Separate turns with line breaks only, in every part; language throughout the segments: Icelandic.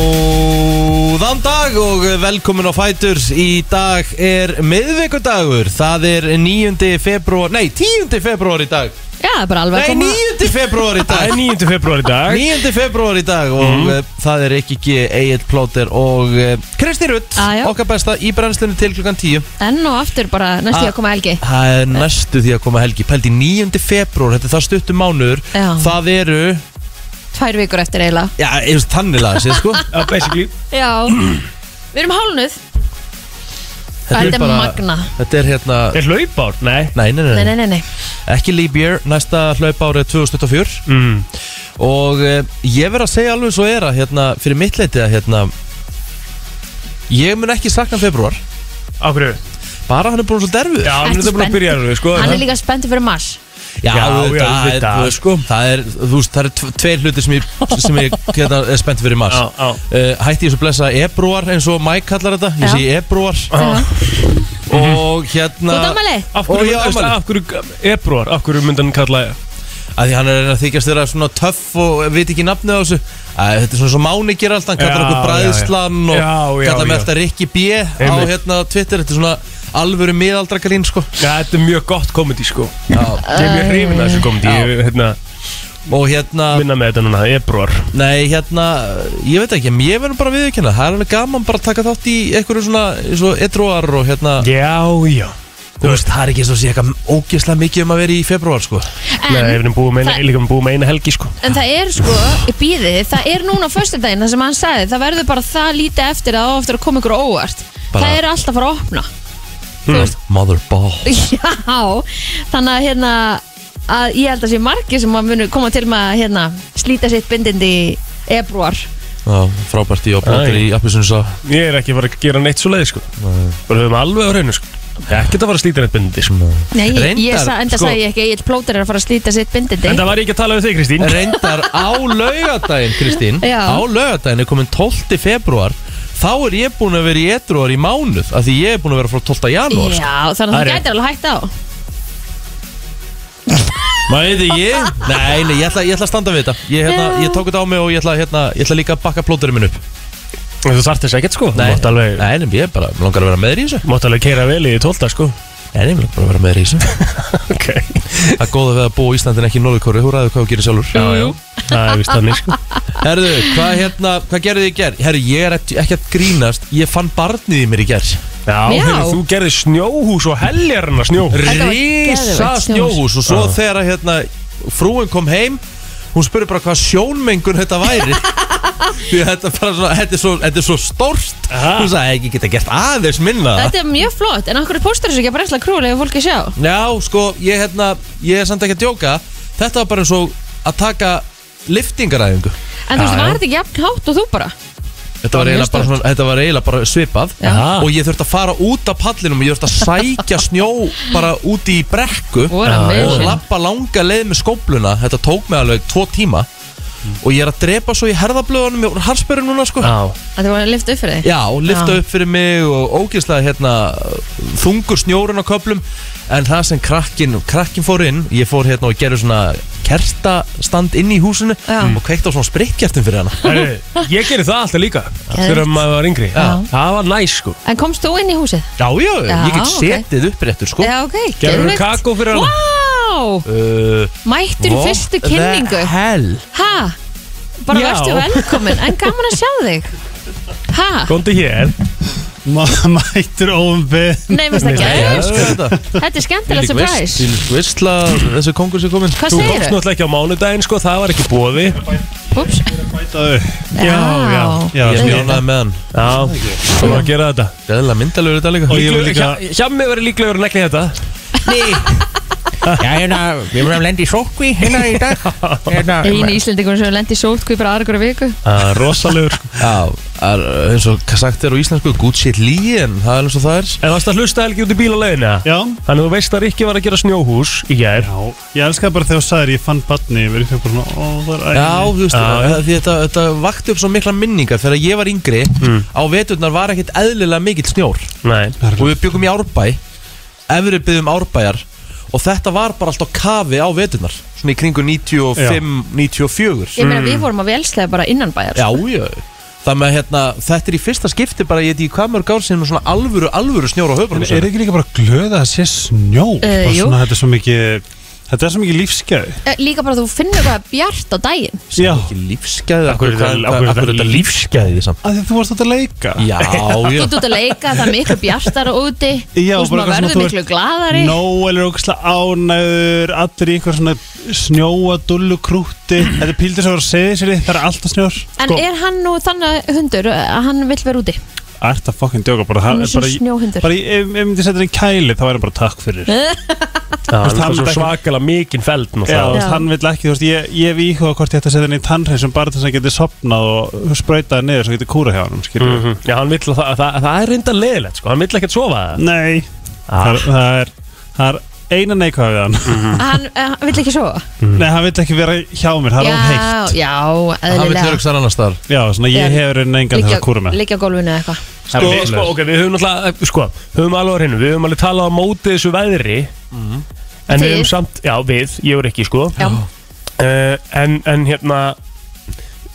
Góðan dag og velkomin á Fætur Í dag er miðvikudagur Það er 9. februar Nei, 10. februar í dag
Já, það er bara alveg að
Nei,
koma
9. februar í
Það
dag
er 9. februar í dag Mhm.
9. februar í dag og mm. það er ekki ekki Egil Plóter og eh, Kristi Rutt
Ah, já.
okkar besta í brennslunni til klukkan 10
Enn og aftur bara næstu ég að koma helgi
Það er næstu því að koma helgi Pældi 9. februar, þetta er það stuttum mánuður
Já.
Það eru, eh,
Tvær vikur eftir eiginlega
já, eins og tannilega sér sko
Já, basically
Já Við erum hálnuð Þetta er magna.
Þetta er hérna
Er hlaupár? Nei
Nei, nei, nei,
Nei, nei, nei, nei
ekki leap year, næsta hlaup árið 2024
mm.
og eh, ég verð að segja alveg svo er að hérna, fyrir mitt leiti að hérna, ég mun ekki sakna februar,
Á hverju?
bara hann er búin svo derfið
Já,
Ertu
við erum bara
spennt?
að byrja þessu, sko
Hann er líka spenntið fyrir mars
já,
já,
það,
já,
það, er,
auðvitað.
þú veist, sko, það er þú veist, það er tve- tveir hlutir sem ég, sem ég hérna, er spennt fyrir í mars
Já, já
Uh, hætti ég svo blessa ebrúar eins og Mike kallar þetta, ég
Já.
sé ebrúar
Já.
og hérna
Þú dámali
Af
Og
hverju,
ég á
veist,
afmæli.
af hverju, ebruar, af hverju myndan kalla
að því hann er að reyna að þykjast þeirra svona töff og veit ekki nafnið á þessu að þetta er svona svo máni gera alltaf hann kallar
Já,
okkur bræðslan
já, já.
og
Já, já,
kallar
já.
með alltaf Rikki B á
Einmitt.
hérna Twitter þetta er svona alvöru miðaldrakalín sko
Já, þetta er mjög gott komedi, sko
já.
Ég er mjög hrifin að þessu komedi Ég er, hérna,
og hérna
minna með þetta núna, ebruar
nei hérna ég veit ekki ég verður bara viðurkenna það er alveg gaman bara að taka þátt í einhverju svona eins og edruar og hérna
Já, já
þú veist það er ekki eins og sé eitthvað ógeðslega mikið um að vera í februar sko
Nei,
en,
við erum búið með eina,
það-
líka búið með eina helgi, sko
en það er sko, í býði Það er núna á föstudaginn það sem hann sagði Það verður bara það lítið eftir að það á eftir að koma ykkur á óvart
Bara-
Það er alltaf að fara að opna
motherball
Já, þannig að hérna að ég held að sé margir sem að munu koma til með að hérna, slíta sitt bindindi í ebruar
já, frábært í og blóttir í
Æ.
appisunsa
Ég er ekki að fara að gera neitt svo leið, sko Bara höfum alveg á reynu, sko Ég er ekkert að fara að slíta neitt bindi, sko
Nei, ég, ég
Reyndar,
sa, enda
sko-
sagði ég ekki, ég plóter er að fara að slíta sitt bindindi
En það var ég ekki að tala við þig, Kristín
reyndar á laugadaginn Kristín,
Já.
á laugadaginn er komin 12. februar þá er ég búin að vera í edruar í mánuð af því ég er búin að vera frá 12. janúar sko.
Já, þannig að
Það er
það
rétt.
gætir alveg hægt á
maður veit ekki nei, nei, ég ætla, ég ætla að standa við þetta ég, hérna,
Já.
ég tók þetta á mig og ég ætla, hérna, ég ætla líka að bakka plóturinn minn upp
Þú þarft þess ekkert, sko Þú
nei,
mátt alveg,
nei, nei, ég bara mig langar að vera með þér í þessu
mátt alveg keira vel í tólta, sko
nei, nei, mig langar bara að vera með þér í þessu
Ok
það er góða við að búa í Íslandin ekki í Norðurkóru þú ræður hvað þú gerir sjálfur
Já, já, það er vist þannig sko
herðu, hvað, hérna, hvað gerðu þið í gerð? herðu, ég er ekki ekki að grínast ég fann barnið í mér í gerð
Já,
Já.
Heyrðu, þú gerði snjóhús og heljar hennar snjóhús
Þetta var
Rísa
geðveikt
snjóhús og svo þegar að, hérna, frúin kom heim hún spurði bara hvað sjónmengun þetta væri því að þetta, bara svona, þetta, er svo, þetta er svo stórt
Aha.
hún sagði ekki geta gert aðeins minna það."
Þetta er mjög flott, en okkur póstur þessu ekki að brensla krúlega fólk að sjá
Já, sko, ég, hérna, ég er samt ekki að djóka þetta var bara eins og að taka liftingaræðingu
En þú veist,
Já, já.
var þetta ekki jafn hátt og þú bara
Þetta var,
Mjög
eiginlega bara,
stórt.
svona, þetta var eiginlega bara svipað
Já.
og ég þurfti að fara út af pallinum og ég þurfti að sækja snjó bara úti í brekku
What a
Já, já.
og
mission.
lappa langa leið með skópluna þetta tók mig alveg tvo tíma og ég er að drepa svo í herðablöðunum og harsperru núna sko
Já,
Þetta var að lifta upp fyrir þig
já, og lifta
Já.
upp fyrir mig og ógeðslega hérna þungur snjórun á köplum en það sem krakkin, krakkin fór inn ég fór hérna og gerði svona kertastand inn í húsinu
Já.
og kveikti á svona sprittkertum fyrir hana
Heyrðu, ég gerði það alltaf líka Þegar maður var yngri
Já.
Það var næs sko
En komst þú inn í húsið?
já, já, ég get
Já, ok.
setið uppréttur sko
Já, ok,
Gerður
geðveikt.
kakó fyrir hann
Vá,
uh,
mættur í
what
fyrstu
the
kynningu
hell
Hæ? Bara
Já.
verðstu velkomin, en gaman að sjá þig Hæ?
Góndi hér
Ma- Mættur óumbyr
Nei, minnst það
ég
ekki
elska þetta
Þetta er skemmtilegt surprise
Þvílík veisla, þessi kongur sem kominn
Hvað
Þú
segirðu?
komst náttúrulega ekki á mánudaginn sko Það var ekki bóði
Úps
Bætaðu
Já.
já
Ég er
já.
mjög ánægð með hann
Já, þú var að gera þetta
Gæðilega myndalegur þetta líka
Og ég var líka
Hjá- Hjá mig verið líklega verið negli þetta
Nei Já, hérna, við verðum að lenda í sókvi hérna í dag hérna.
Einu íslendingur sem lendi í sótkví bara aðra hverju viku
Ah, Rosalegur sko
Já, er, eins og hvað sagt er á íslensku Good shit líin, það er eins og það er
En varst að hlusta helgi út í bíl á leiðina
Já
Þannig að þú veist að Rikki var að gera snjóhús í gær
Já Ég elskaði bara þegar þú sagðir ég fann barni Ég verið fyrir bara svona Ó það er
Já,
ægilegt."
þú veist,
Já,
það- því þetta, þetta vakti upp svo mikla minningar Þegar ég var yngri, á veturnar var ekkit eðlilega mikill snjór
Mm. Nei
Og við byggum í Árbæ Efri byggum Árbæjar og þetta var bara alltaf kafi á veturnar svona í kringu 95, 94
Ég
Mm.
meina, við vorum að velslega bara sko. innan bæjar
Já, já Það með hérna, þetta er í fyrsta skipti bara ég veit ekki hvað mörg ár síðan og svona alvöru, alvöru snjór á
En er
höfbrunnum
ekki líka bara glöð að sé snjó?
Eh,
Bara
jú.
svona, þetta er svo mikið Þetta er svo mikið lífsgæði
Eh, Líka bara þú finnur eitthvað bjart á daginn
Já,
ekki lífsgæði
Akkur er þetta-
hvað- hvað-
akkur er þetta
akkur er þetta lífsgæði samt
að því þú varst að leika
Já, já
Þú ert út að leika, það er miklu bjartara úti
Já,
Þú veist,
bara
maður
eitthvað svona,
verður
þú
miklu
ert-
glaðari
Nóel er ógæslega ánæður Allir í eitthvað svona snjóa dullu krúti Þetta er píldur sem voru að segja sér Það er alltaf snjór
En er hann nú þannig hundur að hann vill vera úti?
Er þetta fokkin djóka bara, það
Hann er
er bara,
svona snjóhundur.
bara, ég, ég myndi setja hann í kæli þá væri bara takk fyrir Já,
Það er
það
bara
myndi
svo
ekki-
svakalega mikinn feld nú
þú
það.
veist, hann vil ekki, þú veist, ég, ég hef íhugað hvort ég ætti að setja hann í tannrein sem bara þess að hann geti sopnað og sprautað niður svo geti kúra hjá hann mm.
Mhm. Já, hann vill að það, það, það er reynda leðilegt sko, hann vill ekkert sofa Ah.
Nei, það,
það
er, það, er, það er eina neikvæð við hann
Mhm.
Að Hann, eh, hann vill ekki sofa?
Nei, hann vil ekki vera hjá mér, það er of heitt
Já, já,
Það vil
eðlilega
hörgsar annars þar
Já, svona
Já.
ég hefur engan þess að kúra með
Liggja á gólfinu eða eitthvað
Það er
Sko,
vitlaust.
sko, ok, við höfum alltaf, sko, höfum alveg á hreinu, við höfum alveg talað á móti þessu veðri En við
Þið.
höfum samt, já, við, ég er ekki, sko
Já,
uh, en, en hérna,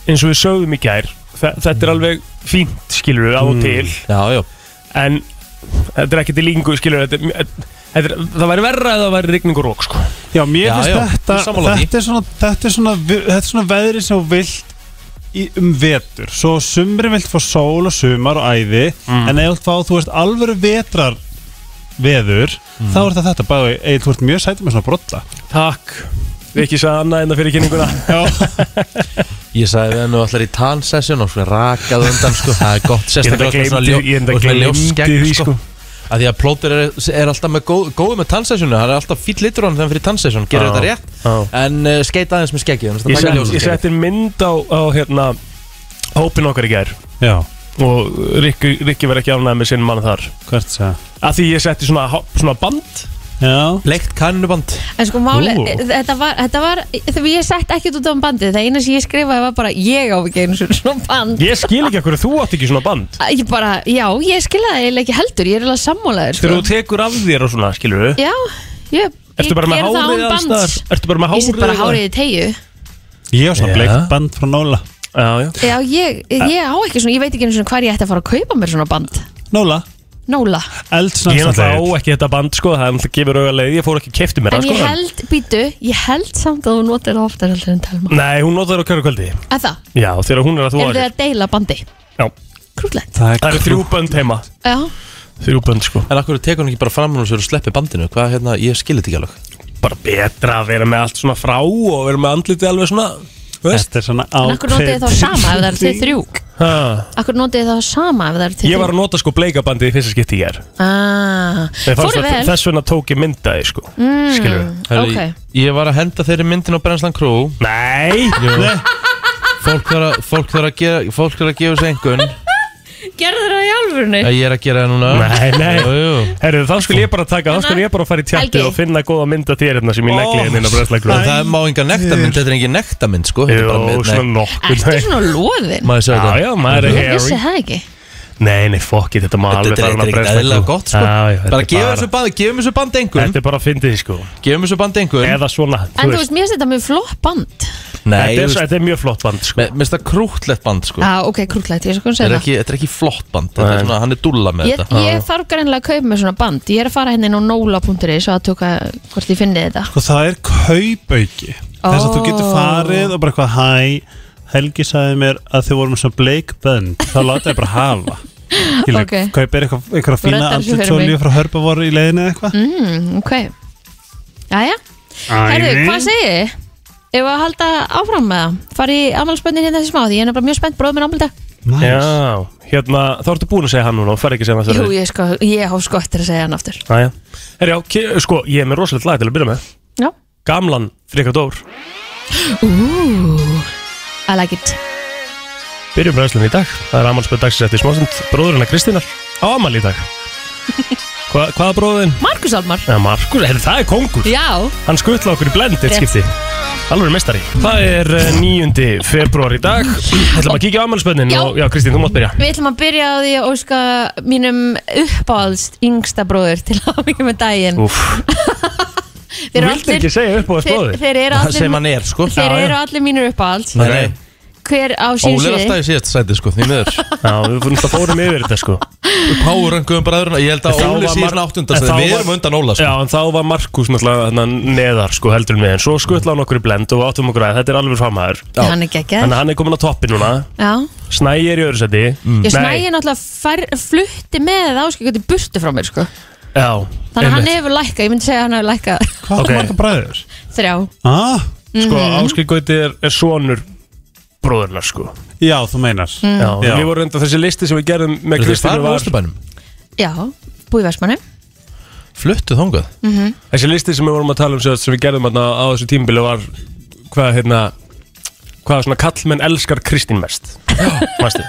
eins og við sögðum í gær, þe-
Mm.
þetta er alveg fínt, skilur við, á og til
Já, já
En þetta er ekki til língu, skilur við, þetta, þetta er, það væri verra eða það væri rigning og rók, sko
Já, mér
Já,
finnst
já,
þetta,
ég er sammála því.
þetta er, svona, þetta, er svona, vi- þetta er svona veðri sem þú vilt í, um vetur Svo á sumri vilt fá sól og sumar og æði En ef þú vilt fá, þú veist, alvöru vetrar veður Þá er þetta þetta, bæði, eða þú ert mjög sætið með svona brolla
Takk, við ekki sagði annað en það fyrir kynninguna
Ég sagði við hennu allar í tannsessjón og sko rakað undan sko Það er gott sérstaklega
Ég enda
svona
gleymdi- ég enda
og svona
gleymdi
ljóst skegg,
því, sko.
Af Því að plóter er, er alltaf með góð, góð með tannsessjónu Það er alltaf fýll litur á hann þegar hann fyrir tannsessjón Gerur
Já,
þetta rétt
já.
En uh, skeita aðeins með skeggið þannig að
Ég,
það taka
set,
ljósa
ég
skeggið.
setti mynd á, á hérna, hópin okkar í gær
Já,
og Rikki, Rikki var ekki ánægð með sinn mann þar
hvert sagði
að því ég setti svona, ho- svona band
Já,
Leikt kannuband
en sko máli,
Ú.
þetta var, þetta var þegar ég sett ekkert út á um bandið, það eina sem ég skrifaði var bara ég á ekki einu sinni svona band
ég skil ekki okkur þú átt ekki svona band
Ég bara, já, ég skiljaði eiginlega ekki heldur, ég er alveg sammálaður
þegar
sko.
þú tekur af þér og svona skilur við
Já, ég, ég
ertu bara með
gerði það
hárið
án
alls
bands.
staðar? ertu bara með
Ég set
hárið
bara hárið í tegju
ég var
Já.
svona bleikt band frá Nóla
já, já.
Já, ég, ég á ekki svona, ég veit ekki einu sinni hvað ég ætti að fara að kaupa mér svona band
Nóla,
Nóla
ég er
eldsnarst
náttúrulega á ekki þetta band sko það er náttúrulega gefur auðarlega ég fór ekki að kefti mér
En
það
ég
sko
held, býtu, ég held samt að þú notir það oftar heldur en Telma
nei hún notar það á hverju kvöldi
Eða það,
já þegar hún er Mm. að þú
eru þið að deila bandi?
Já.
Krúllett
Það
það
er
eru þrjú bönd heima
Já,
þrjú bönd sko
En akkur tekur hann ekki bara fram hún sér og sleppi bandinu Hvað hérna, ég skilir þetta ekki alveg
bara betra að vera með allt svona frá og vera með andlitið alveg svona þú veist?
Þetta er svona
en akkur notið þið þá sama ef það eru þið þrjú
Ha.
Akkur notið þið þá sama ef það eru þið
ég var að nota sko bleikabandið í fyrsta skipti ég er
ah,
Fóru
Fóru vel
Þess vegna tók ég myndaði sko mm. Skilur
Herri,
Ok.
Ég var að henda þeirri myndin á Brenslan Crew
Nei
Fólk þarf að- fólk þarf að gefa- fólk þarf að gefa sig engun
Gerður það í alvörunni?
Ég er að gera það núna
Nei, nei.
Jú, jú.
Herru, þá skulle ég bara taka, þá skulle ég bara fara í tjattu
Helgi.
og finna góða mynda þér hérna sem ég negli hérna inn á
En
bröðslagrúð
það má enga nektarmynd, þetta er engin nektarmynd sko Þetta er bara
Jó,
mynd,
svona
nei.
nokkur
Ertu svona loðin?
Maður sér
Já,
þetta
já, maður er
Ég vissi
hairy
það ekki
Nei, nei, fokk it, þetta má alveg
Þetta er
fara
ekkert ekkert eðlilega gott sko Bara gefum þessu band, gefum þessu band engum
Þetta er bara að fyndi því sko
Gefum þessu band engum
Eða svona,
En þú veist, mér finnst þetta mjög flott band
Nei,
Þetta
þú
er,
veist,
þetta er mjög flott band sko
mér mér finnst það krútlegt band sko
Já, ok, krúllett, ég er sko að
Þetta er
segja það
ekki- þetta er ekki flott band, þetta er
Nei.
svona, hann er dúlla með
Ég,
þetta
ég þarf greinlega að kaupa mér svona band Ég er að fara hérna inn á nóla.is og að tóka hvort ég finni þetta
Sko það er kaupauki Þess að þú getur
Ó.
farið og bara eitthvað Hæ, Helgi sagði mér að þið vorum með svona bleik bönd Þá láta ég bara hafa Ég
Ok.
okay. kaupir eitthvað, eitthvað fína
reddar þessu fyrir
andlitsólju
mig.
frá hörpavoru í leiðinu eða eitthvað
mm, Ok Jæja, herðu, hvað segið þið? Ef að halda áfram með það Fari í afmálspöndin hérna þessi smá Því ég er nefnilega mjög spennt bróðum minn ámælda
Nice.
Já, hérna, þá ertu búin að segja hann núna og fer ekki að segja hann
Jú,
aftur.
ég, sko, ég há sko eftir að segja hann aftur
Jæja. Herra, já, ke- sko, ég er með rosalegt lag til að byrja með
Já
Gamlan Frikadór
Ooh, I like it
Byrjum bræðslunni í dag, það er amalspöð dagsins eftir smásund Bróðurinn að Kristínar á amal í dag Hva, Hvaða bróðurinn?
Markus Almar
Eða Markus, heyrðu, það er kongur
Já,
Hann skuttla okkur í blend eitt
Rétt.
skipti Alveg mestari Það er 9. februar í dag Það ætlum að kíkja á amalspöðnin
Já.
og já Kristín, þú mátt byrja
við ætlum að byrja á því að óska mínum uppáhaldst yngsta bróður til að mikið með daginn
Úf,
Þeir eru
Viltu
allir-
ekki segja upp á þess
þeir,
bóði?
þeir eru
Það
allir
sem hann er, sko
Þeir
Já, já.
eru allir mínir uppáhalds
Nei, nei,
Hver á sín
Óli er alltaf
síði
í síðasta sæti, sko, því miður
Já, við fórum alltaf fórum yfir þetta sko
Við Párönguðum bræðurna, ég held að
En þá
Óli
var
sé í
Mar-
svona áttunda
en
sæti
þá
Við
var-
erum undan Óla,
Já,
sko
en þá var Markus náttúrulega þarna neðar sko heldur með En svo skuttla hann okkur í blend og við áttum okkur að þetta er alveg framhæður
Já.
Hann er geggjær
Þannig að hann er komin á toppi núna
Já
Snæi er í öðru seti
Mm. Ég
Mm.
hérna.
Nei,
snæði náttúrulega fær, flutti með áskilgjöti burtu frá mér sko
Já,
Þannig að hann
einmitt.
hefur lækkað, ég myndi segja að hann hefur Mhm. lækkað
Hvað
Ok.
okay. marga bræður?
þrjá
Ah,
Sko, Áskei Gauti er, er sonur bróðurna sko
já, þú meinar
Mm.
Já,
Já.
við vorum enda þessi listi sem við gerðum með
Eru þið
Kristínu
farin á
var
Östurbænum?
Já, búið Mhm. versmanni
Fluttu þangað?
Þessi listi sem við vorum að tala um sem, sem við gerðum þarna á þessu tímbili var hvað hérna hvað svona kallmenn elskar Kristín mest Manstu?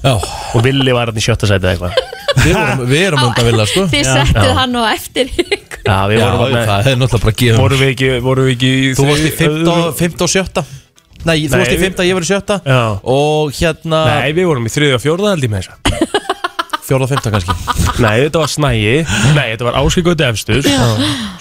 Já,
og Villi var hann í sjötta sæti eða eitthvað
við erum, við erum undan vilja, sko
Þið settuð hann á eftir ykkur
Já, við
Já,
vorum
það
þarna-
er náttúrulega bara að gefa
vorum við ekki, vorum við ekki í
Þú varst í
þri-
15 og- 15 og 7 Nei, þú
Nei,
varst í
við-
15, ég var í 7
Já.
Og hérna
Nei, við vorum í þriði og fjórða held ég með þessa
4 og 15 kannski
Nei, þetta var Snæi Nei, þetta var Áskikóti Efstur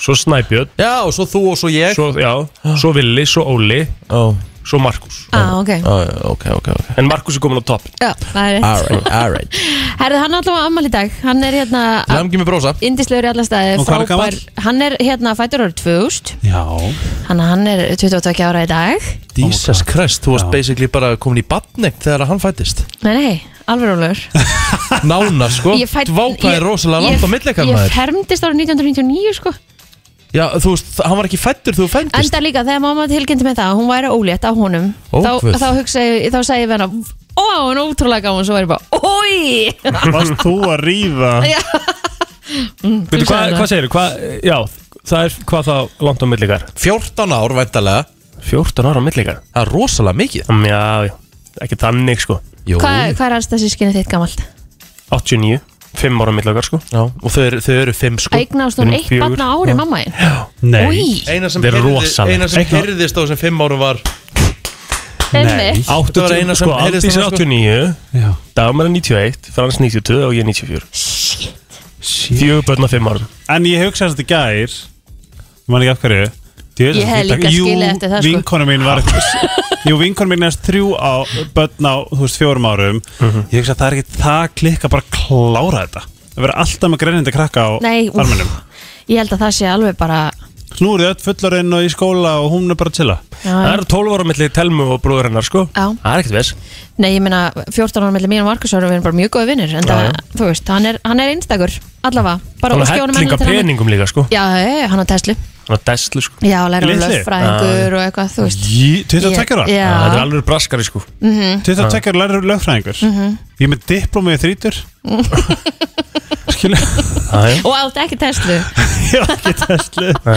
Svo Snæbjörn
Já, og svo þú og svo ég
svo, já, svo Villi, svo Óli
Ó,
Svo Markus
ah, ok
ó, ok, ok, ok
En Markus er komin á topp
Já, það er rétt
Alright, alright
Herðu, hann er alltaf afmæli í dag Hann er hérna
Lamgi með brósa
Indislegur í alla staði
Og hvað er gamall?
frábær. Hann er hérna fættur árið 2000
Já,
Hann, hann er 22 ára í dag
Jesus Christ, þú varst
Já.
basically bara komin í badnegn þegar hann fættist
Nei, nei, alveg rólegur
Nána, sko
Ég fædd-
Dvákaði
ég-
rosalega
ég-
langt á millikar
Ég
maður
fermdist árið 1999 sko
Já, þú veist, hann var ekki fættur þú fættist
Enda líka þegar mamma tilkynnti með það að Hún væri ólétt á honum
Ó,
Þá,
guð.
þá hugsaði, þá sagði ég við hana Ó, hann er ótrúlega gaman Svo var ég bara, oi
varst þú að ríða
Veitu,
sagðir
hvað,
það.
hvað segirðu? Hvað, já, það er hvað þá langt á millikar
14 ár væntalega
14 ára á millikar
Það er rosalega mikið
Mm, Já, já, ekki þannig sko
Jú
Hvað hvað er alls þessi skinni þitt gamalt?
89, 5 ára á millikar sko
Já, og þau eru, þau eru 5 sko
Eignaðast hún
Fimm,
eitt
fjögur.
barn á ári mamma þín? Í,
Eina sem
Þetta er
heyrði-
rosalegt.
eina sem
Eitthvað-
heyrðist á þessum 5 árum var
einmitt.
Þetta var
80,
eina sem
sko,
heyrðist
Aldís er
þarna, sko.
89
Já.
Dagmar er 91, Frans 92 og ég 94 Shit Fjögur börn á 5 árum
En ég hugsa þess að þetta gær Ég man ekki af hverju Djöfull,
Ég hef
þetta-
líka skilið
Jú,
eftir það, sko.
vinkonu mín var Jú, vinkonu mín næst þrjú á Bönn á, þú veist, fjórum árum
Mhm.
Ég hugsa að það er ekki það klikka bara að klára þetta Það verður alltaf með greinindi krakka á
Nei, úff.
farminum
Ég held að það sé alveg bara
Nú eru þið öll fullarinn og í skóla og hún er bara að chilla
Það
já,
eru 12 ára millir Telmu og bróður hennar sko
Já.
Það er ekkert ves
Nei, ég meina 14 ára mellum mín og Markus ára við erum bara mjög góði vinnir en það,
Já,
þú veist, hann er, hann er einstakur allavega, bara
Hann
óski
er
honum
hellinga
enn til hann-
peningum líka sko
Já, já, já, hann á Tesla
Hann er deslu sko Ah.
Já, læra hann
Litli?
löffræðingur og eitthvað, þú veist
Jí, 22 ára?
Ég- Já, Mhm.
Það er alveg braskari sko
22 ára lærir lögfræðingur Ég er með diplómi í þrítur Skilu
Æ,
og átti ekki Tesla
Ég var ekki testlu
Æ,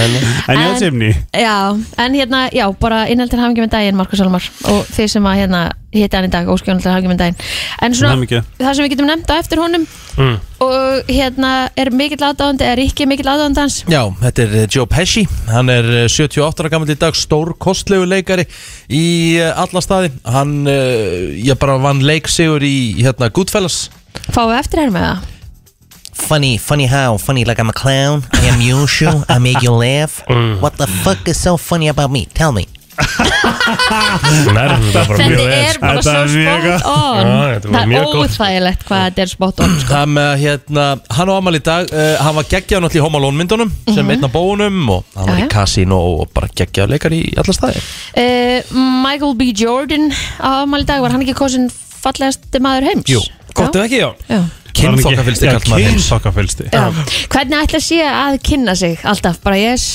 En ég er
En-
semni
Já, en hérna, já, bara innhaldin hafingi með daginn Markus Almar og þeir sem að hérna hitti hann í dag, óski innhaldin hafingi með um daginn En svona,
Hamingju.
það sem við getum nefnt á eftir honum
Mm.
og hérna er mikill aðdáðandi, er ekki mikill aðdáðandi hans
Já, þetta er eh, Joe Pesci, hann er eh, 78 ára gammal í dag, stór kostlegu leikari í eh, alla staði hann, eh, ég bara vann leiksigur í hérna Goodfellas
Fáum við eftir hér með það?
Funny, funny how? Funny like I'm a clown? I am usual? I make you laugh?
Mm.
What the fuck is so funny about me? Tell me.
Það er þetta bara mjög
Þetta
ves
er bara svo
Þetta er mjög
spot on
Já, þetta var
Það
mjög
er
gott.
óþægilegt hvað þetta er spot on sko.
Það með hérna, hann á amal í dag uh, hann var geggjaður náttúrulega í Home Alone myndunum sem einn af bóunum og hann var
Mhm. Já,
í
já.
Casino og bara geggjaður leikari í alla staði
uh, Michael B. Jordan á afmæli í dag, var hann ekki kosin fallegasti maður heims?
Jú,
Gott eða ekki já
Já.
Kynþokkafylsti kallt maður heims
Kynþokkafylsti
Já. Hvernig ætla að sé að kynna sig alltaf, bara yes,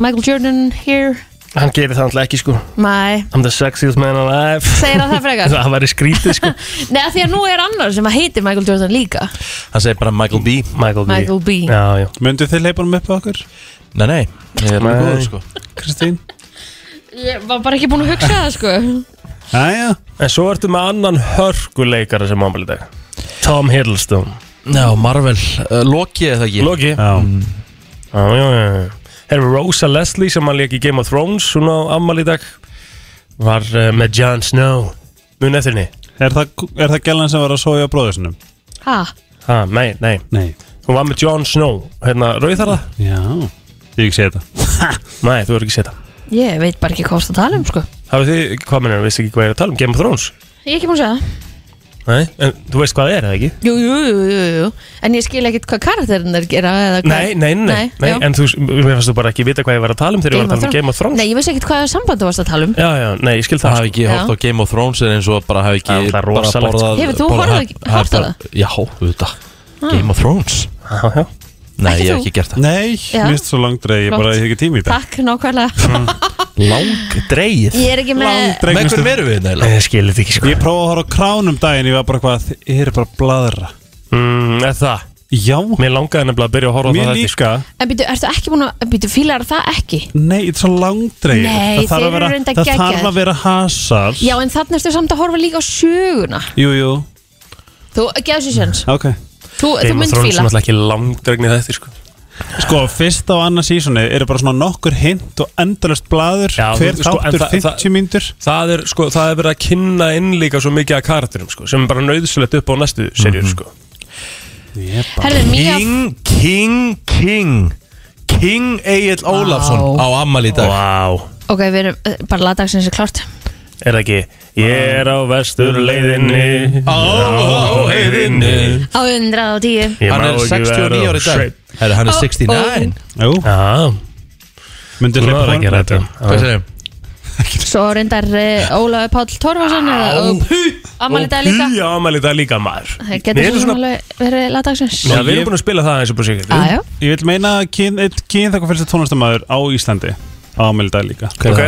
Michael Jordan here,
Hann gerir það alltaf ekki sko
my
I'm the sexiest man alive
segir hann það frekar?
Það væri skrítið sko
Nei, af því að nú er annar sem að heitir Michael Jordan líka
Hann segir bara Michael B
Michael B
Michael B.
Já, já
Möndu þið leipunum upp á okkur,
Nei, nei, ég er alveg
Nei.
góður sko
Kristín?
Ég var bara ekki búin að hugsa það sko
Æja,
En svo ertu með annan hörkuleikara sem ámæli dag Tom Hiddleston
Já, Marvel, uh, Loki eða ekki Mm.
Loki Já, já, já, já Herfi Rosa Leslie sem hann leik í Game of Thrones Hún á ámæli dag Var uh, með Jon Snow Mun eftir henni
er það, er það gælan sem var að sója á bróðusinum?
Ha,
Ha, nei, nei
Nei
Hún var með Jon Snow Hérna, rauðarða
Já Ég ekki segja þetta
Nei, þú verður ekki að setja
Ég veit bara ekki hvað það tala um sko
Hafið þið, hvað mennir, veist ekki hvað ég er að tala um Game of Thrones?
Ég er ekki búin að segja það
Nei, en þú veist hvað það er, eða ekki?
Jú, jú, jú, jú, jú En ég skil ekkit hvað karakterin er að gera eða hvað-
Nei, nei, nei, nei,
já.
en þú, mér fannst þú bara ekki vita hvað ég var að tala um þegar ég var að tala um Game of Thrones
Nei, ég veist ekkit hvað samband þú varst að tala um
Já, já, nei, ég skil
Það
það
hafi
sko.
ekki hort á Game of Thrones er eins og bara hafi ekki
Það er
bara
rosalegt.
borðað-
sko.
Hefur þú
borðað-
horfð ekki-
ha-
hort á
bara- Já, auðvitað Game of Thrones
Já, já,
Nei,
Ah, Ekki
ég hef
þú.
ekki gert það
Nei,
Já.
mist svo langdreið, ég bara
Flott.
ég hef ekki tími í þetta
Takk, nákvæmlega
Lang dreigð
Ég er ekki með
Með
Langdreið,
hverjum erum við
Nei,
neila?
ég skil þetta ekki, sko
Ég prófaði að horfa á kránum daginn, ég var bara hvað, ég er bara að bladra
mm, eða Það,
Já,
mér langaði nefnilega að byrja að horfa á
mér
það þetta,
líka
En býtu, ertu ekki búin að Býtu, fílar það ekki?
Nei, þetta er svo langdreið
Nei,
það
þeir
þarf að vera,
eru reyndar
það
geggjaðir.
þarf að vera hasar
Já, en þarna ertu samt að horfa líka á söguna
Jú, jú,
Þú, gefðu sér séns
ok
Þú, þú
Game of
mynd
Thrones er
fíla
náttúrulega ekki langdregni þetta, sko
Sko, fyrsta og annað sísoni eru bara svona nokkur hint og endalust blaður
Já,
Hver
þú- sko, en
þáttur
það- það-
50 mínútur
Það er, sko, það er verið að kynna inn líka svo mikið af karakterum, sko, sem er bara nöðsulegt upp á næstu
Mhm.
serjur, sko
Herðu, Mía
King, King, King King Egil Ólafsson á Amal í dag
Vá,
Ok, við erum eh, bara lagdagsins er klárt
er það ekki? Ég er á vestur leiðinni
Á, á, heiðinni
Á 110
Ég
Hann
má
er
ekki
69
vera
ári í dag
sveinn.
Herru, hann er
Ó,
69
Jú,
Já,
myndi
þú
hlaupa
verður
honum
ekki að
þetta.
ræta
Hvað segir
Svo reyndar uh, Ólaður Páll Torfarsson og Amal í dag líka
Já, ammæli dag líka maður
Það
Mér
getur
er
svo sem
svona-
alveg verið lagdagsins
Já, við erum búin að spila það eins og búin sikkert
Aðjá
Ég vil meina að kyn, kyn þakka fyrsta tónastamæður á Íslandi á Meldag líka
Ok.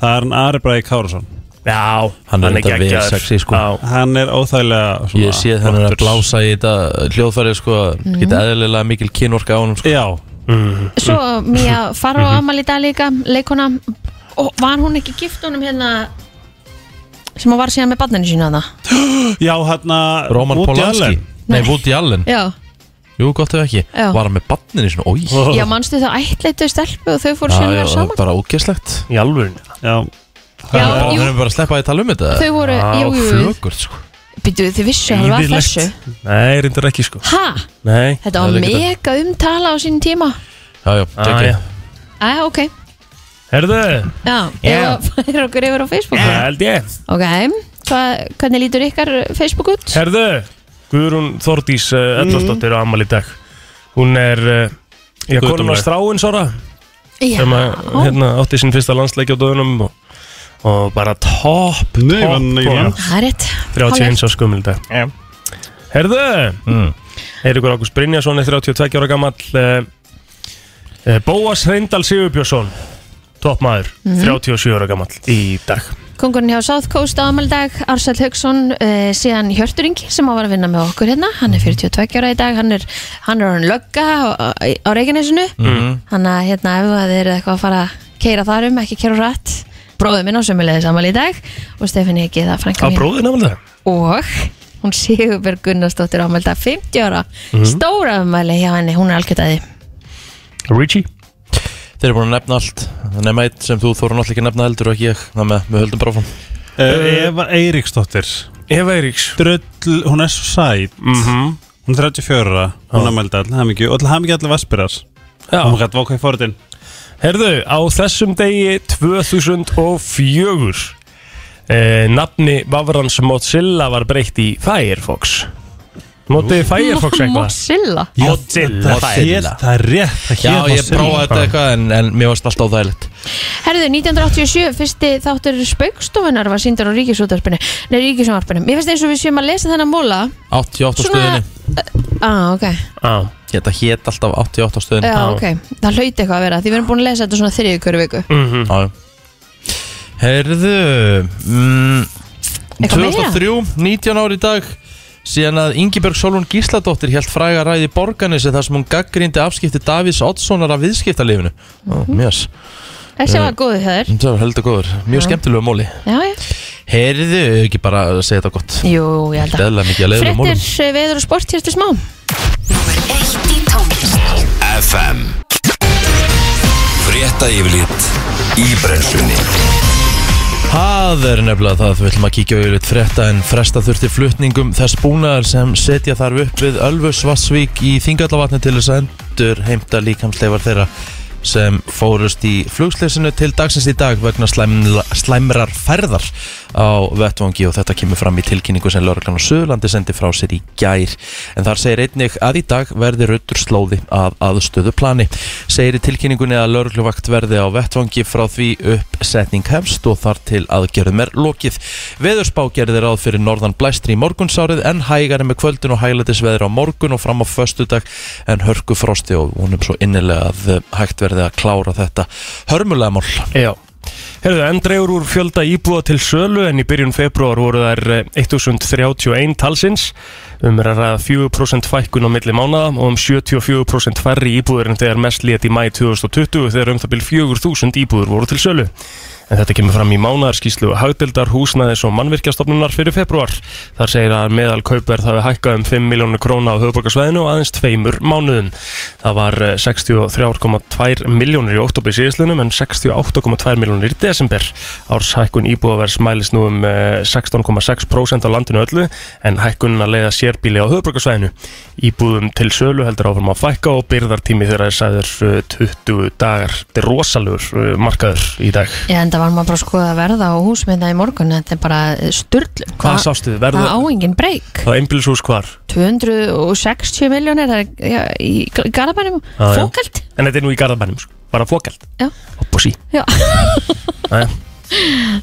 Það er hann Ari Bræði Kárusson
Já,
Hann er enda vel
geggjaður.
sexy, sko.
Já.
Hann er óþægilega svona
Ég sé þannig að
flottur.
blása í þetta hljóðfæri sko
Mm.
Geta eðlilega mikil kynorka á honum sko
Já,
Svo Mía Faró
Mhm.
Amal í dag líka leikona og var hún ekki gift honum hérna sem hún var síðan með barninu sína það
já hérna, hann að
Roman Polanski Nei, Woody Allen
Já,
Jú, gott ef ekki
Já.
Var hann með badninu svona, ói
já manstu það ættleitu stelpu og þau fóru síðan að vera saman
bara ógeðslegt
Í alvörinu
Já,
Já,
Bara-
jú,
Við erum bara að sleppa því að tala um þetta
þau voru,
Ah,
jú, jú,
Flögur, sko
jú Býtu, þau vissu hann var
Yfirlegt.
þessu
Nei, reyndar ekki sko
Ha,
Nei
þetta
Það
var
er ekki
mega umtala á sín tíma
Já, já,
Ah,
ekki
já.
Æja, ok,
Herðu,
já,
Já.
ég færi okkur yfir á Facebook
það held ég
Ok, hva, hvernig lítur ykkar Facebook út?
Herðu, Guðrún Þordís
Mhm.
uh, Edvarsdóttir á ammali dag Hún er, uh, já,
Guðdómleg.
konum að stráin Sora
Já,
sem að, hérna, átti sinn fyrsta landsleiki á döðunum og, og bara topp,
Nei,
topp
hann er í
kona.
land.
það er rétt
31 á skumil dag
Já.
Herðu
Mm.
Eiríkur Ágúst Brynjason er 32 ára gammal uh, uh, Bóas Hreindal Sigurbjörnsson Toppmaður,
Mhm.
37 ára gammal Í dag
Kongurinn hjá South Coast á amaldag, Arsæl Haugsson, uh, síðan Hjörtur Ingi sem á var að vinna með okkur hérna, hann er 42 ára í dag, hann er, hann er hann lögga á, á Reykjanesinu,
Mhm.
hann að hérna ef það er eitthvað að fara að keira þar um, ekki keira rætt, bróðið minn á sömulegði samal í dag og Stefán Egi það frænka
Á
mín
bróðin ámæli dag
og hún Sigurbjörg Gunnarsdóttir ámaldag 50 ára,
Mhm.
stóra umæli hjá henni, hún er algjörðaði.
Richie
Þeir eru búin að nefna allt Nefna eitt sem þú þóru náttúrulega ekki að nefna heldur og ekki ég Þannig að við höldum bara áfram
Eh, Eva Eiríksdóttir
Eva Eiríks
Drull, hún er svo sæt
-hmm.
Hún er 34, hún er Meldal, hamingju Og til hamingju allir vaspirar
Já.
Hún gætt vákvæði fórðin
Herðu, á þessum degi 2004 eh, Nafni Vavrans Mozilla var breytt í Firefox Mótið Firefox eitthvað?
Mozilla.
Mozilla
Mozilla.
Það er rétt, það
Já,
hét
ég
Mozilla.
prófaði þetta eitthvað en, en mér varst alltaf óþægilegt
Herðu, 1987, fyrsti þáttur spaukstofunar var síndur á ríkisútarpinu Nei, ríkisútarpinu Mér finnst eins og við séum að lesa þennan múla
88 á
Svona-
stöðinni
Á, Ah, ok,
Já,
Þetta hét alltaf 88 á stöðinni
já, ok Það hlaut eitthvað að vera, því við erum búin að lesa þetta svona þriðju hverju viku
mhm
Já, já. Herðu mm,
Eitthvað meira?
2003, 19 ár í dag síðan að Ingibjörg Solon Gísladóttir held fræga ræði borganessi þar sem hún gaggrindi afskipti Davís Oddssonar af viðskiptalífinu mm
Mhm.
-hmm. Mjög,
Þessi var góðu hjá þér
það var heldur góður Mjög skemmtilegu móli
Já, já,
Herðu, ef ekki bara að segja þetta gott
jú, ég held að
Eðla mikið að leiðum
Frettir
mólum
eh, veður og sport hér til smá
Númer eitt í tónlist
FM Frétta yfirlit í brenslunni
Það er nefnilega það, við ætlum að kíkja auðvitað frétta en fresta þurfti flutningum þess búnaðar sem setja þarf upp við Ölfus Vassvík í Þingallavatni til þess að endur heimta líkamsleifar þeirra sem fórust í flugslesinu til dagsins í dag vegna slæmla- slæmrar færðar á vettvangi og þetta kemur fram í tilkynningu sem Lörglann og Suðurlandi sendi frá sér í gær en þar segir einnig að í dag verði ruttur slóði að aðstöðu plani segir í tilkynningunni að Lörgluvakt verði á vettvangi frá því uppsetning hefst og þar til aðgerðum er lokið Veðurspá gerði ráð fyrir norðan blæstri í morgunsárið en hægari með kvöldin og hæglætisveður á morgun og fram á föstudag en hörku frosti og vonum svo innilega að eh, hægt verði að klára þetta hörmulega mál
Já Herðu, enn dregur úr fjölda íbúa til sölu en í byrjun februar voru þær eh, 1031 talsins um er að ræða 4% fækkun á milli mánada og um 74% færri íbúður en þegar mest lét í mæ 2020 þegar um það byrjum 4000 íbúður voru til sölu En þetta kemur fram í mánaðarskíslu Hagdeldar húsnæðis og mannvirkjastofnunar fyrir februar. Þar segir að meðal kaupverð hafi hækkað um 5 miljónu króna á höfuborgarsvæðinu og aðeins tveimur mánuðum. Það var eh, 63,2 miljónir í óttobri síðislunum en 68,2 miljónir í desember. Árshækkun íbúðavers mælist nú um eh, 16,6% á landinu öllu en hækkunna leiða sérbíli á höfuborgarsvæðinu. Íbúðum til sölu heldur áfram að fækka og byrðartími þeirra er sæður 20 dagar. Þetta er rosalur markaður í dag.
Já, en það var maður bara að skoða verða á húsmiðna í morgun, þetta er bara eh, styrlu.
Hvað sástu? Verður
Það á engin breyk.
það einbílshús hvar?
260 miljónir, það er já, í garabænum,
Já, já.
fókald.
En þetta er nú í garðabænum, sko. bara fókald
Já.
Hopp og sí
Já.
Nei,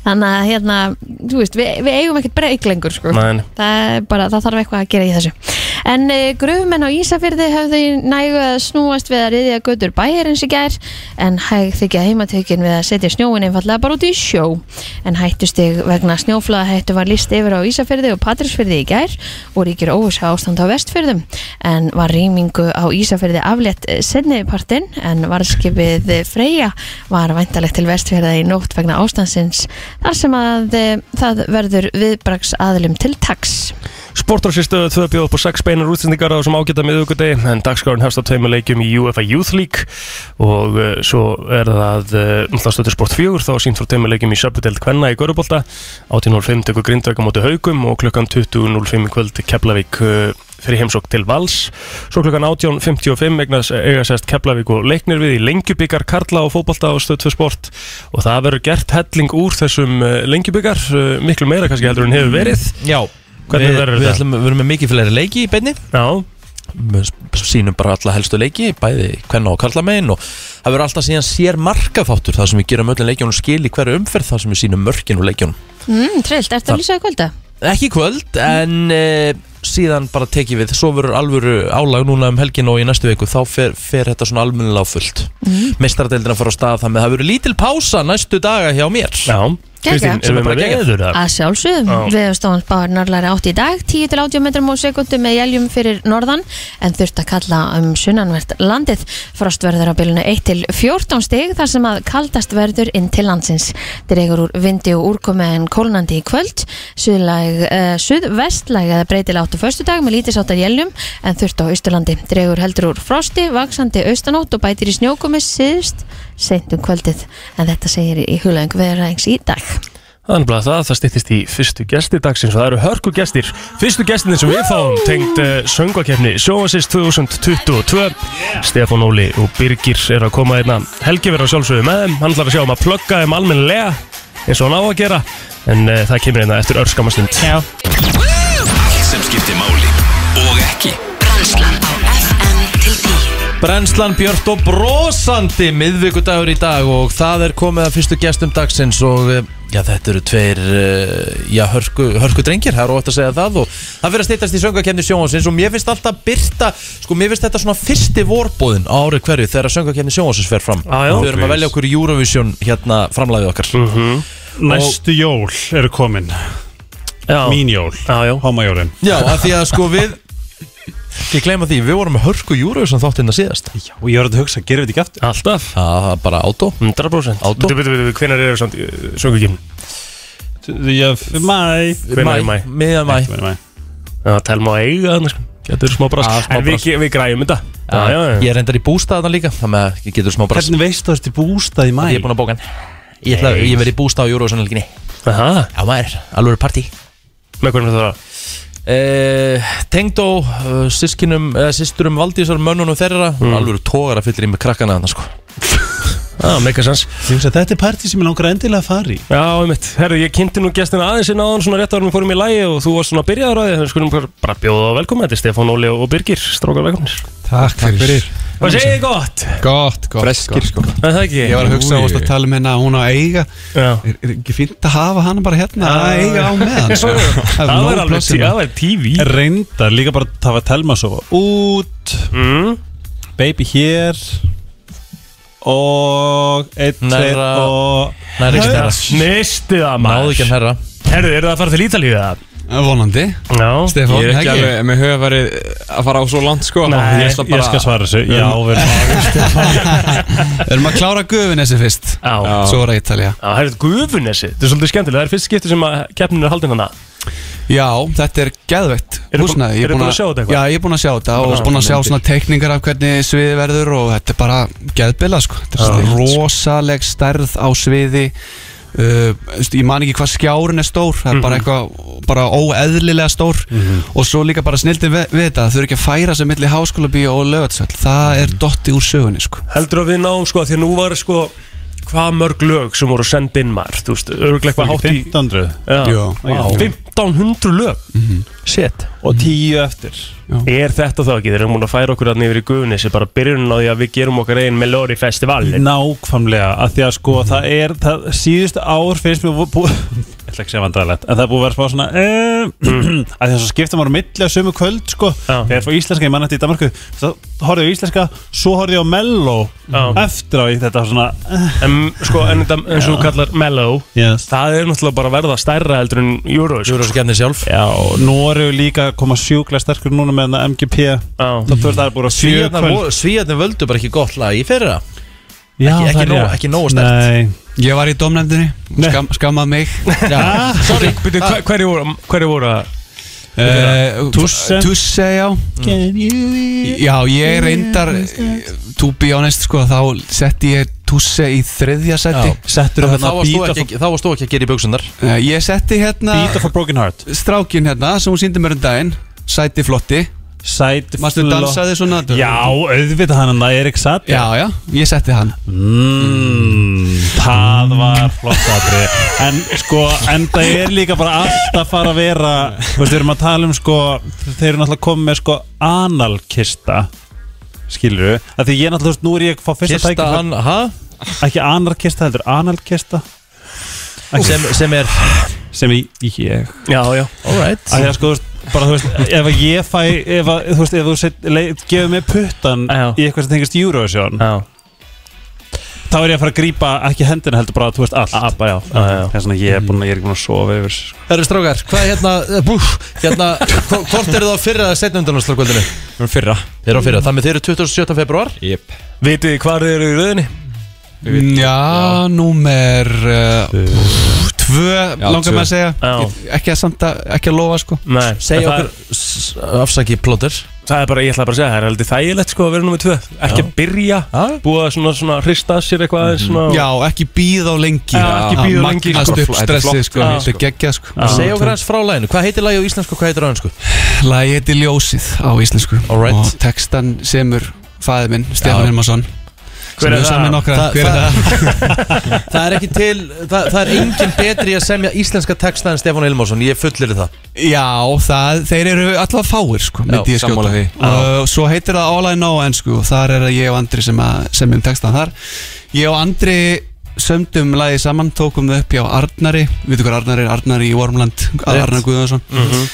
Þannig að hérna, þú veist, við, við eigum ekkert breyk lengur, sko.
nei, nei.
Það, er bara, það þarf eitthvað að gera í þessu. En uh, gröfumenn á Ísafyrði höfðu í nægu að snúast við að riðja götur bæjarins í gær en hæg þykja heimatökin við að setja snjóin einfallega bara út í sjó. En hættustig vegna snjóflaða hættu var list yfir á Ísafyrði og Patrísfyrði í gær og ríkir óvisa ástand á vestfyrðum en var rýmingu á Ísafyrði aflétt sennipartin en varskipið Freyja var væntalegt til vestfjörða í nótt vegna ástansins þar sem að eh, það verður viðbraks aðlum til taks.
Sportrásinstöðu 2 bjóð upp á 6 beinar útsendingar á þessum ágæta miðugudegi en dagskrárun hefst á tveimu leikjum í UEFA Youth League og uh, svo er það uh, stöður sport 4 þá sínt frá tveimu leikjum í Söpudeld Kvenna í Görubólta 18.05 tekur grindvega móti haugum og klukkan 20.05 í kvöld Keflavík uh, fyrir heimsók til Vals svo klukkan 18.55 eignast eiga sérst Keflavík og leiknir við í lengjubikar Karla og fótbolta á stöð 2 sport og það verður gert helling úr þessum uh, lengjubikar, uh, miklu meira kannski heldur en hefur verið
Já,
Hvernig
við,
verður
við,
þetta?
ætlum, við erum með mikið fleiri leiki í beinni
Já,
Við s- sýnum bara alla helstu leiki bæði hvenna og karla megin og það verður alltaf síðan sér markafáttur þar sem við gerum öllin leikjónum skil í hverju umferð þar sem við sýnum mörkin og leikjónum
Mm, trillt, ertu að lýsa í kvölda?
Ekki í kvöld, en e, síðan bara tekið við Svo verður alvöru álag núna um helgin og í næstu viku Þá fer, fer þetta svona almennilega á fullt mm. Mestaradeildina fara á stað þannig að það verður lítil pása næstu daga hjá mér
já
Geggjað.
Kristín, erum við
Bara
með
geggjað.
veður það?
Að sjálfsögum,
Já.
viðstofan spáður norðlæri átt í dag, 10-80 metrum á sekundu með jæljum fyrir norðan en þurft að kalla um sunnanvert landið. Frost verður á bylunu 1-14 stig þar sem að kaldast verður inn til landsins. Dregur úr vindi og úrkomi en kólnandi í kvöld, suðlæg, uh, suðvestlæg eða breytileg áttu föstudag með lítisáttar jæljum en þurft á austurlandi. Dregur heldur úr frosti, vaksandi austanótt og bætir í snjókomi síðust seintum um kvöldið en þetta segir í huglæðing veðuræðings í dag.
Það er nefnilega það, það styttist í fyrstu gesti dagsins og það eru hörku gestir Fyrstu gestin sem við fáum tengd uh, söngvakefni Sjóansins 2022 Stefán Óli og Birgir er að koma einna Helgi verður að sjálfsögðu með þeim Hann ætlar að sjá um að plugga þeim almennilega eins og hann á að gera En uh, það kemur einna eftir örskamastund
Já
Allt sem skiptir máli og ekki
Brænslan á FM til 10
Brennslan Björnt og brosandi miðvikudagur í dag og það er komið að fyrstu gestum dagsins og eh, já, þetta eru tveir eh, já, hörku, hörku drengir, það er ótt að segja það og það fyrir að stýttast í söngakefni sjónvarsins og mér finnst alltaf byrta, sko mér finnst þetta svona fyrsti vorbóðin á ári hverju þegar söngakefni sjónvarsins fer fram
Á, Ah, já.
við erum að velja okkur Eurovision hérna framlæðið okkar
Mhm.
Næstu jól eru komin
Já,
Mín jól
já, já
Hámajólin
Já, af því að sko við ég gleyma því, við vorum með hörku Eurovision þáttina síðast Já,
Og ég var að hugsa, gerum við þetta ekki aftur
Alltaf
það er bara átó
100%
Átó.
Bitu, bitu, bitu, hvenær eru samt uh, söngvakefni?
Já, f- mæ
Hvenær í maí?
Miðan mæ
Mæ
Já, telma að eiga þannig sko Getur smá
Já,
brask
Ah, smá
En við, við græjum þetta Já, já, já
Ég er reyndar í bústað þarna líka Þannig að ég getur smá bara
Hvernig veistu þú ert í bústað í mæ?
Ég er búin að bóka hann Ég, ætla, ég verið í bústað á Eurovision-helginni
Aha,
Já maður, alveg er partí
með hvernig það var
uh, Tengdó, eh, uh, sískinum, uh, sýsturum Valdísar, mönnunum þeirra mm. Alveg er tógar að fyllir í með krakkana þarna sko
ah, meikasens
Ég hugsa, Þetta er partí sem ég langar endilega að fara í
Já, einmitt, herðu, ég kynnti nú gestina aðeins inn á hann svona rétt árum við fórum í lægi og þú varst svona byrjaður á því, þannig skulum bara- bara bjóða á velkomin, þetta er Stefán Óli og Birgir, strókar velkominir
Takk fyrir
Hvað segir þið gott?
Gott, gott Freskir sko
Er Það ekki?
Ég var að hugsa
Úi.
að varst að tala um hérna að hún á að eiga
Já.
Er, er ekki fínt að hafa hana bara hérna að eiga á meðan sko?
Það
nóg
var alveg
pláss hérna.
það var TV
Reyndar, líka bara það var telma að sofa út
mm.
Baby hér Og Eitt,
Mm.
tveir
Nærra-
og
Nær ekki herra
Misti það
Náðu ekki
maður
en herra
Herðu, eru það að fara til Ítalíu það?
Eh, Vonandi
Já
Stefán,
Ég er ekki
ekki?
alveg með höfavarið að fara á svo langt sko
Nei,
ég ætla
Ég skal
bara
svara þessu Já, við erum
Við erum að klára gufinesi fyrst
Já
Já.
Svo er að Ítalja
Já, herðu, Gufunesi Þetta er svolítið skemmtilega, það er fyrst skipti sem að keppnin er haldin hana
Já, þetta er geðveitt
Eru bú-
húsnæði. Ég
eru
búinn
búin að sjá þetta eitthvað?
Já, ég er búinn að sjá þetta og
Já,
búinn að sjá
myndir.
svona teikningar af hvernig sviði verður og þetta er bara geðbilla sko Þetta
Já.
er svona rosaleg stærð á sviði uh, veist, Ég man ekki hvað skjárin er stór Það er
Mhm.
bara eitthvað bara óeðlilega stór og svo líka bara snildin við, við þetta þau eru ekki að færa sig milli háskóla bíu og lögatsöld Það er dotti úr sögunni sko
Heldur að við náum, sko, því að nú var, sko Hvað mörg lög sem voru send inn maður Þú veist, örglega eitthvað hátt í
1500
Já.
Jó.
Vá. 1500 lög Shit
Og tíu eftir
Er þetta þá ekki, þeir eru múin að færa okkur að yfir í Gufunesi Bara byrjun á því að við gerum okkar eigin Melori Festival
Nákvæmlega, af því að sko það er, það síðust ár finnst mér bú- búið, ég ætla ekki að segja vandræðilegt en það er búið að vera smá svona eh, af því að svo skipta maður á milli að sömu kvöld sko,
Já.
þegar ég fór íslenska, ég mann eftir í Danmarku þá horfði ég á íslenska, svo horfði ég á mello
Já.
eftir á ég þetta var svona eh,
En sko, en þetta eins og þú kallar Mellow
yes.
Það er náttúrulega bara að verða stærra heldur en Euro sko.
Júrós gefnir sjálf
Já, og Nóri líka að koma sjúklega sterkur núna með þarna MGP
Já.
þá þú veist það er búið að sjö
Svíðarnar
kvöld
voru- Svíðarnar völdu bara ekki gott lag í fyrra
Já, það
ekki-
er
ekki nóg-
rétt.
ekki nógu sterkt.
Nei.
Ég var í domnefndinni, skam, skammað mig
Já,
Sorry, byrju, hver- hverju voru, hverju voru að
Eh,
Tusse.
Tusse, já
Mm.
Já,
Mm.
ég reyndar To be honest, sko, þá setti ég Tusse í þriðja seti
Settur hérna þarna
Þannig að Þá varst þú
Beat of-
ekki- þá varst þú ekki að gera í buksunar
Eh, Ég setti hérna
Beat of a Broken Heart
Strákin hérna, sem hún síndi mér um daginn Sæti flotti,
Sæt
mastu dansaði svona
Já, auðvitað hann að Erik Satt
Já, já, ég setti hann
mm, Það var flott aðri En sko, en það er líka bara allt að fara að vera Þú veist, við erum að tala um sko Þeir eru náttúrulega komið með sko analkista Skilur við Því ég náttúrulega, þú veist, nú er ég að fá fyrsta
Kista
tækifæri
hann, ha?
Ekki anarkista heldur, analkista
Sem, sem er,
Sem ég, ég
Já, já
alright
að því að sko, þú veist, bara þú veist ef að ég fæ, ef að, þú veist, ef þú set, leit, gefur mig puttan
Já.
í eitthvað sem tengist Eurovision
Já,
þá er ég að fara að grípa ekki hendina heldur bara, þú veist, allt
abba, já, já, já.
það er svona, ég er búin að, ég er ekki búin að sofa yfir þessu, sko.
Herri strákar, hvað er hérna, eh, bú, hérna hvo- Hvort eru það fyrra eða setna undanúrslagkvöldinu?
Við erum fyrra
Þeir eru á fyrra, þannig þeir eru 27. februar
Jep
Vitið þið hvað eru í röðinni? Mm,
Já, númer uh, pff, Tvö, langar
tvö.
með að segja
Já.
Ég- Ekki að samt að, ekki að lofa, sko
Nei,
Segja
það,
okkur, s- afsaki plóter
það er bara, ég ætla bara að segja, það er heldur þægilegt sko að vera nummið tvö Ekki að byrja,
Já.
búa að svona, svona hrista að sér eitthvað aðeins svona
Mhm. Já, ekki býð á lengi
Já, ekki bíða of lengi,
Magnast
sko.
upp
Þetta er
stressið,
flott,
sko
já.
Þetta er geggjað, sko
Segja okkur aðeins frá læginu, hvað heitir lægi á íslensku og hvað heitir á önsku?
Lagi heiti Ljósið á íslensku
Alright.
og textan semur fæði minn, Stefán
Já.
Hilmarsson
Hver er það?
Nokkra,
Það-
hver er það?
Það er ekki til, það, það er engin betri að semja íslenska texta en Stefán Ilmarsson, ég fullir það
Já, það, þeir eru alltaf fáir sko, myndi ég skjóta
sammála því.
uh, Svo heitir það All I Know en sko, þar er að ég og Andri sem, að, sem um textan þar Ég og Andri sömdum lagi saman, tókum þau upp hjá Arnari Við hvað Arnari er Arnari í Vormland, Arnar Guðjónsson
Mhm.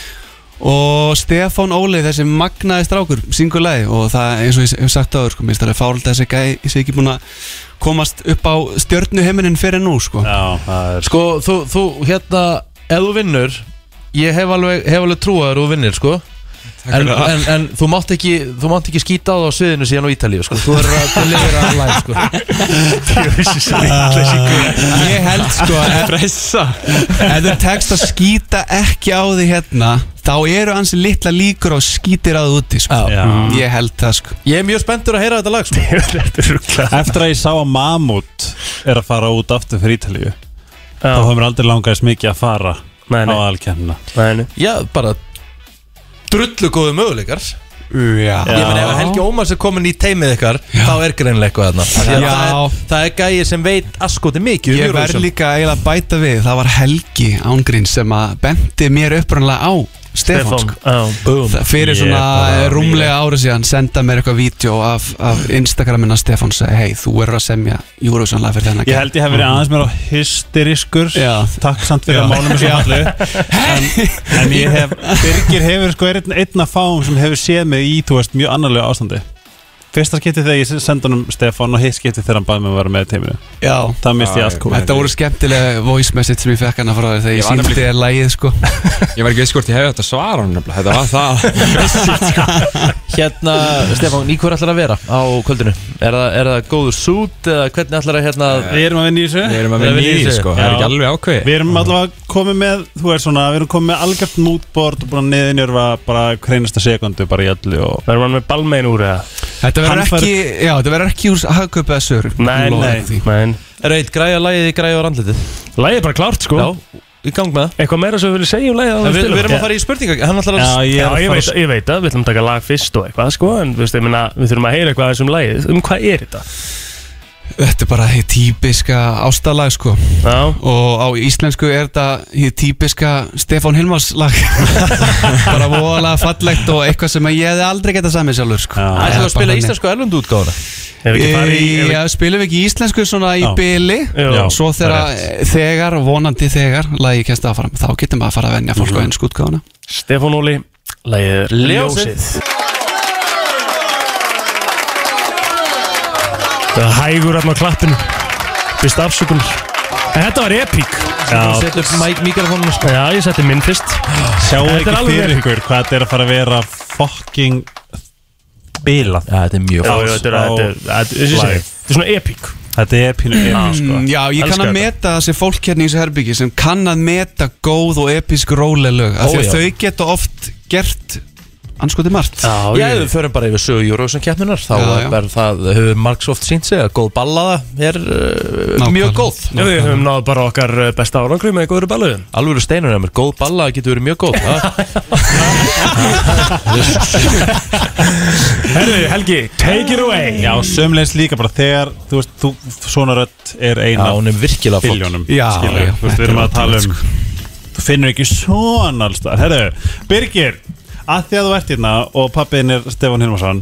Og Stefán Óli, þessi magnaði strákur, syngur lagi og það, eins og ég hef sagt áður, sko, minnst það er fáralt að þessi gæi, ég sé ekki búin að komast upp á stjörnuheiminin fyrir nú, sko.
já, það er
Sko, þú, þú, hérna, ef þú vinnur Ég hef alveg, hef alveg trúaður og þú vinnir, sko en, en, en þú mátt ekki, þú mátt ekki skýta á það á sviðinu síðan á Ítalíu, sko Þú verður að delivera að læg, sko
Ég held, sko, ef,
Pressa
ef þú tekst að skýta ekki á því hérna, þá eru ansi litla líkur á skýtir að úti, sko.
Já.
já.
Ég held það, sko.
Ég er mjög spenntur að heyra þetta lag, sko
eftir að ég sá að Mamut er að fara út aftur fyrir Ítalíu þá
Já,
höfum við aldrei langaðis mikið að fara
nei,
á
nei,
alkemna
nei, nei.
Já, bara drullu góðu möguleikar
Já,
Ég meina ef Helgi Ómars er komin í teimið ykkar þá er greinlega eitthvað þarna Af því að
Já.
það er, það er gæi sem veit askoti mikið um
Ég verð
Eurovision.
líka eiginlega að bæta við Það var Helgi Ángrín sem að bendi mér upprannlega á Stefán sko.
Boom.
Það- Fyrir
Ég
svona eh,
bara-
rúmlega ára síðan Senda mér eitthvað vídeo af, af Instagramina Stefán segi Hei, þú verður að semja Eurovision lag fyrir þennan
Ég held ég hef verið aðeins mér á hysteriskur
Já.
Takk samt fyrir
Já.
að mála mig svona
sko.
allu en, en ég hef Birgir hefur sko er einn, einn af fáum sem hefur séð mig í, þú veist, mjög annarlega ástandi Fyrsta skipti þegar ég senda hann um Stefán og hitt skipti þegar hann baði mig að vera með í teiminu
Já
Það misti ég allt kúl
Þetta voru skemmtilega voice message sem ég fekk hana frá þér þegar
sko. Ég var
ég síndi
nefnilega-
þér lægið sko
Ég var ekki veist hvort ég hefði þetta að svara hann nefnilega Þetta var það
Hérna, Stefán, í hver ætlar að vera á kvöldinu? Er það, er það góður sút eða hvernig ætlar að hérna
Við erum að vinna í þessu
Við erum að vinna í því sko, það er ekki alveg ákveð
Við erum allavega komið með, þú veist svona, við erum komið með algjört mútbord og búin að niðinjörfa bara hreinasta sekundu bara í öllu og
Verður hann með balmein úr eða?
Þetta verður
Hann fær-
ekki, já, þetta verður ekki úr hagköp eða sögur
Nei, nei, nei
Er eitt græja lagið í græja á randlitið?
Lægið er bara klárt sko
Já, í gang með það
Eitthvað meira sem við viljum segja um lægið
En við, við erum að fara í spurninga Hann ætlar að
Já, ég
Já,
er að
ég
fara-
veit, ég veit að við ætlum að taka lag fyrst og eitthvað sko En við, minna, við þurfum að heyra eitthvað aðeins um lægið Um hvað er þetta?
Þetta er bara hér típiska ástalag sko
Já,
og á íslensku er þetta hér típiska Stefán Hilmars lag bara voðalega fallegt og eitthvað sem ég hefði aldrei getað samið sjálfur sko.
Já.
Ætlar að
Bara
spila
þannig.
íslensku erlundu útgáðuna
ef við ekki farið
E,
í ef við-
Já, spilum við ekki íslensku svona í
Já.
byli
Já,
Svo þegar, þegar, vonandi þegar Lægi kemst áfram, þá getum við að fara að venja fólk á
Mhm.
ennsku útgáðuna
Stefán Óli, lægið er
Ljósið.
Ljósið Það er hægur hann á klappinu Fyrst afsökunar En þetta var epík
Hann setur upp mæk mikrofónum sko.
Já, ég setti minn fyrst
Sjáu
Þetta er
ekki
alveg
fyrir
epic.
ykkur hvað þetta er að fara að vera fucking bilað
Já, þetta er mjög
Já,
fólk
já, þetta er,
á
þetta er, þetta er, þetta er, þetta er svona epík
Þetta er pínu epík sko
Mm. Já, ég kann
Elska
að
þetta.
meta þessi fólk hérna í þessu herbyggi sem kann að meta góð og episk róleilög af
Ó,
því
já.
að þau geta oft gert anskotið margt
Já, ef við förum bara yfir sögu Eurovision keppnunar þá
Já, já.
er það, hefur Marks oft sínt sig að góð ballaða er uh,
Nákvæmlega.
mjög góð
Já, við höfum náð bara okkar eh, besta árangri með góður balluðum
Alvöru steinur er mér, góð ballaða getur verið mjög góð það.
Herðu, Helgi, take it away
Já, sömleins líka bara þegar þú veist, þú, svona rödd er
Já,
eina
hún er virkilega flott
biljónum
Já, já,
Þú veist,
þetta
við
er
erum að tala
ótrúlegt,
um Þú finnur ekki svona allstað Herðu, Birgir að því að þú ert hérna og pappiðin er Stefán Hilmarsson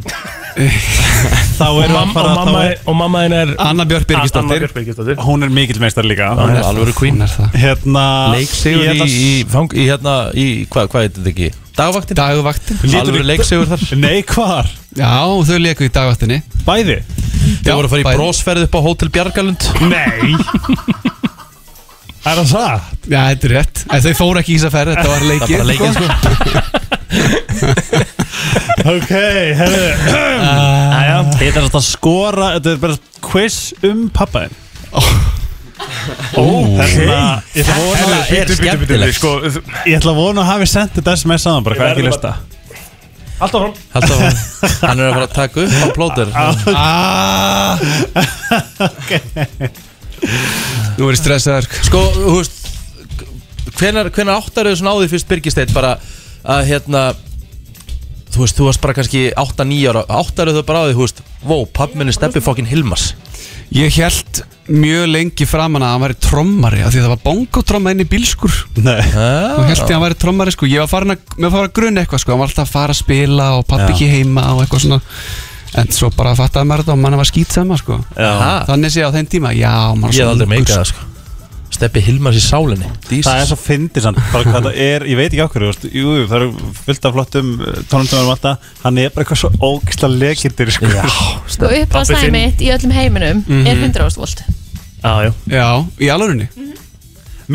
þá
Og,
erum við
mam
að
og
fara
mamma,
þá er-
og mamma henn er
Anna Björk
Anna
Birgisdóttir
Björk Birgisdóttir
hún er mikill meistar líka
Hún er alvöru queen
Hún er það
hérna
Ah,
Leiksegur
ég ætla
í,
að-
í, fang, í hérna, í, hvað hva heitir þetta ekki? Dagvaktin?
Dagvaktin
Alvöru leiksegur þar
Nei, hvar?
Já, þau leku í dagvaktinni
Bæði?
Þau voru að fara í
bæði.
brósferð upp á Hotel Bjargalund
Nei Er það það?
Já, þetta er rétt en Þau fóru ekki í þess að ferð, þetta var
Það er bara
leikið
leikinn sko
Ok, herðu
Ah.
Æja, þetta er að skora Þetta er bara quiz um pappaðin Ó, hérna Ég ætla að vona-
Það er skemmtilegt
Sko, þ-
ég ætla að vona að hafi sendt þetta sms aðan bara, hvað er ekki lista?
halda fram
Haldið að hann- Hann er að fara að taka upp á plóter
Ah.
Ah.
Þú verður stressaður
Sko, þú veist Hvenar, hvenar áttar þau svona á því fyrst Birgisteit bara að hérna Þú veist, þú varst bara kannski 8-9 ára Áttar þau bara á því, þú veist Vó, pappminni steppi fokkin Hilmars
Ég held mjög lengi framan að hann væri trommari af því að það var bongotromma inn í bílskur
Nei
og held ég að hann væri trommari sko ég var farin að, mér var farin að grunna eitthvað sko hann var alltaf að fara að spila og pappi ekki heima og eitthvað svona en svo bara fattaði maður þetta og manna var skýt sama sko
Ha?
þannig sé ég á þeim tíma, já maður var
Ég hef
svo
aldrei
ungur,
meikað það, sko Steppi Hilmars í sálinni
Það er
Jesus.
svo fyndið samt, bara hvað það er, ég veit ekki okkur, veist, jú, jú, það eru fullt af flottum tónundum um alltaf, hann er bara eitthvað svo ógisla lekindir, sko.
Sko upp á
Pabbi þinn. Mhm.
mitt í öllum heiminum er 100 volt
Já, já
Já, í alvörunni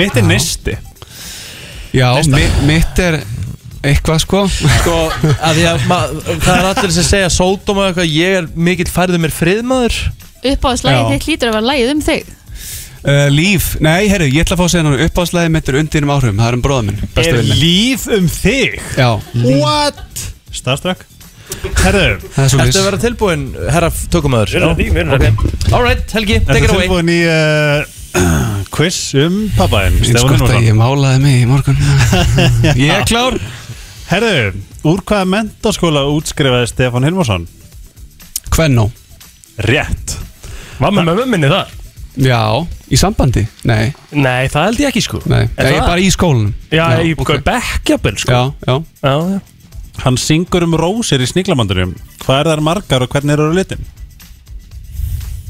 Mitt er nisti.
Já, mi, mitt er eitthvað sko
Sko, að því að ma, það er allir sem segja Sódóma og eitthvað, ég er mikill færðu mér friðmaður
Upp á
Já.
þitt lítur að vera lægið um þig
uh, Líf, nei, herru, ég ætla að fá að segja núna uppáðslæði mitt er undir um áhrifum, það er um bróða minn besta
Er
vinur minn.
líf um þig?
Já,
What? Starstruck? Herðu,
það er svo
Ertu að vera tilbúin, herra tökumöður? Alright, Helgi, take
þetta
it
er
away
tilbúin í uh, quiz um pappaðinn,
Ég
Stefán
sko að
Hilmarsson.
ég málaði mig í morgun Ég er klár
Herðu, úr hvaða mentaskóla útskrifaði Stefán Hilmarsson?
Kvennó
Rétt
Var með mömmu minni þar?
Já, í sambandi? Nei,
Nei, það held ég ekki sko
nei
Er
Ég
það?
er bara í skólanum
Já, í
ok.
okay. bekkjabel
Já,
sko
já
Já, já.
Hann syngur um rósir í sníklamandunum Hvað er þar margar og hvernig eru litin?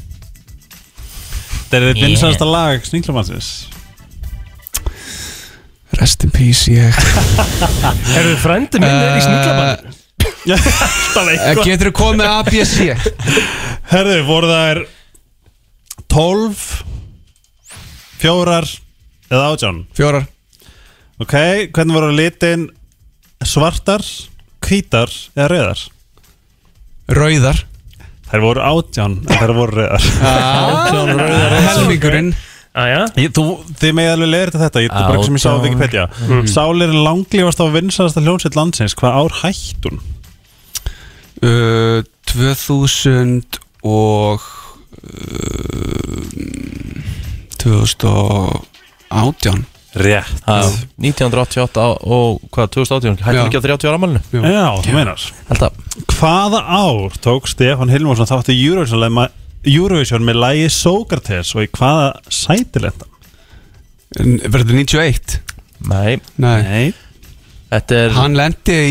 Þetta er þitt vinsanasta lag sníklamandsins
Rest in peace, ég
Eru frændi minn
Eh,
er í sníklabann? Alltaf
Eh,
eitthvað
Geturðu komið með ABC?
Herðu, voru þær 12 Fjórar Eða átján
Fjórar
Ok, hvernig voru litin svartar, hvítar eða rauðar?
Rauðar Ah,
Þær voru átján en þær voru rauðar Ah,
Helmingurinn Ah,
Aja,
ég, þú, Þið megið alveg leiðir til þetta, ég er bara ekki sem ég sá á Wikipedia Sálir langlífast á vinsalasta hljómsveit landsins, hvað ár hætt hún?
uh, 2000 og eh, uh, 2018
Rétt
Já, 1988 á- og hvað, 2018
Já.
hættum ekki á 30 ára málinu
Já, þú meinar
held að,
Hvaða ár tók Stefán Hilmarsson þátti Eurovision, lema- Eurovision með lægi Sókrates og í hvaða sæti lenda?
En Verður 91?
nei,
Nei
Nei,
þetta er
Hann lendi í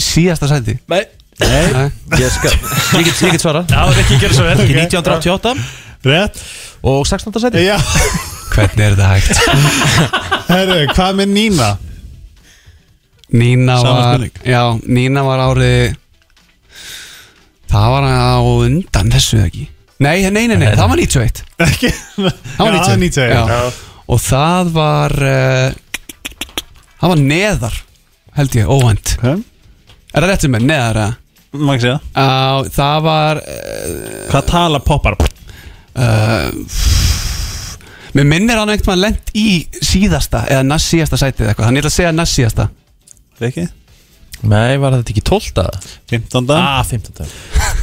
í síðasta sæti
nei,
Nei.
Nei.
ég skal, ég get, ég get svara
það var ekki að gera svo vel
í 1988
Rétt
og 16. seti
Já,
Hvernig er þetta hægt?
herru, hvað með Nína?
Nína
Sama
var
spurning.
Já, Nína var árið Það var á undan þessu eða ekki Nei, nei, nei, nei, það var 91
Ekki
Það var 91
Já, 91
Og það var uh, Það var neðar Held ég, óvænt
Ok.
Er það rétt um mig, neðar að
Má ekki segja
Á, það var uh,
Hvað tala poppar?
Eh, Mér minnir hann einhvern veginn lent í síðasta Eða næst síðasta sætið eða eitthvað Þannig ég ætla að segja næst síðasta
Riki?
nei, var þetta ekki 12.
15.
Ah, 15.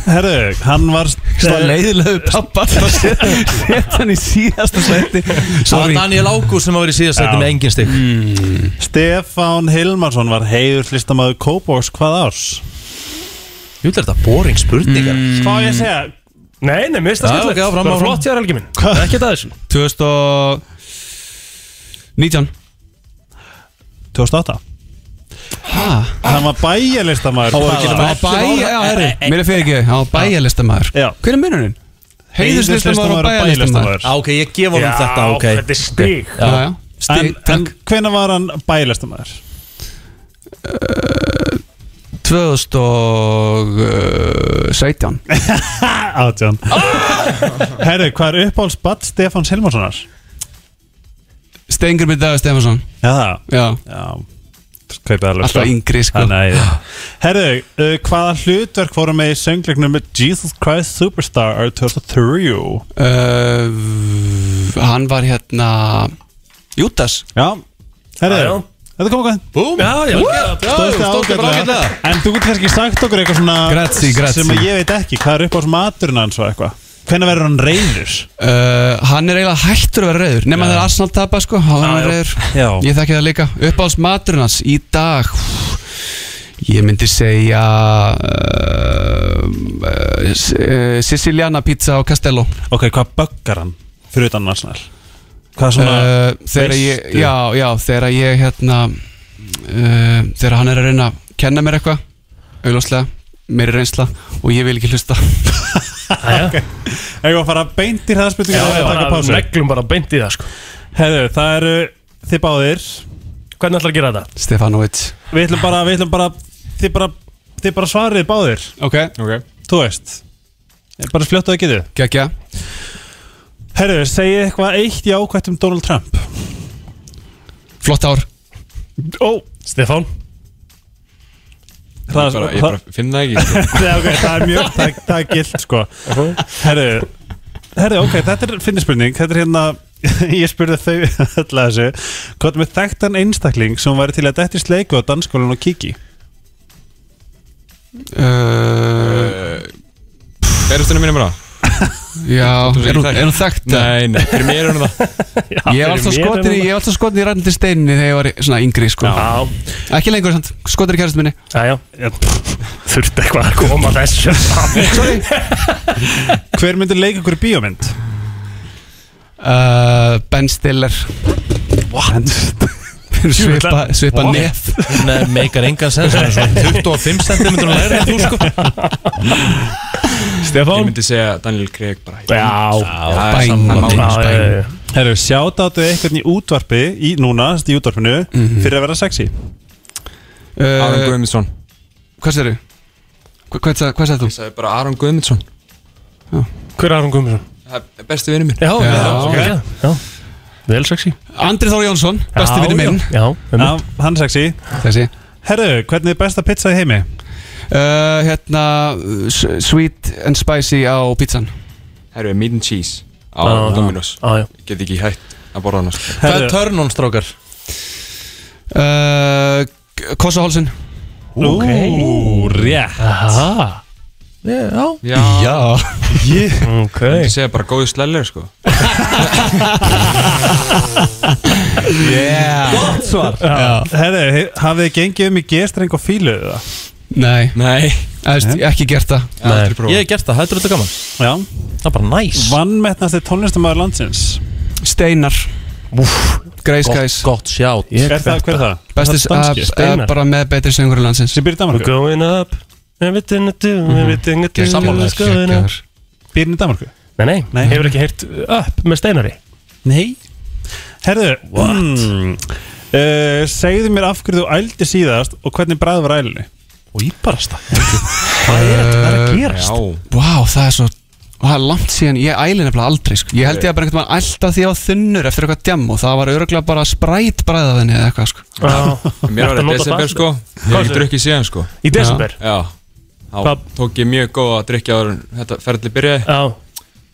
Herru, hann var
Það leiðilegu pappa að setja setja hann í síðasta sæti
það var
Sorry
Daniel Ágúst sem var í síðast seti
Já. Mm.
með engin stygg
Stefán Hilmarsson var heiður listamaður Kópóks hvað árs? Mm.
Jú, þetta er boring spurningar
Hvað á ég að segja?
Nei, nei, mér finnst
Mm. Já,
það skemmtilegt
ok, áfram,
Bara
áfram.
flott hjá Helgi minn
Hvað?
Ekki það þessu
2019
2008
Hæ?
Hann var bæjarlistamaður hvað
Hann
árs?
var bæjar Mér er fyrir ekki, hann var bæjarlistamaður
Já.
Hver er munurinn? Heiðurslistamaður og bæjarlistamaður
ah, ok, ég gef honum þetta ok
þetta er stig
Já, já
En,
Stig,
en
takk
hvenær var hann bæjarlistamaður?
uh, 2017
Átján
Ah!
Herru, hvað er uppáhaldsbatt Stefáns Hilmarssonar?
Stengur með Dagur Stefansson
Já, það
Já,
Já, kaupið alveg
alltaf yngri sko
Nei, Herru, uh, hvaða hlutverk voru með í söngleiknum með Jesus Christ Superstar árið 2003?
uh, Hann var hérna Jútas
Já,
Já, já.
herru, þetta kom okkar
Búm,
Já, já,
Stóðst þið ágætlega En þú getur kannski sagt okkur eitthvað svona
Grazie, grazie.
Sem að ég veit ekki, hvað er upp á maturinn hans og eitthvað Hvenær verður hann
uh,
reyður?
Hann er eiginlega hættur að vera reyður Nefn að það er Arsenal tapa sko Há hann er reyður
Já
Ég þekki það líka Uppáhalds maturinn hans í dag Ég myndi segja uh, uh, S- uh, Siciliana pizza á Castello
Ok, hvað böggar hann fyrir utan national? Hvað svona
uh, Þegar ég
veistu?
Já, já, þegar ég hérna uh, Þegar hann er að reyna að kenna mér eitthvað Augljóslega, mér er reynsla Og ég vil ekki hlusta
Ef ég var að fara beint í hraðspurningu
já,
og taka
bara
pásu
Meglum bara beint í það sko
Herru, það eru þið báðir
Hvernig ætlar að gera þetta?
Stefanovic
Við ætlum bara, við ætlum bara Þið bara, þið bara svarið báðir
Ok,
Ok
Þú veist Bara fljótt að það getið
geggja
Herru, segið eitthvað eitt jákvætt um Donald Trump
Flott ár
Ó,
Stefán
Ég bara, ég bara finn það ekki sko.
Nei, ok, það er mjög, það, það er gilt sko Herru, herru, ok, þetta er finnir spurning Þetta er hérna, ég spurði þau öll að þessu Hvað með þekktan einstakling sem væri til að dætti sleiku á dansskólan og kiki?
uh,
Eh, Berustunum mínum er á
Já, er hún, er hún þekkt?
Nei, nei, fyrir mér er hún það
Ég var alltaf skotin í, ég var alltaf skotin í Ragnar Steinni þegar ég var í- svona yngri sko
hérna. Já,
Ekki lengur samt, skotin í kærastunni
já, já, já pff, Þurfti eitthvað að koma þessu fram.
Hver myndir leika ykkur í bíómynd?
uh, Ben Stiller What? svipa, svipa
What?
nef
Nei, meikar engan sens hann er svona 25 cm læri en þú sko
Ég
Stefán
myndi segja Daniel Craig bara
Já,
Það er
Bæn.
saman
já, já, já, já.
Herru, sjátáttu einhvern í útvarpi í, núna, sem sagt í útvarpinu
Mhm.
fyrir að vera sexy
Aron
uh,
Guðmundsson
Hvað séru? Hvað sagði hvað sagði
Ég
þú?
sagði bara Aron Guðmundsson
Hver er Aron Guðmundsson?
Það er besti vinnu minn
Já, já,
ok.
já, já Vel sexy
Andri Þór Jónsson, besti
Já,
vinni minn
Já, já,
Já, hann er sexy
Þessi
Herru, hvernig er besta pizza í heimi?
uh, Hérna, uh, s- sweet and spicy á pizzan
Herru, meat and cheese á
Já, já.
Dominos
Ah, já, já.
Ég get ekki hægt að borða hann sko.
Hvað er törnum strókar?
uh, Kossahólsin
Ú, rétt
Aha,
Já,
Já, ég
Já
ok
myndi segja bara góðu slellir sko
Yeah
Herru, he- hafið þið gengið um í gestreng og fíluðu það?
Nei,
Nei,
eðst, ekki gert það
aldrei
ég
prófa
hef gert það, það er þetta gaman
Já
Það er bara næs
Vannmettnasti tónlistamæður landsins
Steinar Grey Skies
Gott sjátt
Ég
Er það, hver er það?
Bestis
Það er danski.
að bara með betri söngur í landsins
Sem býr í
We're
Danmarku
going up Everything I do,
Mhm.
everything I do
Ég sammála
is going up.
þér
Býr hann í Danmarku?
Nei, nei,
Nei.
hefur ekki heyrt uh, upp með steinari
Nei Herru, what? Mm, uh, segðu mér af hverju þú ældi síðast og hvernig bræði var ælunni?
Og íbarast það Hvað er þetta að gerast?
Já,
Eh, Vá, það er svo Það er langt síðan, ég æli nefnilega aldrei sko. Ég held ég að bara einhvern veginn alltaf því að ég var þunnur eftir eitthvað djam og það var öruglega bara spræt bræðað henni eða eitthvað sko.
mér var
Ertu
í
að nota
desember
það?
sko Ég hef ekki drukkið síðan sko
Í desember
Já, þá
Hvað-
tók ég mjög góð að drikja áður en þetta ferli byrjaði
Já,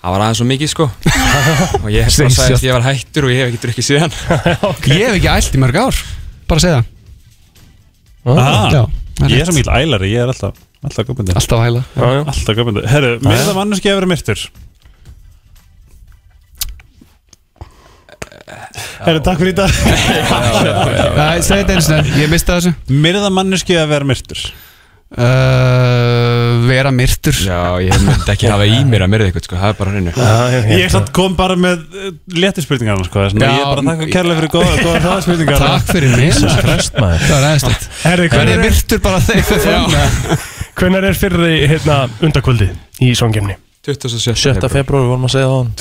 Það var aðeins svo mikið sko Og ég hef bara
Sveinsjótt.
sagðist ég var hættur og ég hef ekki drukkið síðan
Ég hef ekki ælt í mörg ár, bara að segja það
Ah,
Já, það
ég er
rétt.
sem íll ælari, ég er alltaf Alltaf göpundi
Alltaf að æla
já, já
Alltaf göpundi Herru, mér er það mannski að vera myrtur Herru, takk fyrir í dag
Æ, Segðu þetta eins og það, ég misti þessu
Mér er það mannski að vera myrtur
uh, Vera myrtur
Já, ég myndi ekki hafa í mér að myrða eitthvað sko, það er bara hreinu
Ég satt kom bara með létti spurningar sko, þess vegna
Já,
Ég er bara að þakka kærlega fyrir góða, góða hraðspurningar
Takk fyrir mig
Jesus Christ maður
Það var aðeins
Herri,
Verði
hvenær er,
myrtur bara þegar
hvenær er fyrir hérna undakvöldi í svangefni?
27.
7. februar vorum að segja það á hann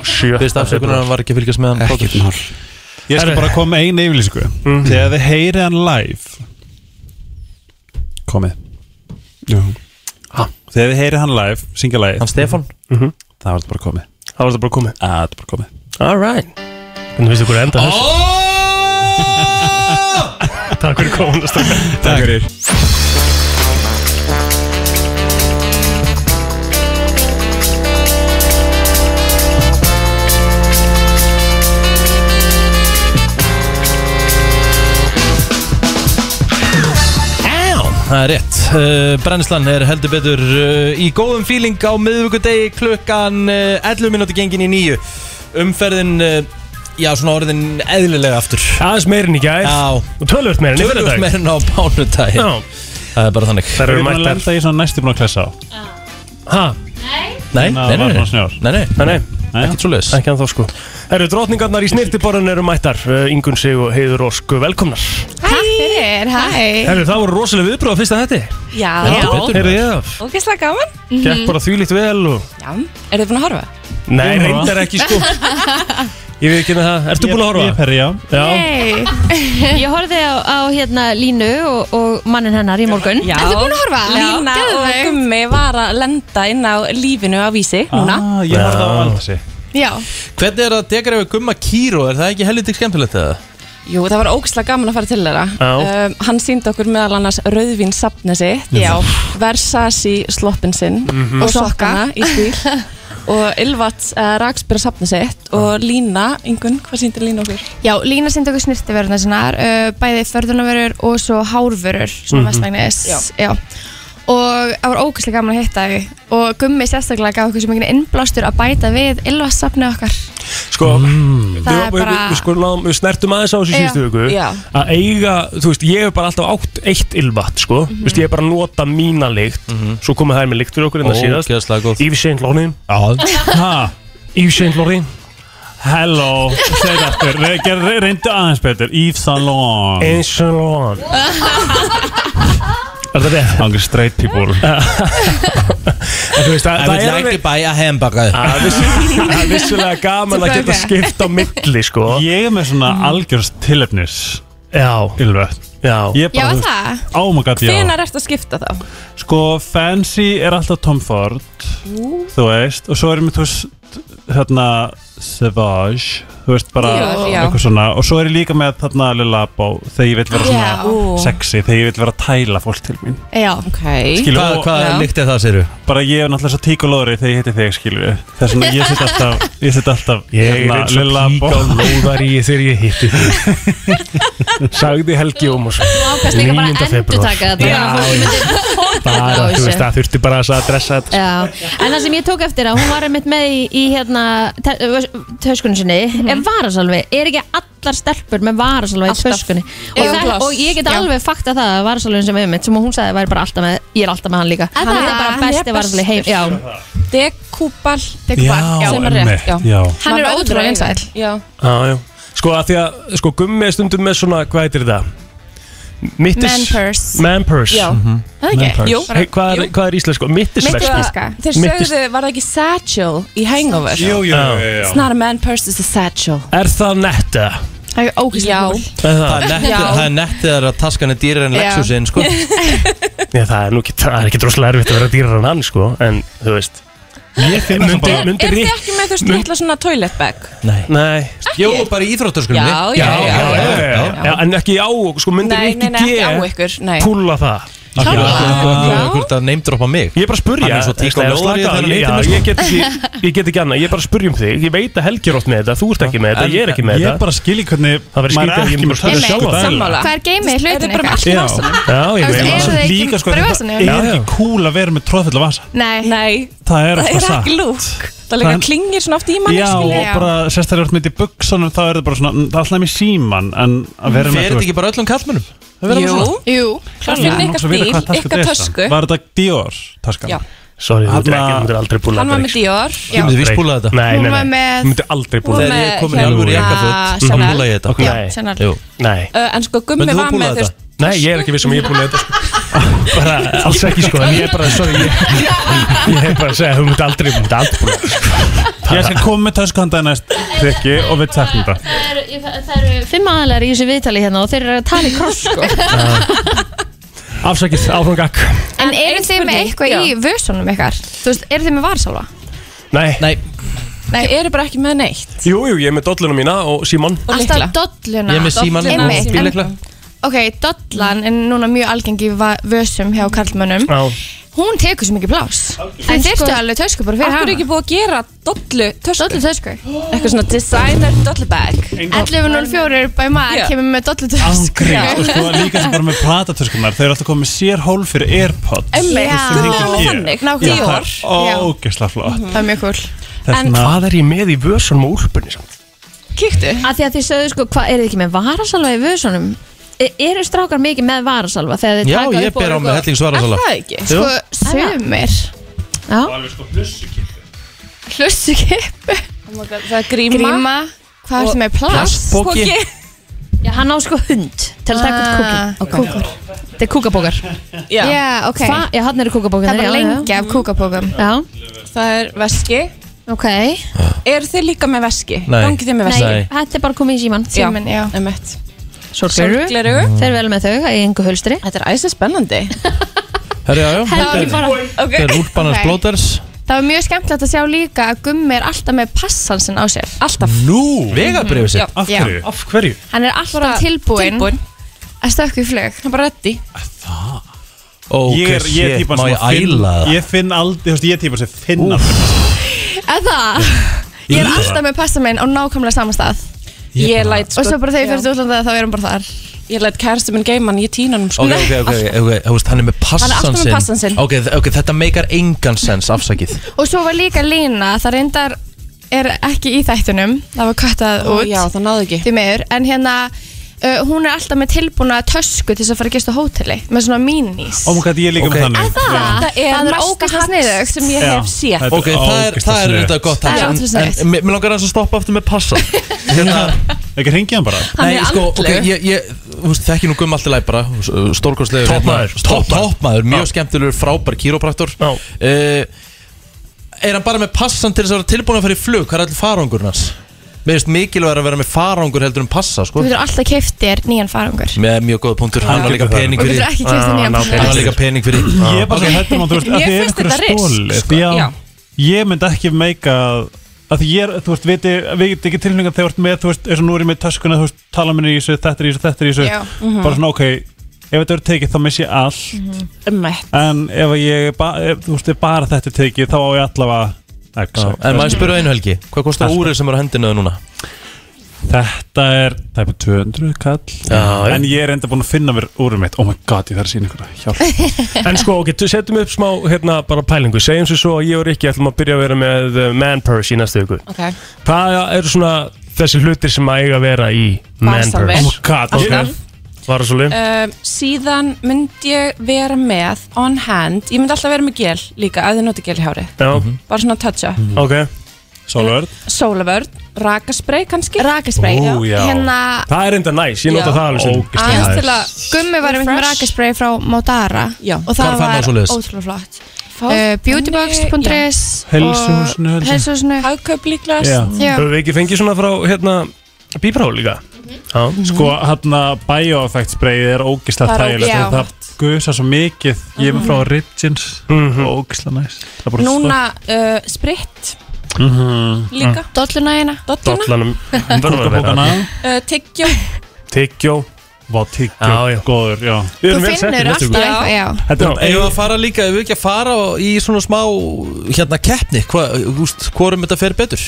27.
Byrst afsökunar hann var ekki að fylgjast með hann
Ekkert mál
Ég skal
Herru.
bara koma með einu yfirlýsingu Þegar þið heyrið hann live Komið
Já.
Ha. Þegar þið heyrið hann live, syngja lagi
Hann Stefan
Það var þetta bara komið
Það var þetta bara Mhm. komið
Það var þetta bara komið
All right Hvernig finnst ykkur að enda þessu? Takk fyrir komuna stakar
Takk fyrir
Það er rétt uh, Brennslan er heldur betur uh, í góðum fíling á miðvíkudegi klukkan uh, 11 minúti gengin í nýju Umferðin, uh, já svona orðin eðlilega aftur
Aðeins meirin í gær
Já,
Og tölvöld meirin í
tölvöld
fyrradag
meira en á bánudagi
Já
Það er bara þannig
Það
Við
eru
erum að
mættar
lenda í svona næstu búin að klessa á
Ha,
Nei,
Ná,
nei, nei,
var
nei,
svona snjór.
nei, nei,
nei, nei,
Nei,
ekkert svo leis
ekki að þá sko Herru, drotningarnar í snirtiborðin eru mættar uh, Ingun sig og heiður ósku velkomnar
Takk fyrir, hæ
Herru, það voru rosalega viðbröð á fyrsta þetti
Mhm. Já, Mhm.
Herru, já,
ógeðslega gaman
gekk bara þvílíkt vel og
Já, eru þið búin að horfa?
Nei,
Ég horfa.
reyndar ekki sko Ég veit ekki með það Ertu búin að
Ég
horfa?
perri, já
Já,
Ég horfði á, á hérna Línu og, og mannin hennar í morgun
Já Ertu búin að horfa? Lína og Gummi var að lenda inn á lífinu á vísi núna
ah, Ég var það á Aldasi
Já
Hvernig er það dekar ef við gumma kýró? Er það ekki helviti skemmtilegt eða?
Jú, það var ógeðslega gaman að fara til þeirra
Já.
um, Hann síndi okkur meðal annars rauðvín sapnið sitt Já Versace sloppin sinn
Mhm.
Og sokkana í stíl Og Ylvats uh, rakspyrra sapnið sitt Og Lína, yngun, hvað síndi Lína okkur?
Já, Lína sendi okkur
Mhm.
snirtiverðna sinnar, uh, bæði förðunarverur og svo hárverur, svona mm -hmm.
Já.
Já. og það var ógæslega gaman að hitta þau og Gummi sérstaklega gaf okkur sem einhvern innblástur að bæta við Ylvasafni okkar
Sko,
Mm.
við,
Það er
við, við,
bara-
við, sko náðum, við snertum aðeins á þessu
Já.
síðustu viku
Já.
að eiga, þú veist, ég hef bara alltaf átt eitt ylvatt, sko, mm veist, ég hef bara nota mína lykt,
Mhm.
svo komið það með lykt fyrir okkur en það síðast,
Ógeðslega góð.
Yves Saint Laurent Ha, Yves Saint Laurent
Hello, segð aftur Re- gerð- Reyndu aðeins betur Yves Saint Laurent
Yves Saint Laurent
Er það rétt? Angry straight people
Þú veist, það,
I would
það er
like
alveg
to buy a hamburger
Það er vissu- það er vissulega gaman að geta skipt á milli sko
Ég er með svona algjörst tilefnis
Já
Ylvett
Já
Ég
Já,
bara, þú veist,
það?
oh my god, já
Hvenær ertu að skipta þá?
Sko, Fancy er alltaf Tom Ford
Ú.
Þú veist, og svo erum við, þú veist, hérna, Savage Þú veist, bara
Já, já.
eitthvað svona Og svo er ég líka með þarna Lilla Bó Þegar ég vil vera svona
Já. Ú.
sexy Þegar ég vil vera að tæla fólk til mín
Já Ok
Skilur, og- Já.
er það, segir
Bara ég er náttúrulega svo tík og lóðri þegar ég hitti þig, skilur við Þess vegna ég sitt alltaf, ég sitt alltaf hérna
Ég er eins og pík á lóðari þegar ég hitti þig Sagði Helgi Ómarsson
Má kannski líka bara
9. febrúar.
endurtaka þetta, þannig að fólk
Já,
myndi-
bara,
á
þú
þessu.
veist, það þurfti bara að adressa þetta
Já, en það sem ég tók eftir að hún var einmitt með í, í hérna te- ö- töskunni sinni er varasalvi, er ekki allar stelpur með varasalvi í töskunni og,
Eða
það,
gloss.
og ég get
Já.
alveg fakta það að varasalvin sem er mitt, sem hún sagði væri bara alltaf með, ég er alltaf með hann líka
Er
hann
það?
er bara
Hann er
besti varasalvi heim já.
Dekúbal
Dekúbal, Já,
sem er rétt,
einmitt, já.
Hann er
Maður verður
ótrúlega
að eiga
vinsæll.
þig. Já
Já, já. Sko að því að sko, gummi er stundum með svona, hvað heitir það? Mittis,
Man purse.
Man purse
Já.
Mhm.
Það ekki?
Man purse.
Jú.
hey, hvað, er, hvað er íslenska? Mittisveski
Mittisveska Þeir sögðu, var það ekki satchel í hangover?
Jú, jú, jú, jú, jú.
It's not a man purse, it's a satchel
Er það netta?
Það er ógæslega cool
Það er nett-
Já.
það er nett þegar að taskan er dýrar en Lexusin sko.
Já, það er nú ekki, það er ekki droslega erfitt að vera dýrar en hann sko En þú veist Ég finn myndi,
Er
myndi
þið
rík-
ekki með þú veist
mun-
litla svona toilet bag?
Nei,
Nei.
Jó, bara í íþróttaskunni
Já, já, já,
já. En ekki á, sko myndir
Nei, nei,
ekki
nei, ekki á ykkur Nei
Púlla það
Akkur er það neymdropa mig
Ég er bara að spurja
Hann er svo tík og
Nei,
lóður í
slaka á,
þennan
ég- já,
litin, sko.
Ég get ekki- ég get ekki annað, ég er bara að spurja um þig Ég veit að Helgi er oft með þetta, þú ert ekki með þetta,
En-
ég er ekki með
ég
þetta
bara skil í hvernig
Það verður
maður
skrítið
er ekki
að ég myndi
með
bara
tösku
sjá það.
dæla.
Hvað er geimið hlutin
bara með allt í
Já,
vasanum?
Já, ég
Þú veist,
meina
eru
það.
þau ekki
Líka sko,
bara í
það
vasanum?
er
Já, já.
ekki cool að vera með tróðfulla vasa
Nei
Nei
Það er alltaf satt
ekki lúk Það líka
Það-
klingir svona oft í manni
Já, og bara sérstaklega ert með í buksunum þá er það bara svona, mm, það er alltaf með síman en að vera með
Fer þetta ekki bara öllum kallmönnum?
Jú, jú Það finnir ykkar bíl, ykkar tösku
sko. Var þetta Dior taska?
Já.
Sorry, þú myndir ekki, þú myndir aldrei búla
Hann var með Dior
Þú myndir víst búla þetta Nei,
Hún
nei,
var
nei,
með-
þú myndir aldrei
Hún
búla
var með, hérna, Chanel. Já, Chanel.
Jú. Nei
Uh, En sko, Gummi
Myndir þú
var
púlla
með þú veist
Nei, ég er ekki viss um ég er búin að þetta sko. bara, alls ekki sko en ég er bara, sorry ég, ég er bara að segja, þú myndir aldrei, þú myndir aldrei búin að þetta sko.
Ég skal koma með tösku handa næst Tryggi og við teknum það
Það eru- það eru fimm aðlar í þessu viðtali hérna og þeir eru að tala í kross sko.
Afsakið, áfram gakk
En eru
ein
þið með
spurning,
eitthvað
já.
í vösunum ykkar? Þú veist, eru þið með varsalva?
Nei,
Nei.
Nei, eru bara ekki með neitt
Jú, jú, ég er með dolluna mína og Simon
Og
Alltaf
lykla.
dolluna
Ég er með hérna, símann og
Einmitt, en-
bíllykla.
Ok, dollan er núna mjög algengi í va- vösum hjá karlmönnum Hún tekur svo mikið blás En
Finnst
þyrftu
sko-
alveg tösku bara fyrir
Akkur
hana
er ekki búið að gera dollu tösku
Dollu tösku
Eitthvað svona designer dollu bag
11.04 by Mar
Já.
kemur með dollu tösku
Ángríns, og sko líka sem bara með platatöskunar Þau eru alltaf komið með sér hól fyrir Airpods
Einmitt,
Sem
Gummi
hringir
var
í.
þannig,
Já,
nákvæmlega.
Það
Já.
er ógeðslega flott
Það er mjög cool
Þess
En-
vegna-
Hvað er ég með í vösunum og úlpunni samt?
Kíktu
að því að þið sögðu sko, hvað er þið ekki með varasalva í vösunum E- eru strákar mikið með varasalva þegar þið
Já,
taka
ég
upp og
ber á
eru
með
góð?
helling svarasala
Sko, sumir Já
sko
Hlussukippu
Það er gríma
Gríma Hvað er
Og
það með plast?
plastpoki. Poki.
Já, hann á sko hund til að taka upp
Ah,
kúkin Kúkur Þetta er kúkabókar
Já,
Já, ok.
Hva? Já, hann eru kúkabókar
Það var lengi af kúkabókum
Já,
Það er veski
ok
Eru þið líka með veski?
Nei.
Gangið þið með veski?
Nei.
Þetta er bara komið í Mm. síman
Tíminn, já Mm.
Emmett
Sorgleru
Sorgleru.
Fer vel með þau í engu hulstri
Þetta er æsið spennandi
Herri, já, já
Það var bara
Ok.
Þetta er úlpanars
Ok.
blóters
Það var mjög skemmtilegt að sjá líka að Gummi er alltaf með passansin á sér
Alltaf
Nú Vegabriðu
Já.
sér
Af
Já.
hverju?
Af hverju?
Hann er alltaf tilbúinn
Tilbúin
að stökku í flug
Það er bara reddi
Ó,
Ég er, ég er
shit,
típan
má
sem
ég
að finn-
æla það?
Ég finn aldrei, þú veist, ég er típan sem finn aldrei
Eða Ég er alltaf með passaminn á nákvæmlega sama stað
Ég læt
Og
sko
svo bara þegar ég
Já.
fyrir til útlanda þá erum bara þar
Ég læt kærastu minn geima hann, ég týna hann sko.
Ok, ok, ok,
Alltaf.
ok, ok, veist, hann er með passan
Hann er alltaf með passann sinn.
Ok, þ- ok, þetta meikar engan sens, afsakið
Og svo var líka lína, það reyndar er ekki í þættunum, það var kattað
Ó,
út.
já, það náðu ekki.
Því miður, en hérna, uh, hún er alltaf með tilbúna tösku til þess að fara að gista á hóteli, með svona mínís.
Oh my god, ég er líka með þannig
Það er,
Það er ógeðslega
ógæsta sniðugt
sem ég hef séð.
Já,
Ok, það er, það er auðvitað gott
Það er
en,
ógeðslega
en, en mér- mér langar aðeins að stoppa aftur með passa Hérna
Ekki hringi hann bara
Hann er
sko, ok,
andlegur.
ég, ég þú veist, þekki nú gumm allt í læg bara Stórkostlegur
Toppmaður, toppmaður.
Toppmaður, mjög skemmtilegur, frábær kýrópraktor uh, Er hann bara með passan til þess að vera tilbúin að fara í flug? Hvað er allir farangurinn hans? Mér finnst mikilvæg að vera með farangur heldur en passa,
Þú
sko
getur alltaf keift þér nýjan farangur.
Með mjög góða punktur, hann
Hann
var líka
getur það.
pening
Og
fyrir
getur ekki keypt þér nýjan
Ah, ná,
passa.
Hann var líka pening fyrir
Ég er bara svo hættum að þú veist
Mér
að því er
finnst
einhverju
þetta risk,
stólið
sko.
já.
Já.
Ég myndi ekki meika að því ég er, þú veist, viti, við getum ekki tilhengi að þegar þú ert með, þú veist, eins og nú er ég með töskuna þú veist, tala minni í þessu, þetta er í þessu, þetta er í þessu
Já. Mhm.
bara svona, ok, ef þetta eru tekið þá miss ég allt,
Ummætt.
en ef ég, er ba- ef, þú veist, ef bara þetta er tekið þá á ég allavega X,
Já, En maður spyrur einu helgi, hvað kostar úrið sem er á hendinu þau núna?
Þetta er, það er bara 200 kall
Já, já.
En ég er enda búin að finna mér úrum mitt Oh my god, ég þarf að sína ykkur það, hjálp
En sko, ok, tu- setjum upp smá hérna bara pælingu Segjum sér svo að ég og Rikki ætlum að byrja að vera með uh, man purse í næstu viku
Ok.
Hvað eru svona þessi hlutir sem að eiga að vera í man
Vasavél.
purse? Oh my god,
Alltaf.
ok Var það svolítið?
Eh.
Um, síðan myndi ég vera með on hand, ég myndi alltaf vera með gel líka, ef þið noti gel í hári
Já,
Mhm.
bara svona touch up,
Mm.
ok
Sólvörð
sólavörn, rakaspray kannski
Rakaspray,
Ó, já.
Hérna,
Það er enda næs, ég
Já.
nota það alveg stundum.
aðeins til að gummi var einmitt með
Refresh.
rakaspray frá Modara
Já.
og
Hvar
það
fær maður
var
svoleiðis?
ótrúlega flott
Fá-
uh, beautybox.is
Heilsuhúsinu,
og-
heilsu-
heilsuhúsinu
hagkaup
Já.
líklegast
Já.
Höfum við ekki fengið svona frá hérna Bíbrá líka?
Mm.
Já
Sko, hann að bioeffect sprayið er
Það
ógislega
er Mhm. ó-
þægilegt
já.
og Það gusa svo mikið Ég er með frá Origins
Mhm.
Ógislega næst Það er bara
núna uh, spritt
Mhm.
Mm.
líka,
dollunægina
dolluna
Ah. Dollanum
Hérna.
Kúkabókana
uh, tyggjó,
Tyggjó
Vá,
Já, já.
tyggjó, góður, já
Við
þú
erum vel settir
finnur
næstu
alltaf
viku.
eitthvað já.
Þetta
Já.
er
Eða að fara líka, ef við ekki að fara á- í svona smá hérna keppni, hvað, úst, hvorum þetta fer betur?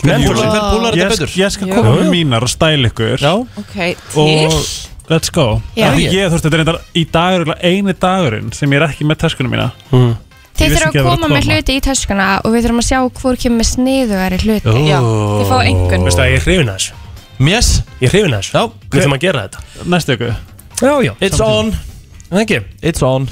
Hver
Man
púlar-
purse.
hver púlar
Ég
þetta
sk-
betur?
Ég skal
Já.
koma með
Já, já.
mínar og stæla ykkur
Já,
ok,
Og
til
let's go
Já.
Það er Ég, þú veist, þetta er reyndar í dagur eini dagurinn sem ég er ekki með töskunum mína
þeir
Mm.
vissi
þurfa að
ekki að það
koma
var að
með
koma.
hluti í töskuna og við þurfum að sjá hvort kemur með sniðugari hluti
já, þið fá einhvern
Veistu að ég er hrifin að þessu
Mjess,
Ég er hrifin að þessu
Já.
Við þurfum að gera þetta
Næstu ykkur
Já, já
it's on,
Það ekki
it's on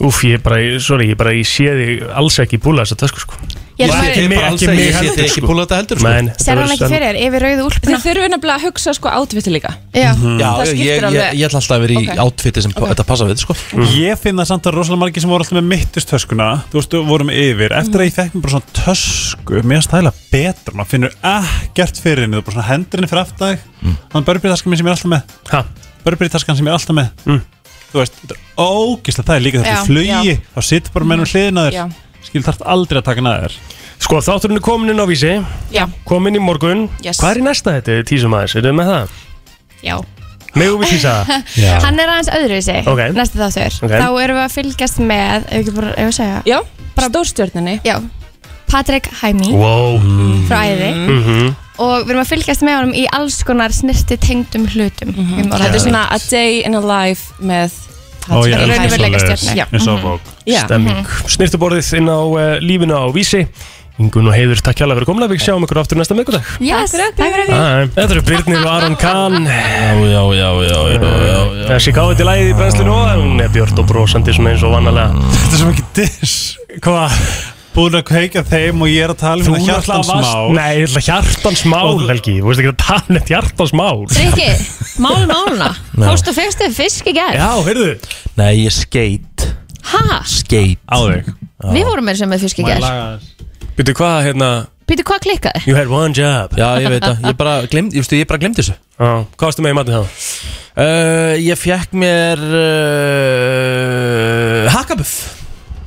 Úf, ég er bara, sorry, ég bara, ég sé þig alls ekki búla þessa tösku sko
Ég held
Ekki
að-
Ég
mig,
bara alls
ekki
að
mig
ég sé
heldur,
þetta ekki
sko.
púla þetta heldur sko.
Men,
sér hann ekki fyrir þér yfir rauðu úlpuna
þið þurfum nefnilega að hugsa sko átviti líka
já
Mm. Mhm. Já,
Það
ég,
skiptir
ég, ég,
alveg.
ég ætla alltaf að vera í
Ok.
okay. outfiti sem þetta passa við, sko
Mm. Ég finn það samt að rosalega margir sem voru alltaf með mittustöskuna Þú veist, við vorum yfir Eftir að ég fekk mér bara svona tösku Mér stæla betur, maður finnur ekkert fyrir henni Þú bara svona hendur henni fyrir aftag Þannig mm. börbyrtaskan sem ég er alltaf með
Ha,
Börbyrtaskan sem ég er alltaf með
Mm.
Þú veist, þetta er ógislega það er líka þetta
Já,
er flugi Þá situr bara mennum hliðin að
Já.
þér Skil þarf aldrei að taka naður
sko þátturinn er komin inn á vísi
já,
Komin í morgun
Yes.
Hvað er í næsta þetta, tísum aðeins, erum við með það?
já
Megum við tísa það?
hann er aðeins öðruvísi
Ok.
næstu þáttur
Ok.
þá erum við að fylgjast með ef ekki bara ef við segja
já, stórstjörninni
já Patrick Hæmi
Wow
frá æði
Mhm.
og við erum að fylgjast með honum í alls konar snirti tengdum hlutum mm -hmm.
Mhm. þetta er svona a day in a life með
Ó, ég
er
elska
raunveruleika
svoleiðis.
stjörnu. Já.
Eins og bók.
já,
Stemming
Mhm.
Snirtuborðið inn á uh, lífinu á vísi Ingun og Heiður, takk hjálpa fyrir komla Við sjáum ykkur aftur næsta mikudag
yes, takk fyrir
Ah.
því
Æ, Þetta eru Brynir og Aron Kahn Eh,
Já, já, já, já, já, já, já.
Þessi gáði til lægið í brennslinu og hún er björt og brosandi svona eins og vannalega
Þetta er svo mikið diss
Hvað?
Búin að kveika þeim og ég er að tala um
Þú
hérna
er alltaf
hjartans
vast
mál.
Nei, þetta er hjartans mál, Helgi Þú veist ekki að tala neitt hjartans mál
Rikki, mál máluna Fórstu fyrstu fisk í gær
Já, heyrðu
Nei, ég skeit
Ha,
Skeit
Á þig
við vorum með sem með fisk í gær
Býtu hvað, hérna
Býtu, hvað klikkaði?
You had one job
Já, ég veit það, ég bara glemdi, ég, veistu, ég bara glemdi þessu
Já, Hvað varstu með í matið þá?
uh, Ég fekk mér uh, Hakabuff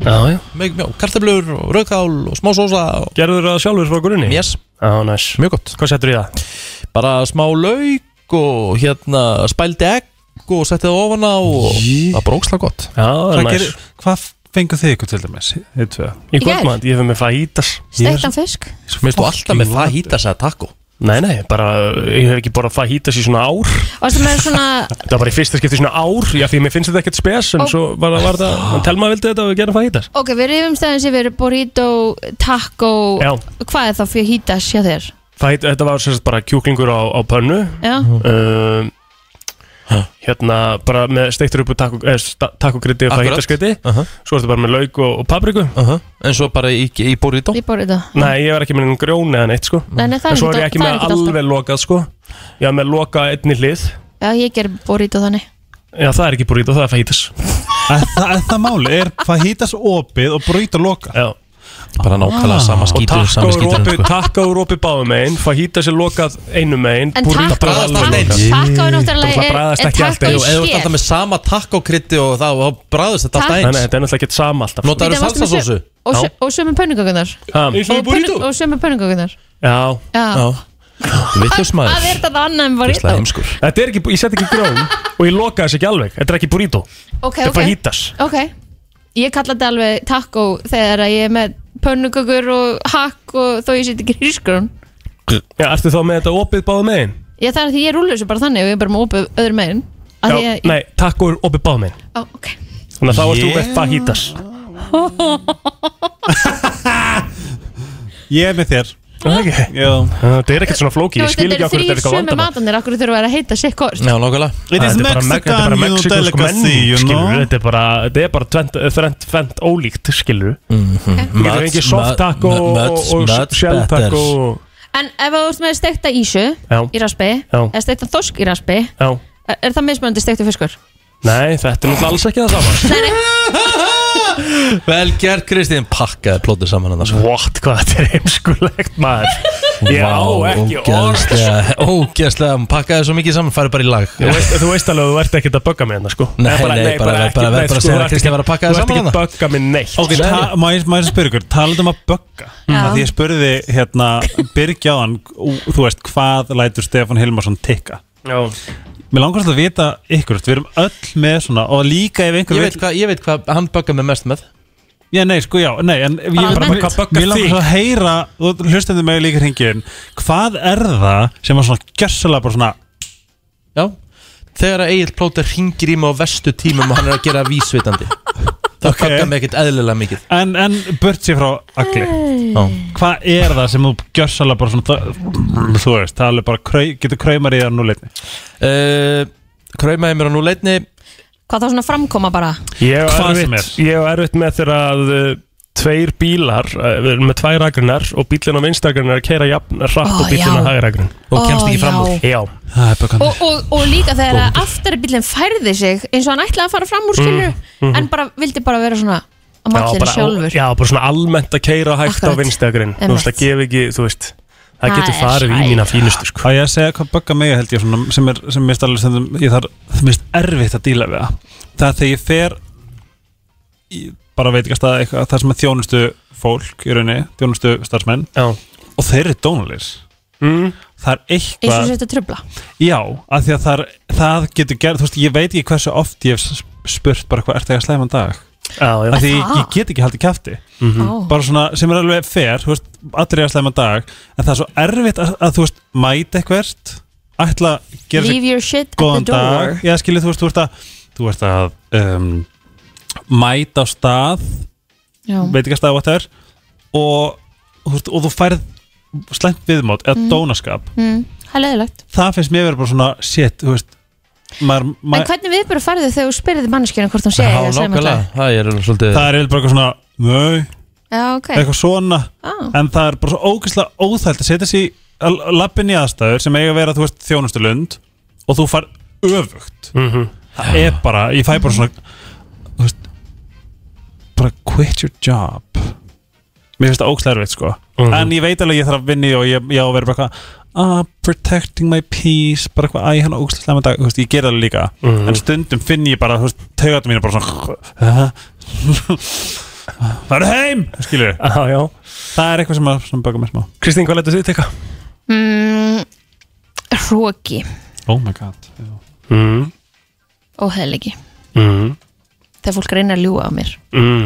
Já, já
Með mjó, kartablur og rauðkál og smá sósa og
Gerður það sjálfur frá grunni?
mjess,
Já, næs
mjög gott
Hvað settur í það?
Bara smá lauk og hérna spældi egg og setti það ofan á og
Jí.
það brókslega gott
Já, það
Hvað
er næs
gerir- Hvað fengu þið ykkur til dæmis? Þið tvö
Í kvöldmand, ég fyrir með fajitas
Steiktan fisk?
Mér finnst þú alltaf með
Fucking
það hýta sig að taco
Nei, nei, bara, ég hef ekki borðað fajitas í svona ár
Og sem er svona
Það var í fyrsta skipti í svona ár, já því mér finnst þetta ekkert spes En
Ó.
svo var, var það, en Telma vildi þetta og við gerum fajitas
Ok, við rifum stæðin sem við erum burrito, taco
Já.
Hvað er þá fyrir hítas hjá þér?
Fajit, Þetta var sérst bara kjúklingur á, á pönnu
Já.
um, Hérna, bara með steiktur upp takokrytti og
Akkurat.
fajitaskriti Svo ertu bara með lauk og, og papriku
En svo bara í, í burrito?
Í burrito
Nei, ég var ekki með einhvern grjóni eða neitt sko
Nei, nei, það er
En svo er
ekkert-
ég ekki
það er
með
ekkert alltaf.
alveg lokað sko Ég var með lokað einni hlið
Já, ég ger burrito þannig
Já, það er ekki burrito, það er fajitas
En það, en það máli er hvað hýtast opið og brýta loka Ah.
Já
Bara nákvæmlega sama sko. skítur
Takka úr opið, takka úr opið báðum einn Fajitas er lokað einum einn
En
burrito
taco-
bara alveg
taco-
lokað.
taco er náttúrulega-
Það
er-
bræðast
er
ekki
taco
alltaf
í
eins.
Ef þú ert
Sker.
alltaf með sama takkokrytti og þá þá bræðist þetta
Takk.
alltaf
Nei, nei,
eins
þetta er náttúrulega ekki sama alltaf
Notarðu
Bíddu, varstu með
salsasósu?
sö- Og, sö- og sömu pönnukökunar
Eins
Og sömu pönnukökunar
Já
Já.
Vittljus
Það er þetta annað en burrito
heimskur
Þetta er ekki, ég set ekki grjón Og ég loka þess ekki alveg, þetta er ekki burrito
Ok,
Þetta er
ok.
fajitas
Ok, ég kalla þetta alveg taco þegar að ég er með pönnukökur og hakk og þó ég seti grísgrón
Já, ertu þá með þetta opið báðum einn?
Ég það er því ég rúlu þessu bara þannig og ég er bara með opið öðrum meginn Að
Já,
því að-
nei, takka úr opið báðum einn
Ó, ok.
Þannig að þá ert þú með
Yeah.
fajitas
Ég er með þér
okay. Það er ekkert svona
Þú
flóki, ég
veist,
skil
Þetta
ekki
er
okkur þetta er
þrýr
eitthvað
sömu
vandamál Mm.
matanir, akkur þurfa að vera að heita sér hvort
Já, nákvæmlega
It is
Það er bara me- þetta er bara
Mexican, you
mexikosk menning,
delicacy, you
skilur,
know.
þetta er bara, þetta er bara tvent, tvent, tvent ólíkt, skilur Ég
Much,
getur ekki soft taco
mu-
og,
much,
og, og
much
shell
better.
taco og-
En ef þú ert með stekta ísu
Já.
í raspi
Já.
eða stekta þosk í raspi
Já,
er, er það mismunandi stektu fiskur?
nei, þetta er nú alls ekki það sama
Vel gert Kristín, pakkaði plótið saman sko. hann
What, hvað þetta er heimskulegt maður Ég á ekki orð
Ógæðslega, ógæðslega, pakkaði svo mikið saman, farið bara í lag
Þú veist, þú veist alveg að þú ert ekkert að bögga mig hérna sko
Nei, nei, bara-
ekki-
bara- bara
nei, sko,
segja
þú
að
ert
Kristín
ekki-
var að pakka þér
Þú
saman
ert ekki að bögga mig neitt
Ok, ta- má ég má ég spyrja ykkur, talaðu um að bögga
Já.
Því ég spurði hérna Birgja á hann, þú veist, hvað lætur Stefán Hilmarsson tikka
Já.
Mér langar svolítið að vita ykkur, við erum öll með svona Og líka ef einhver
Ég veit hvað, ég veit hvað, hann böggar mig mest með
Já, nei, sko, já, nei, en ég,
Bara almennt.
hvað böggar Mér langar svo að heyra, þú hlustandi mig líka hringin Hvað er það sem var svona gjössalega bara svona
Já, þegar að Egil plótið ringir í mig á vestu tímum og hann er að gera vísvitandi Það
Ok.
böggar mig ekkert eðlilega mikið
En, en burt sér frá agli
Já.
Hvað er það sem þú gjössalega bara svona það- Þú veist, það er alveg bara krau, Getur kraumar í það nú leitni
uh, Kraumaði mér á núleitni
Hvað þá svona framkoma bara?
Ég hef
Hvað sem
erfitt, ég hef erfitt með þegar að uh, tveir bílar, uh, við erum með tvær agrunar og bílinn á vinstagrunar er að keira jafn hratt
Ó,
og bílinn
já.
á hægragrun
og kemst ekki
Ó,
fram úr
já.
Já,
Það er böggan
Og, og, og líka þegar að aftarabillin færði sig eins og hann ætlaði að fara fram úr skilur en bara vildi bara vera svona að matla
Mm, bara,
sjálfur
já, bara svona almennt að keira hægt
Akkurat.
á vinstagrunin Þú
Einmitt.
veist, það gef ekki, þú veist Það
Það
getur
er
farið í
sætt.
mína fínustu sko.
Á ég að segja hvað böggar mig held ég svona, sem er, sem mist alveg stundum ég þarf, það mist erfitt að díla við það það er þegar ég fer í, bara veit ekki að staða eitthvað það sem er þjónustu fólk í rauninni þjónustu starfsmenn
Já,
og þeir eru dónulis
mm,
það er
eins og
eitthvað,
þetta trubla
já, af því að það, er, það getur gerð, þú veist, ég veit ekki hversu oft ég hef s- spurt bara hvað, ertu eitthvað slæman dag
já, já
af því ég,
það?
ég get ekki haldið kæfti
Mhm.
mm.
Mhm. bara svona sem er alveg fair þú veist, allir er að slæma dag en það er svo erfitt að, að þú veist mæta eitthvert ætla að gera sér
Leave your shit at the
góðan
door
dag já skilur þú veist þú ert að, þú ert að um, mæta á stað
Já.
veit ekki að stað what það er og, þú veist, og þú færð slæmt viðmót
Mhm.
eða dónaskap
Mm, Það er leðilegt
það finnst mér verið bara svona shit þú veist maður,
En
maður,
hvernig viðbúru færðu þegar þú spyrir þið manneskjörnum hvort hún sé
Já,
eða sem
nákvæmlega,
alltaf?
það er svolítið
það er eiginlega bara eitthvað svona nöi,
Já, ok
eitthvað svona
ah.
en það er bara svo ógæslega óþælt að setja sig í lappin í aðstæður sem eiga að vera þú veist þjónustulund og þú far öfugt
Mhm.
það er bara, ég fæ bara svona þú veist bara quit your job mér finnst það ógæslega erfitt sko
Mhm.
en ég veit alveg að ég þarf að vinni og ég, ég á að vera bara eitthvað ah, protecting my peace bara eitthvað, æ, hann ógæslega slæma dag þú veist, ég ger það alveg líka
Mhm.
en stundum finn ég bara, þú veist, taugatum mínu bara svona Það eru heim, skilur
Já, já.
Það er eitthvað sem, að- sem baka mér smá
Kristín, hvað letur þið teka?
mm, Róki
Oh my god
Mm,
og heðlegi
mm,
þegar fólk reynir að ljúga á mér
mm.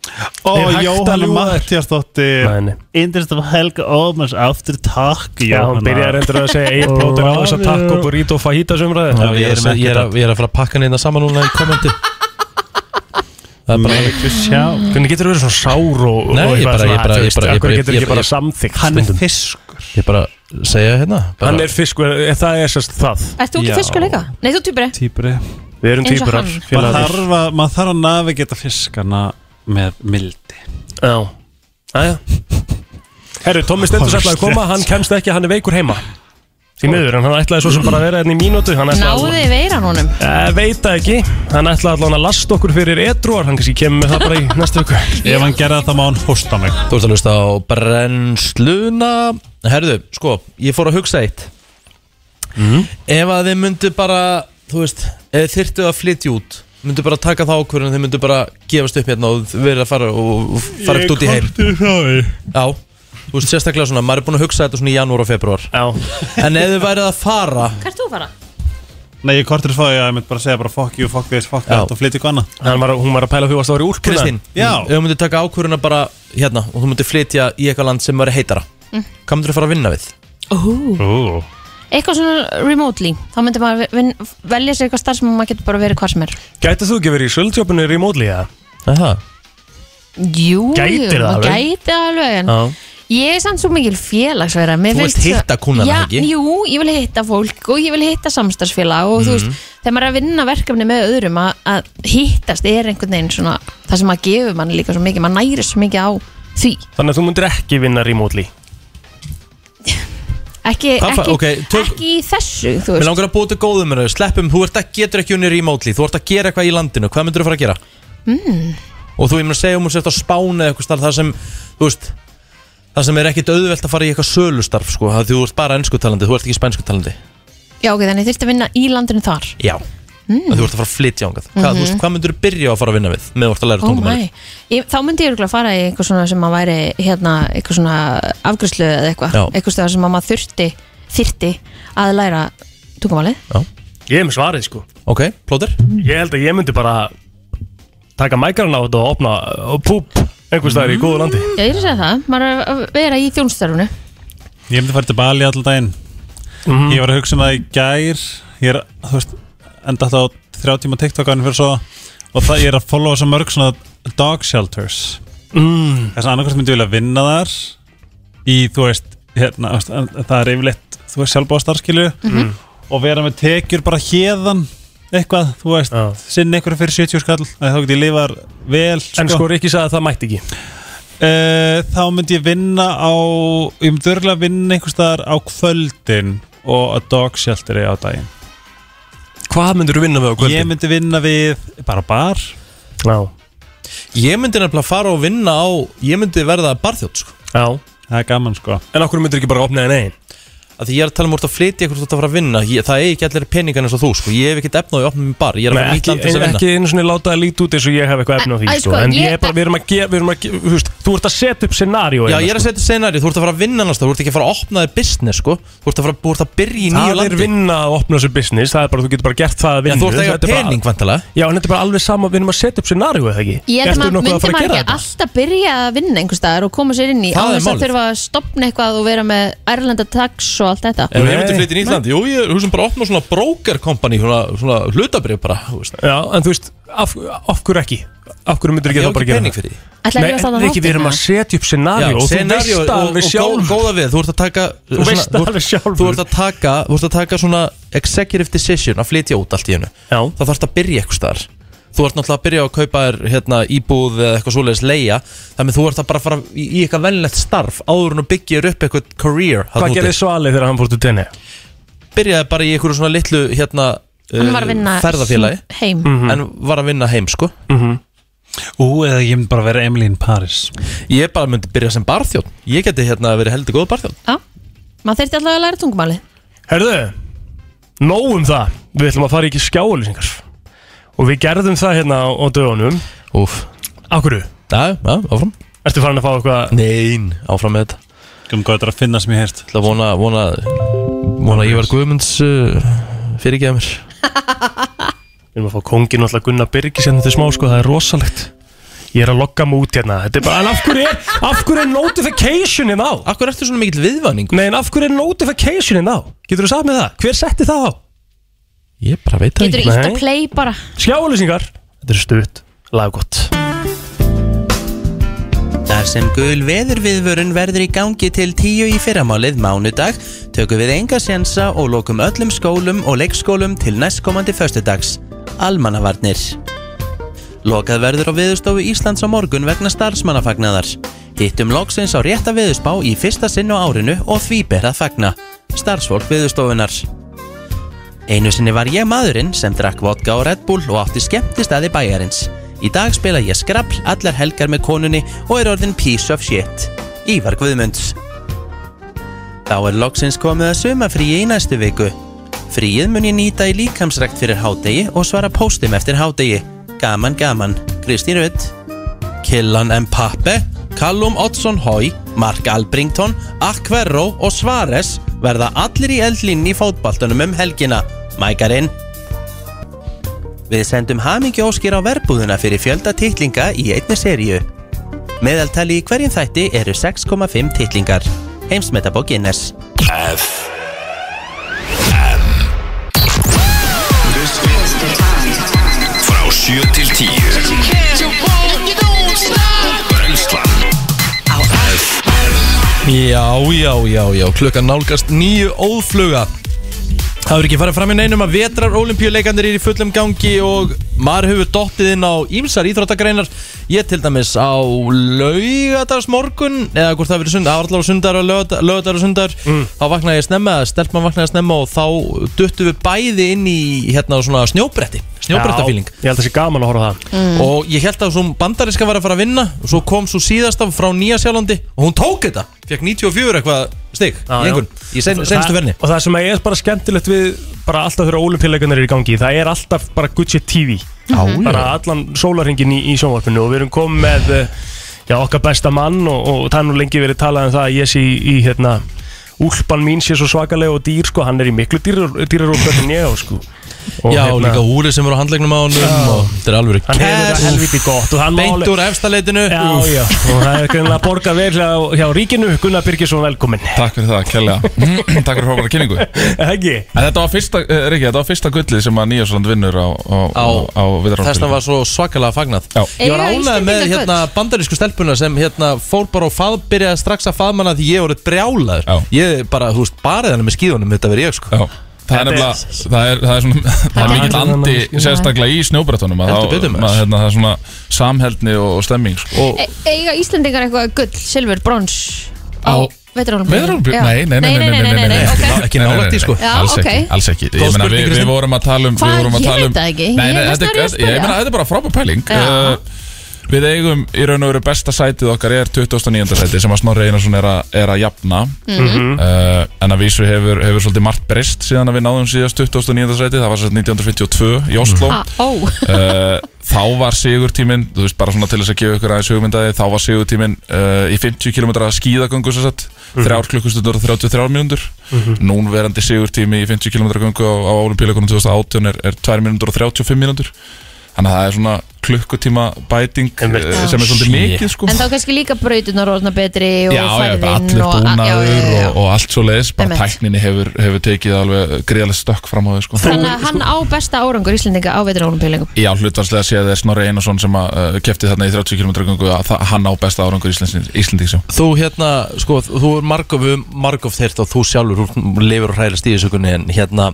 Og
Er hægt að
Jóhanna
ljúga þessu?
Mattiasdóttir Indrist af Helga Ómars aftur takk
Já, hann byrjar endur að segja Egil plótur á þess að takk og burrito fajita sumraði
Já, ég, er, með- ég, er, að- ég er að fara að pakka neina saman núna í kommenti Það er bara
Meitu sjá Hvernig getur þú verið svona sár og
Nei,
og
ég
eitthvað
bara-
svona,
ég bara-
þú
ég
veist,
bara- ég
af hverju
bara-
getur
ég
ekki
bara-
bara samþykkt
Hann er
fiskur
Ég bara segja hérna bara,
Hann er fiskur, eh, það er sérst það
Ert þú ekki fiskur líka? Nei, þú týpur
Týpri
Við erum
Eins og
týpurar,
hann.
Maður
félagar.
þarf að, mað þarf að nafi geta fiskana með mildi
Já Æja Herru, Tommi Stendur sætlaði að koma, hann Sko- kemst ekki, hann er veikur heima Því miður, en hann ætlaði svo sem bara að vera hérna í mínútu hann ætlaði
Náðu þið veiran honum
Eh, veit það ekki, hann ætlaði allavega að lasta okkur fyrir edruar, hann kannski kemur með það bara í næstu viku
Ef hann gerða það má hann hósta mig
Þú ert að hlusta á brennsluna Herðu, sko, ég fór að hugsa eitt
Mm.
Ef að þið myndu bara Þú veist, ef þyrftu að flytja út Myndu bara taka það ákvörðun Þið myndu bara gefast upp hérna og verið að fara og og fara ekkert út í heim
frá því
Já, þú veist sérstaklega svona Maður er búin að hugsa þetta svona í janúar og februar
Já.
En ef þið værið að fara
Hvað ert þú að fara?
Nei, ég kortir frá því að ég myndi bara segja bara fuck you, fuck this, fuck
Já.
that og flytja ykkur annað
var, Hún var að pæla því að stóri úlpuna
Kristín,
Já.
ef þú myndir taka ákvörðuna bara hérna og þú myndir flytja í eitthvað land sem verður heitara
Mm.
hvað myndir þú fara að vinna við?
Oh.
Eitthvað svona remotely Þá myndi maður vin, velja sér eitthvað starf sem maður getur bara verið hvað sem er
Gætið þú ekki verið í sjöldjópinu remotely eða?
Aha.
Jú,
Gætir það
maður
alveg?
gæti það alveg en
Já.
Ég er samt svo mikil félagsverða
Þú vilt hitta kúnnana, ekki?
Jú, ég vil hitta fólk og ég vil hitta samstagsfélag og þú
Mhm.
veist, þegar maður er að vinna verkefni með öðrum að, að hittast er einhvern veginn svona það sem maður gefur manni líka svo mikið, maður næri svo mikið á því,
Þannig að þú myndir ekki vinna remotely
ekki,
Hvað fa-
ekki,
ok, tök-
ekki í þessu þú
Mér
veist,
langar að búa til góðum en sleppum, þú ert ekki, getur ekki unni remotely þú ert að gera eitthvað í landinu, hvað myndir þú fara að gera?
mm,
og þú, ég mér að segja um hún sért að spána eða eitthvað starf þar sem, þú veist það sem er ekkit auðvelt að fara í eitthvað sölustarf sko, það því þú ert bara ennskutalandi, þú ert ekki spænskutalandi
já ok, þannig þurfti að vinna í landinu þar
já, mm. þú ert að fara að flytja ángað hvað,
Mhm.
þú veist, hvað myndir þú byrja á að fara að vinna við með þú ert að læra
Oh
tungumáli
my. ég, þá myndi ég örugglega fara í eitthvað svona sem að væri hérna, eitthvað svona afgjörslu eða eitthvað,
Já.
eitthvað stöðar sem að maður þurfti þyrfti að læra tungumálið
Ég er með svarið sko
Ok, plóter
Ég held að ég myndi bara taka mækarinn á þetta og opna og púp einhvers staðar
Mm.
í góðu landi
Já, ég er að segja það, maður er að vera í þjónstörfunu
Ég myndi fara til Bali allan daginn Ég var að hugsa um það í gær Ég er, þú veist, enda þetta á þrjá tíma TikTok áðurinn fyrir svo og það, ég er að followa svo mörg svona dog shelters
Mm.
Þess að annarkvæmst myndi ég vilja vinna þar í, þú veist, hérna þú veist, en- það er yfirleitt, þú veist, sjálfbóðstarskilu
Mhm.
og vera með tekjur bara hérðan eitthvað, þú veist, ja. sinni eitthvað fyrir 70 skall, að þá get ég lifað vel
En sko Rikki sagði að það mætti ekki
Eh, þá myndi ég vinna á ég myndi örgulega vinna einhvers staðar á kvöldin og að dog shelteri á daginn
Hvað myndir þú vinna við á kvöldin?
Ég myndi vinna við bara bar
Já
Ég myndi nefnilega fara og vinna á Ég myndi verða barþjótt sko
Já
Það er gaman sko
En okkur myndir ekki bara opna en einn
Af Því ég er að tala um úr að flytja eitthvað þú ert að fara að vinna ég, Það er ekki allir peningar eins og þú sko Ég hef ekkert efna á því að opna mér bar Ég er að fara
Nei,
nýtt
ekki,
land til þess að vinna
ekki einu svona láta það líti út eins og ég hef eitthvað efni á því
Æ,
sko.
sko,
En
ég-
ég er bara, við erum að gera, við erum að gera, þú veist Þú ert að setja upp scenario sko.
Já, ég er að setja senari, þú ert að fara að vinna annars staðar, Þú ert ekki að fara að opna þér business sko Þú ert að fara þú ert að byrja í nýju
Það er
landi
vinna að opna þessu business Það er bara, þú getur bara gert það að
Já,
vinna
þú ert að eiga pening, vantilega
Já, en þetta er bara alveg sama, við erum að setja upp scenario eða ekki
Ég held
Ertu
að maður
nokkuð
myndi
að
maður
fara að
ekki
gera þetta?
alltaf byrja að vinna einhvers staðar og koma sér inn í
Það
án
er
þess að
málið.
þurfa að stopna eitthvað og vera með ærlenda tax og allt þetta
Ef ég myndi flytja í nýtt land, jú, ég er húsum bara að opna svona broker company, svona, svona hlutabrif bara, þú veist
Já, en þú veist, af, af hverju ekki? Af hverju myndir
Ég
ekki
á
það bara
ekki
gera
pening
það?
fyrir því.
Ætlaði
Nei,
ég að
en
standa
Riki, við erum að setja upp scenario og þú
scenario
veist
og-
alveg
og
sjálf
góð- Góða við, þú ert að taka
Þú veist alveg
sjálfur Þú ert að taka, þú ert að taka svona executive decision að flytja út allt í hennu
Já
Það þarf að byrja eitthvað staðar Þú ert náttúrulega að byrja að kaupa þér hérna, íbúð eða eitthvað svoleiðis leia Þannig þú ert að bara fara í, í eitthvað velnett starf áður en að byggja þér upp eitthvað career þarna
Hvað
úti.
gerði Svali þegar hann fór til tenni?
Byrjaði bara í eitthvað svona litlu hérna,
Hann var að vinna
ferðafélagi
heim.
Mhm.
En var að vinna heim sko
Ú, eða ég myndi bara vera Emily in Paris
Ég bara myndi byrja sem barþjón Ég geti hérna verið heldur góð barþjón
Maður þurfti alltaf að læra tungumálið
Herðu, nóg um það Við ætlum að fara í ekki skjáulýsingar Og við gerðum það hérna á, á dögunum
Úf
Af hverju?
Já, já, áfram
Ertu farin að fá eitthvað?
Nein, áfram með þetta
Gum hvað þetta er að finna sem ég heist
Það vona, vona, vona Ívar Guðmunds uh, fyrirgeða mér
Við erum að fá kongin alltaf Gunnar Birgis hérna til smá sko, það er rosalegt Ég er að logga mig út hérna Þetta er bara, en af hverju er, af hverju er notificationin á? Af
hverju ertu svona mikill viðvanning?
Nei, en af hverju er notificationin á? Getur þú sagt með það? Hver setti það á?
Ég bara veit
Getur þú ítt að play bara
Skjálusingar Þetta er stutt, laggott
Þar sem gul veðurviðvörun verður í gangi til tíu í fyrramálið mánudag, tökum við enga sensa og lokum öllum skólum og leikskólum til næstkomandi föstudags, almannavarnir. Lokað verður á viðustofu Íslands á morgun vegna starfsmannafagnaðar. Hittum loksins á rétta viðusbá í fyrsta sinn á árinu og því ber að fagna. Starfsfólk viðustofunar. Einu sinni var ég maðurinn sem drakk vodka og Red Bull og átti skemmtist aði bæjarins. Í dag spila ég skrapp allar helgar með konunni og er orðin piece of shit. Ívar Guðmunds. Þá er loksins komið að sumafríi í næstu viku. Fríið mun ég nýta í líkamsrækt fyrir hádegi og svara póstum eftir hádegi. Gaman, gaman. Kristín Rutt. Killan M. Pappe, Callum Oddsson Hoy, Mark Albrington, Akverro og Svares verða allir í eldlinn í fótbaltunum um helgina. Mækarinn. Við sendum hamingi óskir á verbúðuna fyrir fjölda titlinga í einni seríu. Meðaltali í hverjum þætti eru 6,5 titlingar. Heimsmetabók Guinness.
F M Frá 7 til 10 Brenslan
Já, já, já, já, klukkan nálgast nýju óðfluga Það verður ekki farið fram í neinum að vetrar olimpíuleikandir er í fullum gangi og maður hefur dottið inn á ímsar íþróttagreinar Ég til dæmis á laugadagsmorgun eða hvort það verður sund, aðallar og sundar og laugadar og sundar þá vaknaði ég snemma, stelpmann vaknaði snemma og þá duttum við bæði inn í hérna svona snjóbretti, snjóbrettafíling
Já, Ég held að það sé gaman að horfa á það
Mm. og ég held að svo bandariska var að fara að vinna og svo kom svo síðasta frá Nýja Sjálandi og hún tók þetta, fekk 94 eitthvað stig í einhvern, í sen, senstu verni
Og það sem er bara skemmtilegt við bara alltaf þegar ólimpíuleikarnir eru í gangi það er alltaf bara Gucci TV
Já, já.
bara allan sólarringin í, í sjónvarpinu og við erum komið með eh, já, okkar besta mann og, og það er nú lengi verið talað um það að ég sé í, í hérna úlpan mín sé svo svakalega og dýr sko, hann er í miklu dýrar, dýrar úlpan en ég á sko og, hérna-
Já, líka úrið sem eru á handlegnum á honum og þetta er alveg
Hann hefur þetta helviti gott og hann má
Beint
alveg-
úr efsta leitinu
Já, já, og það er greinlega borgað vel hjá, hjá ríkinu, Gunnar Birgisson velkomin
Takk fyrir það, kærlega Takk fyrir frábæra kynningu
Ekki?
En þetta var fyrsta, uh, Riki, þetta var fyrsta gullið sem að Nýjarsland vinnur á, á, á, á viðránum
Þess vegna var svo svakalega fagnað Já. Ég var
Eiga
ánægð með
Íslendinga
hérna, bandarísku stelpuna sem hérna, fór bara og fað, byrjaði strax að faðmanna því ég voruð brjálaður Ég bara, þú veist, barið hann með skíðunum þetta verið ég sko
Já. Það er nefnilega, það er, það er svona, það er mikill andi sérstaklega í snjóbrettunum að
Heldur
þá-
betur, maður.
maður, hérna, það er svona samheldni og, og stemming sko.
E eiga Íslendingar eitthvað gull, silfur, brons
Á
vetrarólympíu?
Veðrálfur?
Já.
Nei, nei, nei, nei, nei, nei, nei,
ok.
nei, nei,
nálægt
nei,
í, sko.
nei,
Já,
Alls
ok.
ekki, alls ekki
Góð
Ég meina, við,
spurning,
við
Kristín.
vorum að tala um
Hvað?
við vorum að
Ég
tala um-
veit það ekki. Ég
Nei, nei,
er mest
þetta
að
er-
reyna að
Ég meina,
spyrja.
þetta er bara frábæð pæling
Já.
Uh, Við eigum í raun og veru besta sætið okkar er 2009. sætið sem að Snorri Einarsson er, að- er að jafna
Mhm.
uh, En að vísu hefur, hefur svolítið margt breyst síðan að við náðum síðast 2009. sætið Það var sérst 1952 í Oslo
Ah, Ó
uh, þá var sigurtíminn þú veist bara svona til þess að gefa ykkur aðeins hugmyndaði þá var sigurtíminn uh, í 50 km skíðagöngu sem sagt,
Mhm.
3 klukkustundur og 33 mínúndur
Mhm.
núnverandi sigurtími í 50 km göngu á, á olimpíleikunum 2018 er, er 2 mínúndur og 35 mínúndur þannig að það er svona klukkutíma bæting
Ah,
uh, sem er svolítið mikið sko
Oh, En þá kannski líka brautunar orðna betri og
Já, já, bara
færðin
allur
og- já, já, já, já.
búnaður og, og allt svo leiðis bara
Einmitt.
tækninni hefur, hefur tekið alveg gríðarlega stökk fram á þau sko.
Þannig að hann á besta árangur Íslendinga á vetrarólympíuleikum
Já, hlutvarslega séð er Snorri Einarsson sem að uh, kefti þarna í 30 km göngu að þa- hann á besta árangur Íslendings, Íslendings já.
Þú hérna, sko, þú er margof margof þeirt og þú sjálfur, þú lifir og hræðist í þessu kunni en hérna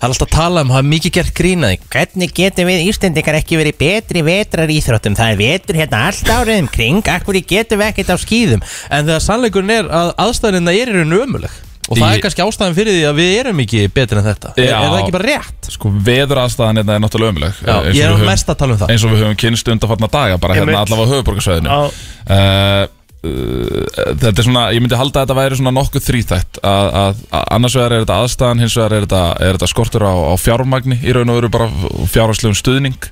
Það er alltaf að tala um, það er mikið gert grínaði
Hvernig getum við Íslendingar ekki verið betri vetrar íþróttum? Það er vetur hérna allt árið um kring, akkur getum við ekkert á skýðum?
En þegar sannleikurinn er að aðstæðinna er í raun ömuleg Og það
Í-
er kannski ástæðin fyrir því að við erum ekki betri en þetta Er, er það ekki bara rétt?
Sko, veðuraðstæðan hérna er náttúrulega ömuleg
Já, ég er mest að tala um það.
Eins og við höfum kynst undanfarna daga, bara hérna
Einmitt.
allavega á höfuborgarsvæðinu uh, uh, Þetta er svona, ég myndi halda að þetta væri svona nokkuð þrýþætt að, að, að annars vegar er þetta aðstæðan, hins vegar er þetta, er þetta skortur á, á fjármagni í raun og veru bara fjárhagslegum stuðning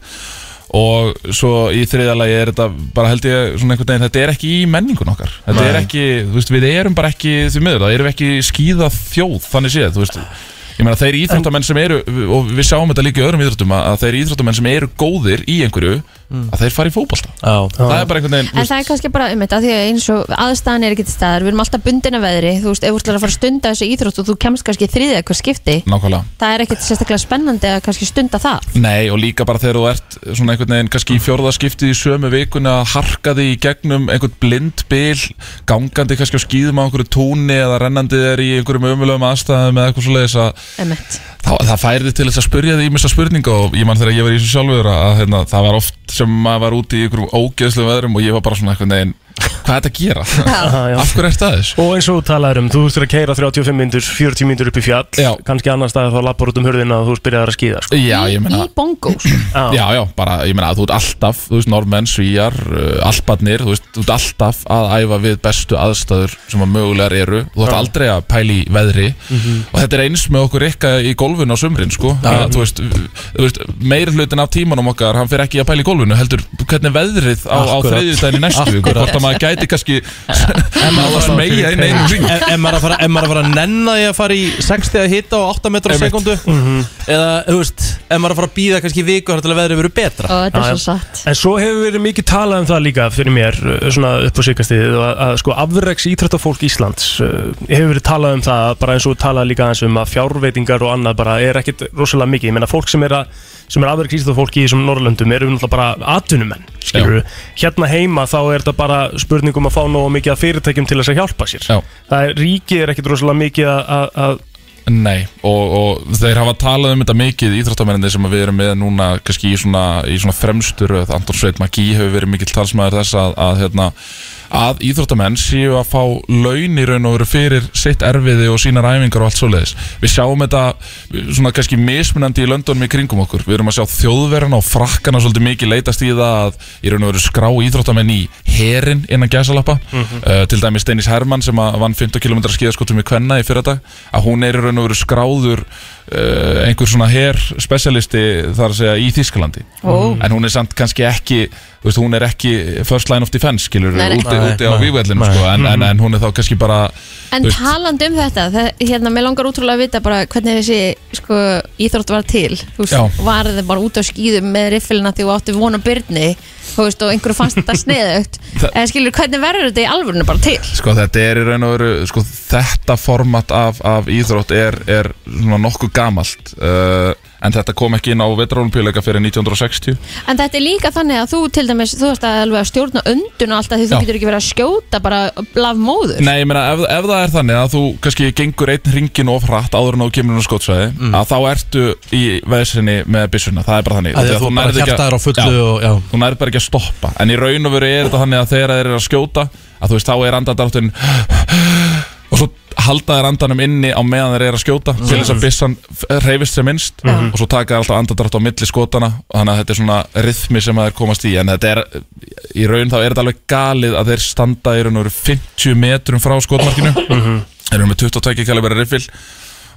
og svo í þriðja lagi er þetta bara held ég svona einhvern veginn þetta er ekki í menningun okkar þetta er
Nei.
ekki, þú veist, við erum bara ekki því miður, það erum við ekki skýða þjóð þannig séð, þú veist ég meina þeir íþróttamenn sem eru, og við sjáum þetta líka í öðrum íþróttum að að þeir íþróttamenn sem eru góðir í einhverju að þeir fara í fótbolta það er bara einhvern veginn
En það er kannski bara um þetta, því að eins og aðstæðan er ekki til staðar, við erum alltaf bundin af veðri, þú veist, ef þú ætlar að fara að stunda þessi íþrótt og þú kemst kannski í þriðið eitthvað skipti,
nákvæmlega
það er ekkert sérstaklega spennandi að kannski stunda það.
Nei og líka bara þegar þú ert svona einhvern veginn kannski í fjórðaskiptið í sömu vikuna að harka þig í gegnum einhvern blind bil gangandi kannski á skýðum á einhverju túnni eða rennandi þér í einhverjum ömulegum aðstæðum eða eitthvað svoleiðis að
Emmett.
þá, það færi þig til þess að spurja þig í mista spurninga og ég man þegar ég var í þessu sjálfur að hérna, það var oft sem maður var úti í einhverjum ógeðslu veðrum og ég var bara svona einhvern veginn hvað er þetta að gera? Af hverju ert það þess?
Og eins og þú talaður um, þú þurftur að keira 35 myndur, 40 myndur upp í fjall já. kannski annar staði þá lappar út um hurðina og þú spyrjaðar að skýða sko.
Já, ég meina
Í bongo.
Já, já, bara, ég meina að þú ert alltaf, þú veist, normenn, svíjar, uh, alparnir, þú veist, þú ert alltaf að æfa við bestu aðstæður sem að mögulegar eru, þú ert
Já.
aldrei að pæli veðri
Mhm.
og þetta er eins með okkur ekka í golfinu á sumrin, sko, að, þú veist, þú veist meir hlutin af tímanum okkar, hann fer ekki að pæli golfinu, heldur hvernig veðrið á, á
Akkurat.
þriðjudaginn í næstu viku,
Akkurat.
hvort að maður gæti kannski að
En
smegja inn einu ring.
en maður að fara- en maður að fara að nenna því að fara í 60 að hitta og 8 metrar á
Einmitt.
sekundu
Mhm.
eða, þú veist, en maður að fara að býða kannski í viku þar til að veðrið verið betra
Já, já. En svo hefur verið mikið talað um það líka fyrir mér, uh, svona upp á sykastíðið að, að sko afreks íþrættafólk Íslands uh, hefur verið talað um það, bara eins og talað líka eins um að fjárveitingar og annað bara er ekkit rosalega mikið, ég meina fólk sem er, að, sem er afreks íþrættafólk í þessum Norrlöndum eru náttúrulega bara atvinnumenn, skilur hérna heima þá er þetta bara spurning um að fá nógu mikið að fyrirtækjum til þess að hjálpa sér
Já.
það er, ríkið er ekkit rosalega mikið að- að að-
Nei, og, og þeir hafa talað um þetta mikið íþróttamenninni sem við erum með núna kannski í svona, í svona fremstur Anton Sveit Magí hefur verið mikill talsmaður þess að, að, hérna, að íþróttamenn séu að fá laun í raun og veru fyrir sitt erfiði og sínar æfingar og allt svoleiðis. Við sjáum þetta svona kannski mismunandi í löndunum í kringum okkur. Við erum að sjá þjóðverðan og frakkana svolítið mikið leitast í það að í raun og veru skrá íþróttamenn í herin innan gæsalappa
Mhm.
uh, til dæmis Dennis Hermann sem að vann 50 km skíðaskotum í Kvenna í fyrradag að hún er í raun og veru skráður uh, einhver svona her specialisti þar að segja í Þískalandi
Ó.
en hún er samt kannski ekki þú veist, hún er ekki first line of defense skilur
Nei, nei.
úti,
Nei,
úti á
nei.
vývellinu
Nei. Mhm.
sko, en, en, en hún er þá kannski bara
En
þú veist,
talandi um þetta, það, hérna, mér langar útrúlega að vita bara hvernig þessi sko, íþrótt var til, þú veist,
Já.
var þið bara út á skýðum með riffilina því þú átti vona byrni, þú veist, og einhverju fannst þetta sniðugt,
Það-
eða skilur, hvernig verður þetta í alvörinu bara til?
Sko þetta er í raun og veru sko, Þetta format af, af íþrótt er, er svona nokkuð gamalt uh, En þetta kom ekki inn á vetraolimpíuleika fyrir 1960
En þetta er líka þannig að þú til dæmis, þú veist að alveg að stjórna öndun og alltaf því þú
Já.
getur ekki verið að skjóta bara laf móður.
Nei, ég meina, ef, ef það er þannig að þú kannski gengur einn ringin of hratt áður en þú kemur inn á skótsvæði
Mm.
að þá ertu í veðsynni með byssuna, það er bara þannig
Af því að
Þegar
þú bara
nærð ekki að-
hjartað er á fullu
já,
og- já.
Þú nærð bara ekki að stoppa En í raun og veru er þetta þannig að þegar þeir eru að skjóta að þú veist, þá er andadráttun og svo halda þeir andanum inni á meðan þeir eru að skjóta til þess að byssan f- hreyfist sem minnst
Mhm.
og svo taka þeir alltaf andadrátt á milli skotana þannig að þetta er svona rithmi sem þeir komast í en þetta er, í raun þá er þetta alveg galið að þeir standa í raun og veru 50 metrum frá skotmarkinu
Mhm.
þeir eru með 22 kalibra riffil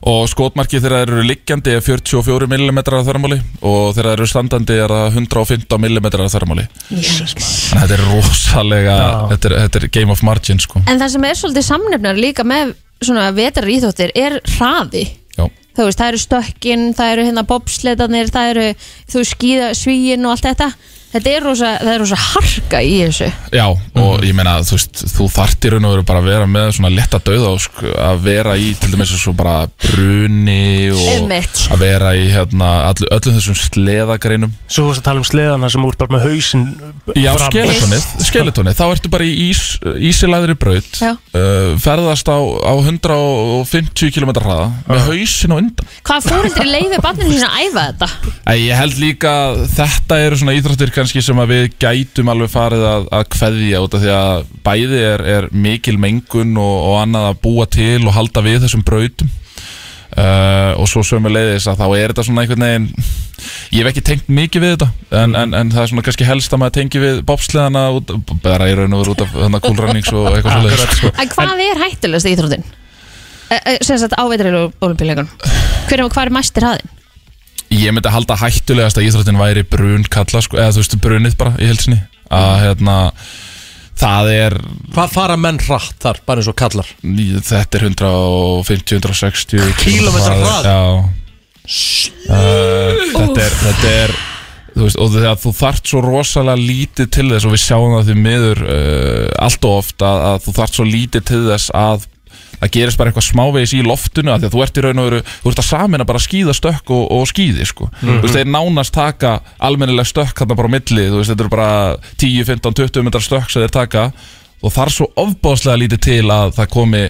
og skotmarkið þegar þeir eru liggjandi er 44 mm að þörmáli og þegar þeir eru standandi er það 115 mm að þörmáli þannig að þetta er rosalega þetta er, þetta er game of margin sko
En það sem er svolítið samnefnar líka með svona vetar íþróttir er hraði.
Já.
Þú veist, það eru stökkinn, það eru hérna bobsletarnir, það eru þú skýða svíinn og allt þetta. Þetta er rosa, það er rosa harka í þessu.
Já, og ég meina, þú veist, þú þarft í raun og veru bara að vera með svona letta dauða sko, að vera í, til dæmis, svo bara bruni og
Einmitt.
að vera í, hérna, all, öllum þessum sleðagreinum
svo þú veist að tala um sleðana sem úr bara með hausin
Já, skeletonið, skeletonið, þá ertu bara í ís, ísilæðri braut
Já.
uh, ferðast á, á 150 km hraða með hausin og undan
Hvað fóreldri leiði barninu sína að æfa þetta?
Æ, Ég held líka að þetta eru svona íþróttir kannski sem að við gætum alveg farið að, að kveðja út af því að bæði er, er mikil mengun og, og annað að búa til og halda við þessum brautum uh, og svo sömu leiðis að þá er þetta svona einhvern veginn ég hef ekki tengt mikið við þetta en, en, en það er svona kannski helst að maður tengi við bobsleðana út, bara í raun og veru út af þannig kúlrannings og eitthvað svo leiðis sko.
En hvað er hættulegast íþróttin? Eh, Sem sagt áveitri olimpíuleikunum. Hver er, hvað er mæstir hraðin?
Ég myndi halda hættulegast að íþróttin væri brun kalla, sko, eða þú veist, brunið bara í helsini að hérna það er
Mm. Hvað fara menn hratt þar, bara eins og kallar?
Þetta er 150-160
Kílómetra hraði?
Já uh, Eh, þetta, er, þetta er þú veist, og þegar þú þart svo rosalega lítið til þess og við sjáum það því miður uh, allt og oft að, að þú þart svo lítið til þess að það gerist bara eitthvað smávegis í loftinu af því að þú ert í raun og veru, þú ert að samina bara skíða stökk og, og skíði sko
Mhm.
þú veist, þeir nánast taka almennilega stökk þarna bara á milli, þú veist, þetta eru bara 10, 15, 20 metrar stökk sem þeir taka og þar svo ofbáslega lítið til að það komi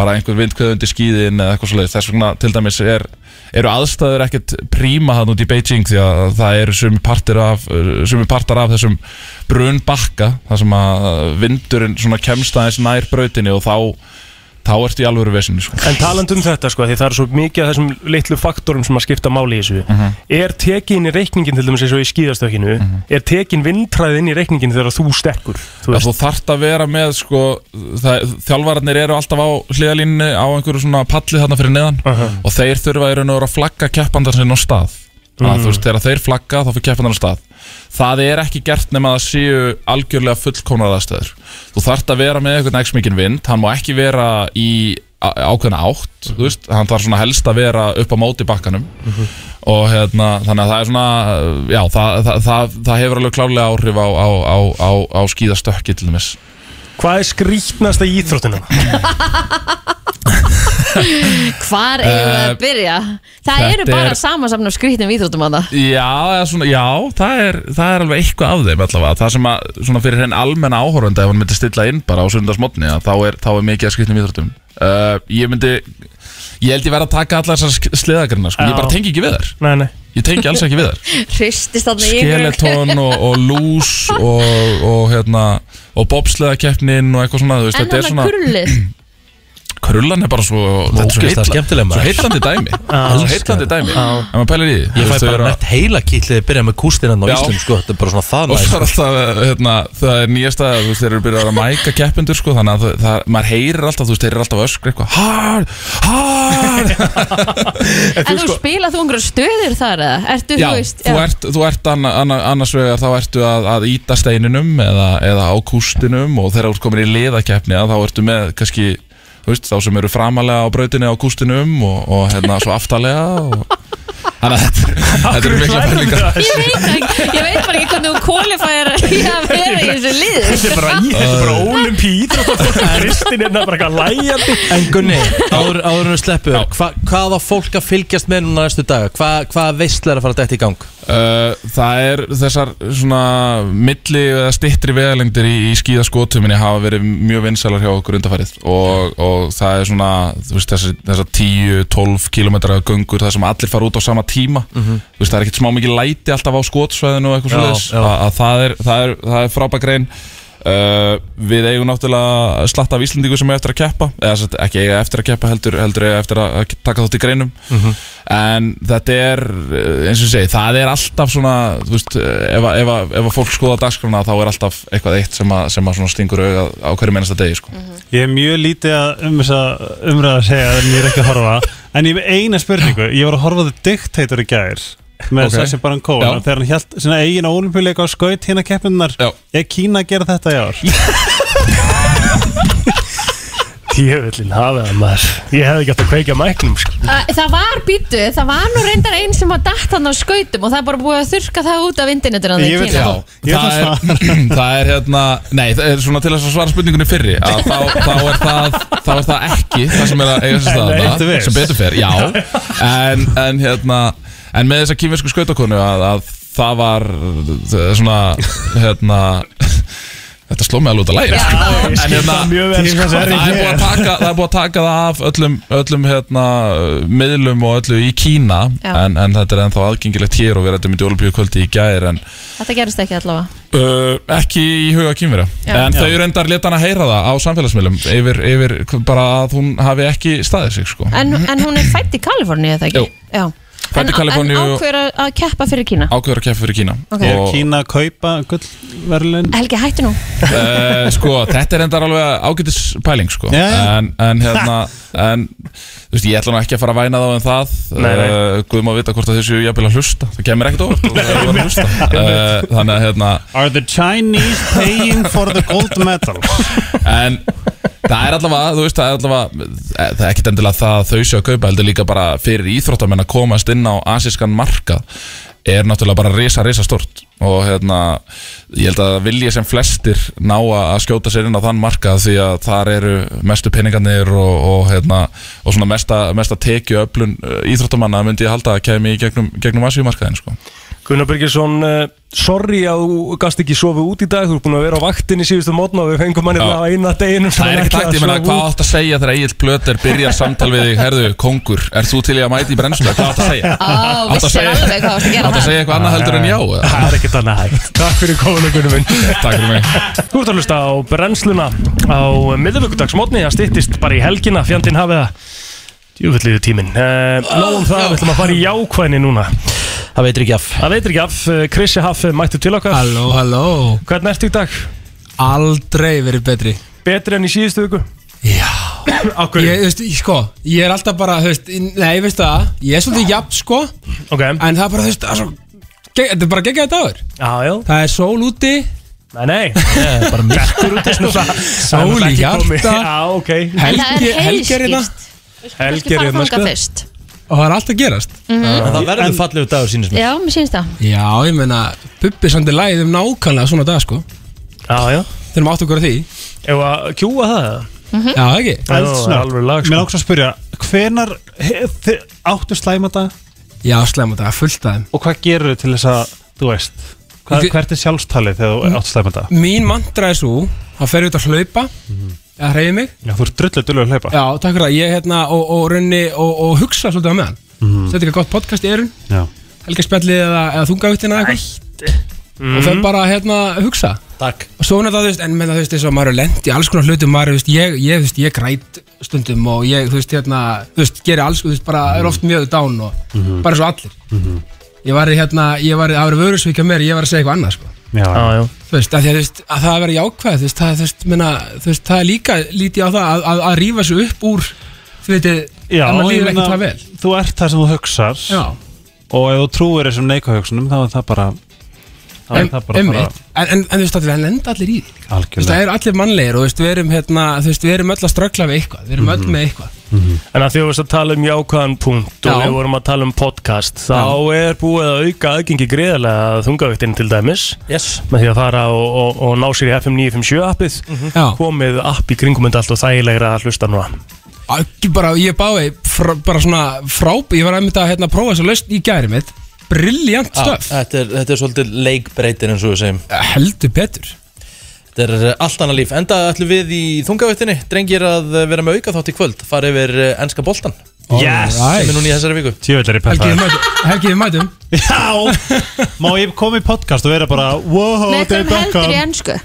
bara einhver vindkveð undir skíðin eða eitthvað svoleiðis, þess vegna til dæmis er eru aðstæður ekkert príma hann út í Beijing því að það eru sumi partir af, sumi partar af þessum brunbakka, þar sem að vindurinn svona kemst aðeins nær brautinni og þá, þá ertu í alvöru vesinni sko.
En taland um þetta sko, því það er svo mikið af þessum litlu faktorum sem að skipta máli í þessu
Mhm.
Er tekin í reikningin til dæmis eins og í skíðastökkinu Er tekin vindræðin í reikningin þegar þú stekkur? Þú
Þú, þú þarft að vera með sko, það, þjálfararnir eru alltaf á hliðalínu á einhverju svona palli þarna fyrir neðan og þeir þurfa í raun og veru að flagga keppandar sinna á stað að,
Mm.
þú veist, þegar þeir flagga þá fyrir keppandar á stað það er ekki gert nema að það séu algjörlega fullkomnar aðstæður þú þarft að vera með einhvern x mikinn vind hann má ekki vera í á- ákveðna átt, þú veist, hann þarf svona helst að vera upp á móti bakkanum og hérna, þannig að það er svona uh, já, það, það, það, það hefur alveg klálega áhrif á, á, á, á, á skíðastökki til dæmis
Hvað er skrýtnasta í íþróttina?
Hvar eigum við að
Eh,
byrja? Það
þetta
eru bara
er-
samansafn af skrýtnum íþróttum að það
Já, eða svona, já það, er, það er alveg eitthvað af þeim allavega Það sem að, svona fyrir henn almenna áhorfenda ef hann myndi stilla inn bara á sundarsmotni þá, er- þá er mikið að skrifnum íþróttum uh, Ég myndi, ég held ég verð að taka allar þessar sleðagrina sko. Ég
Já.
bara tengi ekki við þar
Nei, nei
Ég tengi alls ekki við þar
Hristist þarna í einhverju-
Skeleton og, og lús og, og hérna og bobsleðakeppnin og eitthvað svona þú veist,
En
þetta er
hann
svona,
að krullið
krullan er bara svo þetta er svo
Ógeðslega
heilla-
skemmtileg, maður.
svo heillandi dæmi
Ah.
svo heillandi dæmi, ef maður pælir í því Þú
Ég fæ
veist, þau eru
bara
að-
nett heila kýtlið að byrja með kústinnan á
Já.
Íslum sko, þetta er bara svona það
og
næs,
svo
sko.
er alltaf, hérna, það er nýjasta þú veist, þeir eru byrjað að mæka keppendur sko, þannig að það, það, maður heyrir alltaf, þú veist, þeir eru alltaf öskri eitthvað, hard, hard
En þú spila þú einhverju stöður þar eða? Ertu,
já,
þú veist
þú ert, þú ert anna, anna, annars vegar þá ertu að, að íta steininum eða, eða á kústinum og þegar þú ert komin í liðakeppni að þá ertu með kannski, þú veist, þá sem eru framalega á brautinu á kústinum og, og hérna svo aftalega og Þannig að þetta- þetta eru mikla pælingar
Ég veit, ekki, ég veit bara ekki hvernig þú kvalifæðir að vera í þessu lið
Þetta er bara, þetta er bara ólimpi íþróttafólk Kristinn er bara eitthvað lægjandi
En Gunni, áður, áður en við sleppu hva, Hvað á fólk að fylgjast með núna næstu daga? Hva, hvað veistlega er að fara dætt í gang?
Uh, það er þessar svona milli eða stittri vegalengdir í, í skíðaskotuminni hafa verið mjög vinsælar hjá okkur undarfærið og, og það er svona þú veist, þessar, þessar 10-12 km gungur þar sem allir fara út á sama tíma
Mhm.
þú veist, það er ekkert smá mikið læti alltaf á skotsvæðinu og eitthvað
Já,
svoleiðis
já.
að að það er, það er, það er frábæk grein uh, við eigum náttúrulega slatta af Íslandingu sem er eftir að keppa eða sem sagt, ekki eiga eftir að keppa heldur, heldur eiga eftir að að taka þátt í greinum
Mhm.
en þetta er uh, eins og ég segi, það er alltaf svona þú veist, uh, ef, að- ef, ef, ef að fólk skoða dagskrána þá er alltaf eitthvað eitt sem að, sem að svona stingur auga á hverjum einasta degi sko.
Ég er mjög lítið að um þessa umræða að segja en ég er ekki að horfa En ég er með eina spurningu Ég var að horfa á The Dictator í gær
Ok.
með okay. Sassi Baron Cohen
Já.
og þegar hann hjælt sinna eigin ólimpíuleika á skaut hérna keppinnar Er Kína að gera þetta í ár?
Tjöfullin hafið það maður Ég hefði ekki átt að kveika mæknum sko.
Æ, Það var býtu, það var nú reyndar einn sem var datt hann á skautum og það er bara búið að þurka það út af internetur að
Ég veit það. það er, það er hérna Nei, það er svona til þess að svara spurningunni fyrri að þá, þá, er það, þá er það ekki það sem er að eiga sér
Nei, ertu
staðna
viss?
sem betur fer, já en, en hérna, en með þessa kýmversku skautakonu að, að það var það er svona hérna Þetta sló mig alveg út að læra sko.
ég skil það mjög vel, sko.
hérna, það, er búið að taka, það er búið að taka það af öllum, öllum hérna, miðlum og öllu í Kína
Já.
en, en þetta er ennþá aðgengilegt hér og við erum í Jólubíu kvöldi í gær en,
Þetta gerist ekki allavega
Uh, ekki í huga kýmverja
Já.
En
Já.
þau reyndar leta hann að heyra það á samfélagsmiðlum yfir, yfir bara að hún hafi ekki staðið sig sko
En, en hún er fætt í Kaliforníu, eða ekki?
Jú.
Já.
Fædd í
En-
Kaliforníu
En
og-
ákveður að- að keppa fyrir Kína
Ákveður að keppa fyrir Kína
Ok.
Er Kína að kaupa gullverlun?
Helgi, hættu nú
uh, Sko, þetta er reyndar alveg ágætis pæling sko
Já, já.
En, en hérna en, Þú veist, ég ætla nú ekki að fara að væna þá en það
Nei, nei.
Uh, Guð má vita hvort að þau séu jafnvel að hlusta Það kemur ekkert óvart og þau eru að hlusta uh, Þannig að hérna
Are the Chinese paying for the gold medal?
en það er allavega, þú veist, það er allavega eh, það er ekkit endilega það að þau séu að kaupa heldur líka bara fyrir íþróttamenn að komast inn á asískan markað er náttúrulega bara risa, risa stort og hérna, ég held að vilja sem flestir ná að að skjóta sér inn á þann marka því að þar eru mestu peningarnir og, og, hérna, og svona mesta, mesta tekju öflun íþróttamanna myndi ég halda að kemi í gegnum, gegnum Asíumarkaðin sko.
Gunnar Birgisson, uh, sorry að þú gast ekki sofið út í dag, þú ert búin að vera á vaktin í síðustu mótna og við fengum hann hérna á eina deginum sem
Það er
hann
ekkert
ætlaði
hægt, ég
að
meina,
sofa
hvað
út.
átt að segja þegar Egil Plöter byrjar samtal við þig, herðu, kongur, er þú til í að mæta í brennslu, hvað átt að segja?
Á,
Átt að
vissir
segja-
alveg hvað varstu að gera
Átt að
þar.
segja eitthvað annað heldur en já? eða?
Það er ekkert annað hægt Takk fyrir kominu Gunnar minn
Takk fyrir mig
Þú ert að hlusta á brennsluna á miðvíkudagsmótni Það styttist bara í helgina, fjandinn hafið það Júfulliðu tíminn uh, Nóðum það, við ætlum að fara í jákvæðni núna
Það veitir ekki af
Það veitir ekki af, eh, Krissi Haff mættu til okkar
Halló, halló
Hvernig ertu í dag?
Aldrei verið betri
Betri enn í síðustu viku?
Já ég, þú veist, ég, sko, ég er alltaf bara, þú veist, nei, ég veist það Ég er svolítið jafn, sko
okay.
En það er bara, þú veist, það er svo ge- Þetta er bara geggjaði dagur
Já, já
Það er sól úti
Nei, nei Það
er bara
myrkur úti, sko. Það er
Sól í
ekki komið.
hjarta
Já, ok
En það er
hérna.
hérna.
heiðskýrt.
Helgi
Helgi
er
er
hérna, sko.
fyrst.
Og það er allt að gerast
Mhm. En það verður
fallegu dagur sínist
hérna,
Já, mér sýnst það.
Já, ég meina, Bubbi samt er lægið um nákvæmlega svona dag, sko
Já, já
Þurfum átt okkur á því
Ef að kjúa það
Já, það ekki
Eldsnöggt.
sko.
Mér ákveð að spyrja, hvenar he- þi- áttu slæma dag?
Já, slæma dag, fullt af þeim
Og hvað gerur til þess að, þú veist, hvað,
Þi-
hvert er sjálfstalið þegar þú áttu slæma dag?
Mín mantra er svo Það fer ég út að hlaupa Eða hreyfi mig
Mhm. Já, þú ert drullið dullur að hlaupa
Já, takk fyrir það Ég hérna og, og runni og, og hugsa svolítið á meðan
Mhm.
mm. Þetta er eitthvað gott podcast í erun
Já.
Helgarspjallið eða, eða þungavittina eða eitthvað Og
Mhm.
fer bara hérna að hugsa
Takk
Og svona það, þú veist, en menna, þú veist, þess að maður er lent í alls konar hlutum Maður, er, þú veist, ég, ég, þú veist, ég græt stundum Og ég, þú veist, hérna, þú veist, gerir alls Þú veist, bara er oft mjög dán og
Mhm.
bara svo allir Ég var í, hérna, ég var, það var vörusvíkja mér Ég var að segja eitthvað annað, sko
Já,
já
þú veist, að, að, þú veist, að það að vera jákvæð þú veist, það, þú veist, menna, þú veist, það er líka lítið á það að, að, að rífa sig upp úr þú veit,
Já,
að maður
ég
líður ekki
meina,
það vel
Þú ert það sem þú hugsar
Já.
Og ef þú trúir þessum neikahugsunum þá er það bara þá er
en,
það bara,
en,
bara
en, en þú veist, það er lenda allir í því líka. Þú veist,
algjörlega
það eru allir mannlegir og þú veist, við erum, hérna, þú veist, við erum öll að ströggla við eitthvað við erum öll með eitthvað
Mhm. En að því að við varst að tala um jákvæðan punkt og
Já.
við vorum að tala um podcast þá er búið að auka aðgengi greiðarlega að þungaviktinn til dæmis
yes.
með því að fara og, og, og ná sér í FM 957 appið
Já.
komið app í kringum en allt og þægilegra að hlusta núna
Ekki bara, ég báði fr, bara svona fráb ég var einmitt að hérna, prófa þess að laust í gæri mitt brilljant
Já,
stöf
Ah, þetta, er, þetta er svolítið leikbreytir eins og við segjum
Eh, Heldur betur
Þetta er eh, allt annað líf Enda ætlum við í þungavittinni Drengir að eh, vera með auka þátt í kvöld Fara yfir eh, enska boltan
Yes.
Sem er núna í þessari viku
Tjöfellar í
Helgi, við mætum. Helgi, við mætum
Já, má ég koma í podcast og vera bara Wow,
Með
þetta
hverjum
er
heldur í
Beckham
ennsku?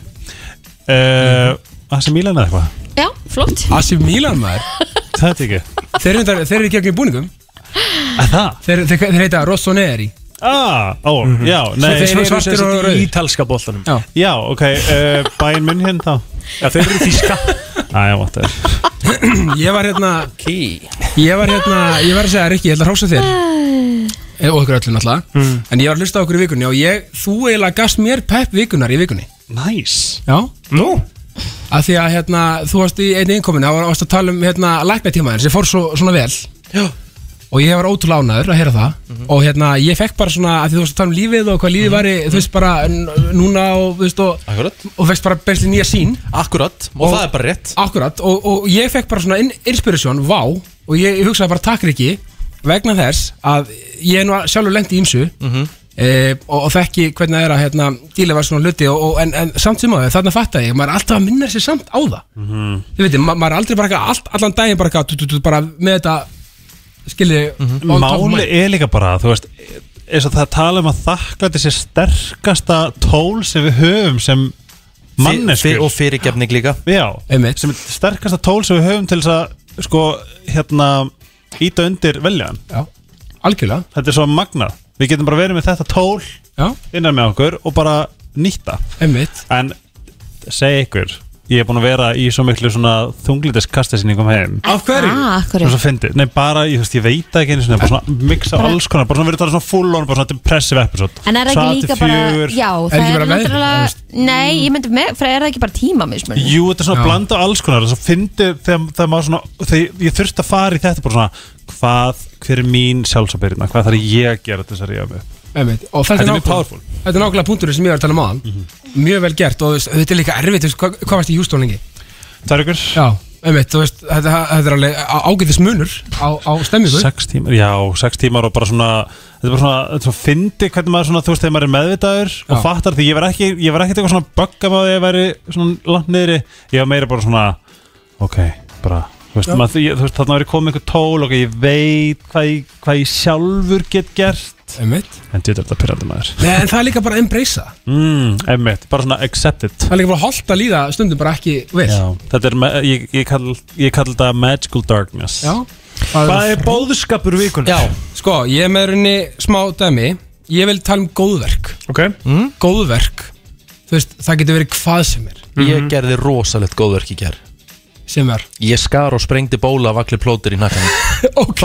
Það sem Mílan eða eitthvað
Já, flott.
Asi Milan maður
Það er ekki
Þeir eru reyndar- þeir eru í gegnum búningum
Það?
Þeir, þeir, þeir heita Rossoneri
Ah, ó,
Mhm.
já,
Svo
nei
þeir eru svartir og rauðir.
Ítalska boltanum
Já,
já ok, uh, bæinn minn hérna þá
Já, þeir eru þíska
Æja, what the
Ég var hérna Ég var hérna, ég var að segja Rikki, ég ætla að hrósa þér Eh, Og okkur öllum náttúrulega En ég var að hlusta á okkur í vikunni Og ég, þú eiginlega gafst mér pepp vikunar í vikunni
Nice
Já
Nú?
Að því að hérna, þú varst í einni innkominu Það varst að tala um hérna læknatímaðin sem fór svo, svona vel
Já
Og ég var ótrúlega ánæður að heyra það
Mhm.
Og hérna, ég fekk bara svona að því þú varst að tala um lífið og hvað lífið væri, þú veist bara n- núna og, þú veist, og,
Akkurat
og veist bara bensli nýja sín
Akkurat, og, það er bara rétt
Akkurat, og, og ég fekk bara svona in- inspiration, vá Og ég, ég hugsaði bara takk Riki Vegna þess að ég er nú að- sjálfur lendi ímsu mm
Mhm.
-hmm. og, og þekki hvernig það er að hérna, díla var svona hluti og, og, en, en samt sem að þarna fatta ég Maður er alltaf að minna sér samt á það
Mhm.
Þið veitir, ma maður er aldrei bara eitthvað allt, Allan daginn bara, eitthvað, tú- tú- tú- bara með þetta Skilji mm
Mhm.
Máli er líka bara, þú veist eins og það tala um að þakklæti sé sterkasta tól sem við höfum sem manneskur
Fi- fi- Og fyrirgefning líka
Já, sem er sterkasta tól sem við höfum til þess að sko, hérna íta undir veljan
Já, algjörlega
Þetta er svo magnað, við getum bara verið með þetta tól
Já.
innan með okkur og bara nýta
Einmitt.
En segi ykkur, ég er búin að vera í svo miklu svona þunglítis kastasynningum heim
Af hverju?
Ah, af
Svona
hverju? Mm.
svo fyndið, nei bara, ég, þú veist, ég veit ekki einu sinni, bara svona miksa
Bara-
alls konar, bara svona verið talað svona full on, bara svona depressive episode
En er það ekki líka bara, já, það er náttúrulega, nei, ég myndi með, fyrir er það ekki bara tímamismun?
Jú, þetta er svona bland á alls konar, þess að fyndi þegar, þegar maður svona, þegar ég þurfti að fara í þetta bara svona, hvað, hver er mín sjálfsabyrðina, hvað þarf ég að gera til þess að ríða mig upp?
einmitt. og þetta,
Þetta er
er
mjög powerful.
nákvæmlega þetta er nákvæmlega punkturinn sem ég var að tala um aðan mjög vel gert og þú veist, þetta er líka erfitt þú veist, hvað, hvað varst í Hjústón lengi?
Tvær ykkur
Já, einmitt, þú veist, þetta, þetta er alveg á- ágætis munur á, á stemmingu
Sex tímar, já, sex tímar og bara svona Þetta er bara svona, þetta er svona fyndi hvernig maður svona, þú veist, þegar maður er meðvitaður og
Já.
fattar því, ég var ekki, ég var ekkert eitthvað svona bögga maður þegar ég væri svona langt niðri ég var meira bara svona, ok, bara þú veist,
Já.
maður, ég, þú veist þarna var ég komið einhver tól og ég veit hvað ég, hvað ég sjálfur get gert
Einmitt.
en þetta er þetta pyrrandi maður
Nei, en það er líka bara að embracea það.
mm, einmitt, bara svona accept it
það er líka bara holdt að líða stundum bara ekki vel
Já, þetta er, ma- ég, ég kall, ég kall þetta magical darkness
Já.
Hvað er bóðskapur vikunum?
Já, sko, ég er með rauninni smá dæmi Ég vil tala um góðverk
okay.
mm. Góðverk Þú veist, það getur verið hvað sem er
Ég gerði rosalegt góðverk í ger
Mhm. Sem er?
Ég skar og sprengdi bóla af allir plótur í nakkanum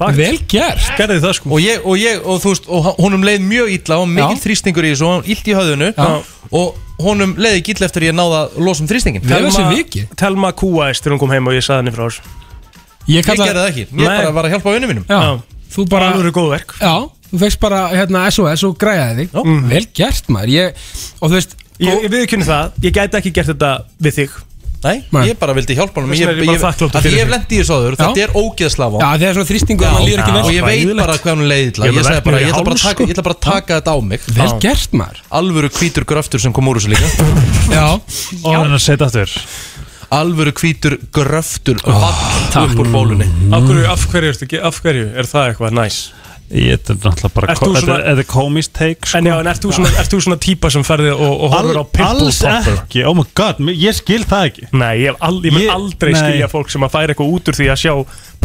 Ok, vel gert
Gerði það sko
Og ég, og ég, og þú veist, og h- honum leið mjög illa og mikill þrýstingur í þessu og hann illt í höðunu
Já.
og honum leið ekki illa eftir að ég náða að losa um þrýstingin
Telma kúaðist þegar hún kom heim og ég saði henni frá þessu
Ég kalla- gerði það ekki. Ég bara var að hjálpa vinnu mínum.
Já, þú bara
Alvöru góðverk
Já, þú veist bara hérna SOS og græjaði þig mm. Vel gert maður ég, Og þú veist
Ég, ég viðkynni það, ég gæti ekki gert þetta við þig
Nei, ég bara vildi hjálpa honum
Þess vegna er ég bara þakkláttur
að
fyrir
ég hef
því.
lendi í þessu áður, þetta
Já.
er ógeðslá
Já, það er svona þrýstingur að maður líður ekki vel.
Og ég veit
Hræðilegt.
bara hvað hann leið
Ég
illa
er
Ég
með
sagði bara,
verknaði í
ég ætla
hálsinum,
bara að taka, ég ætla bara að taka þetta á mig
Vel gert maður
Alvöru hvítur gröftur sem kom úr þessu líka
Já
Og hann er að setja aftur
Alvöru hvítur gröftur Vall upp úr bólunni
Af hverju, af hverju, ertu ekki- af hverju er það eitthvað næs?
Ég er náttúrulega bara
Ert þú
Þetta
svona-
er- þetta er komist take sko.
En já, en ert þú svona, ert þú svona típa sem ferði og, og horfur á Pitbull
Alls
Popper?
ekki, oh my god, mér- ég skil það ekki
Nei, ég, hef al, ég mun
Ég-
aldrei
nei.
skilja fólk sem að færa eitthvað út úr því að sjá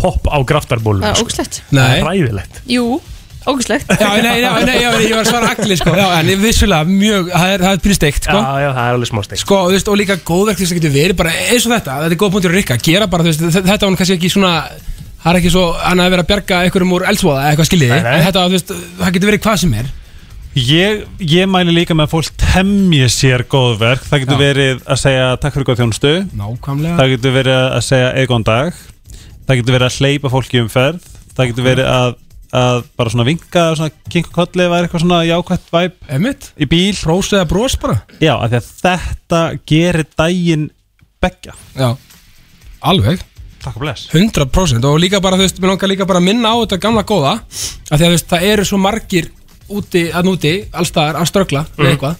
pop á graftarbólum
Það er
sko.
ógislegt
Það er ræðilegt
Jú, ógislegt
Já, nei, já, nei, já, ég var að svara allir sko Já, en vissulega mjög, það er, það er pyrr steikt sko
Já, já, það er alveg smá steikt
Sko, og þú veist, og líka góðverk þess að getur verið bara eins og þetta, þetta er góð punktur að rikka, gera bara, þú veist, þe- þetta var hann kannski ekki svona, það er ekki svo, hann að vera að bjarga einhverjum úr eldsvoða eða eitthvað skiljiði,
Nei, nei.
en þetta, þú veist, það getur verið hvað sem er.
Ég, ég mæli líka með að fólk temja sér góð verk Það getur
Já.
verið að segja takk fyrir góð þjónustu
Nákvæmlega.
Það getur verið að segja eða góðan dag Það getur verið að hleypa fólki um ferð Það getur verið að, að bara svona vinka svona kinka kolli var eitthvað svona jákvætt væp
Einmitt.
Í bíl
Prós eða brós bara
Já, af því að þetta gerir daginn begja
Já, alveg.
Takk og bless
100% og líka bara, þú veist, mér langar líka bara að minna á þetta gamla góða, af því að þú veist, það eru svo margir úti, að núti, allstaðar, að ströggla með
Mhm.
eitthvað,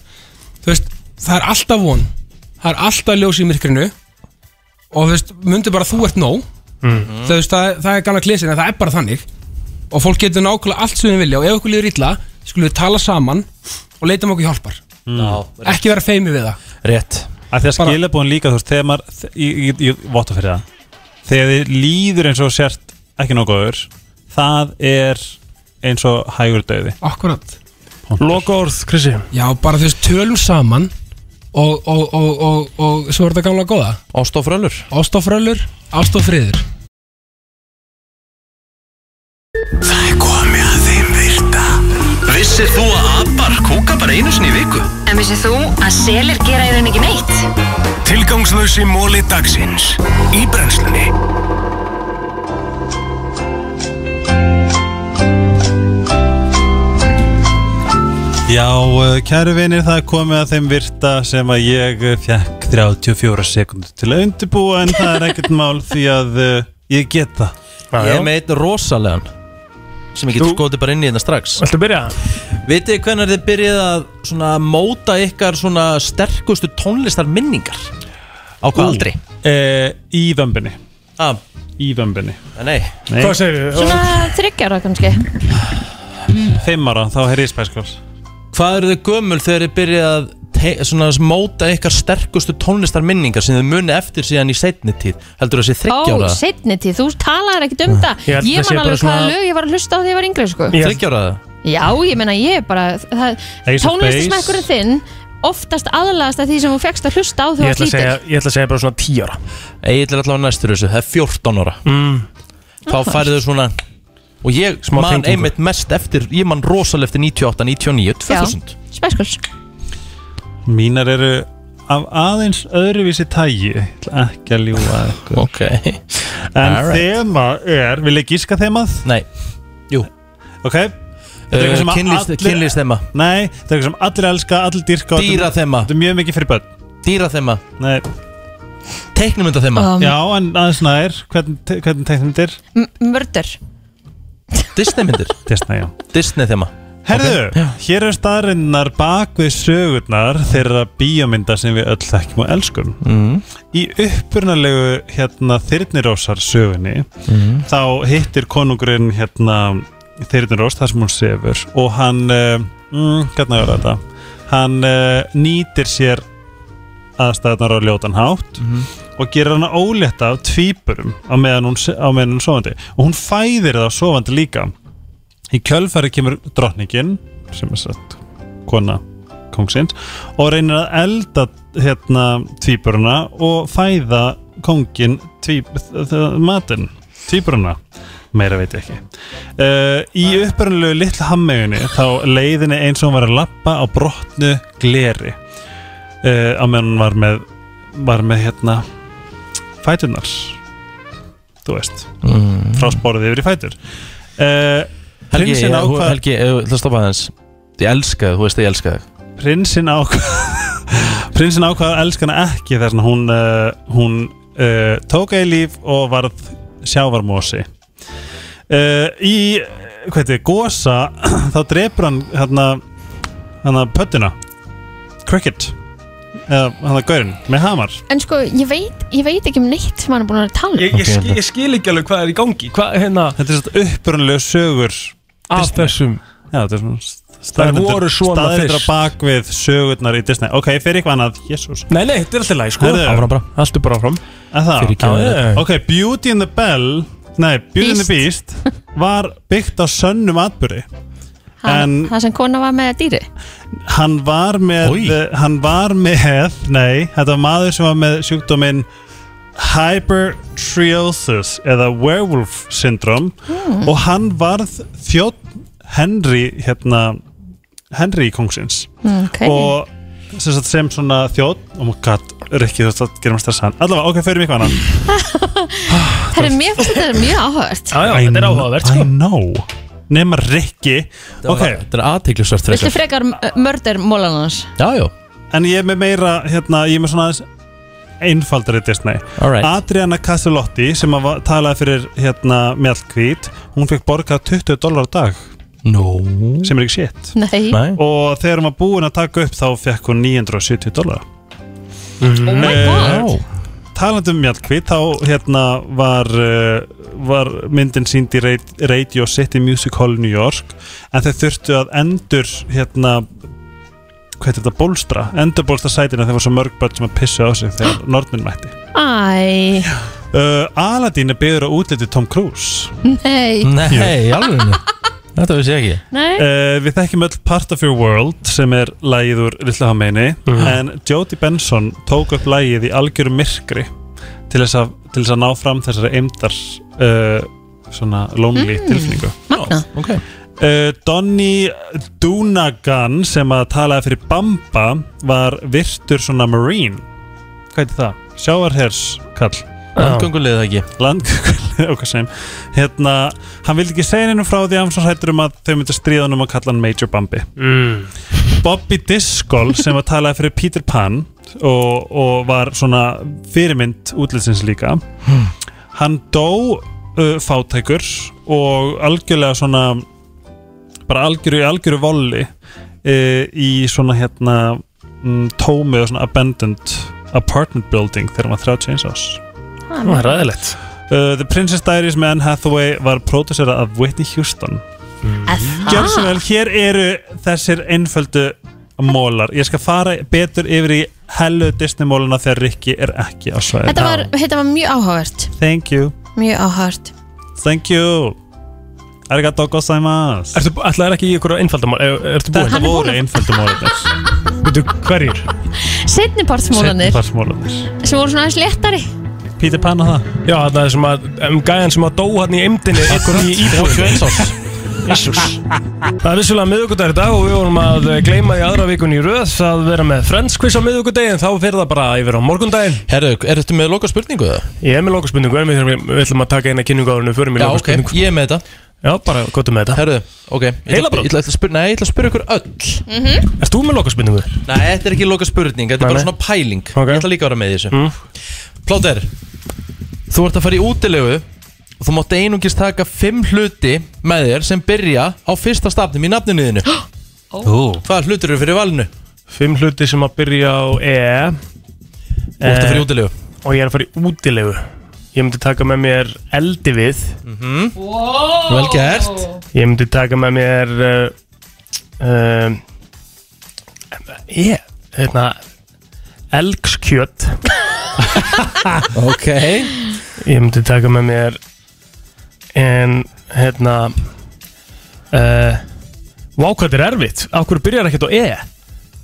þú veist, það er alltaf von, það er alltaf ljós í myrkrinu og þú veist, mundu bara að þú ert nóg,
Mhm.
þú veist, það, það er gamla klísin en það er bara þannig og fólk getur nákvæmlega allt sem við vilja og ef okkur líður illa, skulum við tala saman og leitum okkur hjálpar,
Mm.
Já,
ekki vera feimi við það.
rétt
Af því að skilabóðin líka, þú veist, þegar maður þ- Ég, ég, ég votta fyrir það Þegar þið líður eins og sért ekki nokkuður Það er eins og hægur döði
Akkurat
Loka orð, Krissi
Já, bara þú veist, tölum saman og, og, og, og, og svo er þetta gamla góða
Ást og frölur
Ást og frölur, ást og friður
Það er komið að þeim virta Vissir þú að abar kúka bara einu sinni í viku?
En vissið þú að selir gera í raun ekki neitt?
Tilgangslösi móli dagsins Í brennslunni
Já, uh, kæru vinir, það er komið að þeim virta sem að ég eh, fekk 34 sekundur til að undirbúa en það er ekkert mál því að uh, ég get það
Ég er með einn rosalegan sem ég getur skotið bara inn í þetta strax
Viltu byrja?
Vitið hvernig þið byrjið að svona móta ykkar svona sterkustu tónlistar minningar á hvað aldri?
Uh, í vömbinni
ah.
Í vömbinni
Nei,
Nei.
Hvað segirðu?
Svona þryggjara kannski
Fimm ára, þá heyri ég spæskvars
Hvað eru þið gömul þegar þið byrjið að te- svona móta ykkar sterkustu tónlistar minningar sem þið muni eftir síðan í setni tíð heldur það sé
Ó,
þryggjára
setni tíð, þú talaðir ekkert um það
Ég held
Ég
það sé
man
bara
alveg hvaða
svona-
lög ég var að hlusta á þegar ég var yngri sko.
þryggjára
Já, ég meina ég er bara það-
Ace of
Tónlistasmekkurinn þinn oftast aðlagast að því sem þú fegst að hlusta á þegar þú varst lítill
ég ætla að segja bara svona 10 ára
Egil er allavega næstur þessu, það er 14 ára
mm.
þá færið þau svona og ég
Smá
man
tengingu.
einmitt mest eftir ég man rosalega eftir 98, 99, 2000
Spæskuls
Mínar eru af aðeins öðruvísi tægi Ég ætla ekki að ljúga að ykkur
Ok En
right.
Alright.
þema er, vil ég gíska þemað?
Nei, jú
Ok Þetta er eitthvað sem að
Kynlýst-
allir-
kynlýsþema.
Nei, þetta er eitthvað sem allir elska, allir dyrka og þetta er-
Dýraþema.
Þetta er mjög mikið fyrir börn
Dýraþema
Nei
Teiknumyndaþema
Um.
Já, en aðeins nær, hvern, te- hvernig teiknumyndir?
Mördur
Disneymyndir
Disney, já
Disneyþema
Herðu, hér er staðarinnar bak við sögurnar þeirra bíómynda sem við öll þekkjum og elskum.
Mm.
Í uppurnalegu hérna Þyrnirósar sögunni
Mhm.
þá hittir konungurinn hérna Þyrnirós þar sem hún sefur og hann, eh, mm, hvernig er þetta? Hann uh, nýtir sér aðstæðnar á ljótan hátt
Mhm.
og gerir hana ólétta af tvíburum á meðan hún, se- á meðan hún sofandi og hún fæðir það sofandi líka í kjölfæri kemur drottningin sem er satt kona kongsins og reynir að elda hérna tvíburuna og fæða kongin tvíb, þ- þ- matinn tvíburuna meira veit ég ekki uh, í upprunalegu litla hammeginni þá leiðinni eins og hún var að lappa á brotnu gleri uh, á meðan hún var með var með hérna fætunar þú veist
Mm.
frá sporðið yfir í fætur uh,
Helgi,
prinsinn
ég-
ákvað
Helgi, ef- ætla að stoppa aðeins Ég elska þig, þú veist að ég elska þig
prinsinn ákvað prinsinn ákvað að elska hana ekki þess að hún, uh, hún uh, tók að í líf og varð sjávarmósi uh, í hvað heitir, gósa þá drepur hann hérna, hérna pöttuna cricket eða hann að gaurin með hamar
En sko, ég veit, ég veit ekki um neitt sem hann er búin að tala um.
Ég, ég, skil, ég skil ekki alveg hvað er í gangi Hvað, hérna
Þetta er svona upprunalegu sögur
Af þessum
Já, þetta er svona
Það voru svona
staðir
fyrst.
bak við sögurnar í Disney Ok, fyrir eitthvað annað, jésús
Nei, nei, þetta er alltaf læg, sko
Herðu. Áfram bara.
Alltaf bara áfram
Það,
Fyrir kjáðið. Já, já, já.
ok, Beauty and the Bell Nei, Beauty and the Beast Var byggt á sönnum atbyrði
Hann,
En
það sem kona var með dýri.
hann var með eh, Hann var með Nei, þetta var maður sem var með sjúkdóminn Hypertriosis Eða werewolf syndrom
Mm.
Og hann varð þjótt Henry Hérna Henry kongsins
Mm, ok.
og sem, sagt, sem svona þjótt oh my god, Rikki þú veist að gerum að stressa hann allavega, ok, fyrir mig hvað annan
Það er mjög, þetta er mjög áhört.
já, þetta er áhugavert sko I know, nema Rikki Ok,
Þetta er aðteglisvært
Viltu frekar mördur mólan hans?
Já, já
En ég er með meira, hérna, ég er með svona aðeins einfaldari Disney
Alright.
Adriana Caselotti sem að va- talaði fyrir hérna Mjallkvít hún fekk borgað 20 dólar á dag
no.
sem er ekki shit
Nei.
og þegar hún var búin að taka upp þá fekk hún 970 dólar
Oh my god.
Eh, Talandi um Mjallkvít þá hérna var, uh, var myndin sínd í Rad- Radio City Music Hall New York en þeir þurftu að endur hérna hvað heitir þetta, bólstra, endurbólstra sætina þegar það var svo mörg börn sem að pissa á sig þegar nornin mætti
Æ,
uh, Aladín er byggður á útliti Tom Cruise
nei.
Jú.
Þetta vissi ég
Nei.
Uh, við þekkjum öll Part of Your World sem er lægið úr Lilla Hameini
Mhm.
en Jodie Benson tók upp lægið í algjörum myrkri til þess að, til þess að ná fram þessari eimdar uh, svona lonely
Mm.
tilfinningu
Magna
okay.
uh, Donny Dunagan sem að talaði fyrir Bamba var virtur svona marine hvað heitir það? Sjávarherskall
Landgönguleið ekki
Landgönguleið, okkar sem Hérna, hann vildi ekki segja henni frá því að hann var svo hættur um að þau myndi stríða hann um að kalla hann Major Bambi
mm.
Bobby Discol sem var talaði fyrir Peter Pan og, og var svona fyrirmynd útlitsins líka
Hmm.
hann dó uh, fátækur og algjörlega svona bara algjöru, algjöru volli uh, í svona hérna mm, tómi og svona abandoned apartment building þegar hann var 31 ás
Ah,
Það er ræðilegt
Uh, The Princess Diaries með Anne Hathaway var pródusera af Whitney Houston
Mm.
Gjörðu svo vel, hér eru þessir einföldu mólar Ég skal fara betur yfir í hellu Disney móluna þegar Rikki er ekki á svæði
Þetta var, þetta var mjög áhört.
Thank you,
Mjög áhört.
thank you Arigato gozaimasu
Ertu, ætlaðir ekki í ykkur einfaldamál er, Ertu búin?
Þetta voru einföldumólar
Veitu, hverjir?
Setni partsmólanir
Seinnipartsmólarnir.
sem voru svona aðeins léttari.
Peter Pan og það
Já, það er sem að um, Gæjan sem að dó hann í eimdinni Akkurat, í íbúðinni. Jésús Það er vissulega miðugudagur í dag og við vorum að gleyma í aðra vikun í röð að vera með Friends quiz á miðugudaginn þá fyrir það bara yfir á morgundaginn
Herru, er þetta með loka spurningu það?
Ég er með lokaspurningu en við, þurfum- við ætlum að taka eina kynningu áður en við förum í
Já, ok,
lokaspurningu
ég er með þetta
Já, bara gotum með þetta
Herðu, ok
Heilabrót?
Ég ætla að spyrja, nei, ég ætla að spyrja ykkur öll
Erst þú með lokaspinningu?
Nei, þetta er ekki loka spurning, þetta er bara
Nei, nei. Mm.
svona pæling Ég ætla líka að vera með í þessu Plóter, þú ert að fara í útilegu og þú mátt einungis taka fimm hluti með þér sem byrja á fyrsta stafnum í nafninuðinu
Ó.
Hvað hlutur eru fyrir valinu?
Fimm hluti sem að byrja á E Þú
ert að fara í útilegu
Og ég er að fara í útilegu Ég myndi taka með mér eldi við
Mhm. Vel gert
Ég myndi taka með mér uh, um, Ég Hérna Elgskjöt
Ok
Ég myndi taka með mér En Hérna uh, Vá hvað þetta er erfitt Akkur byrjar ekkert á E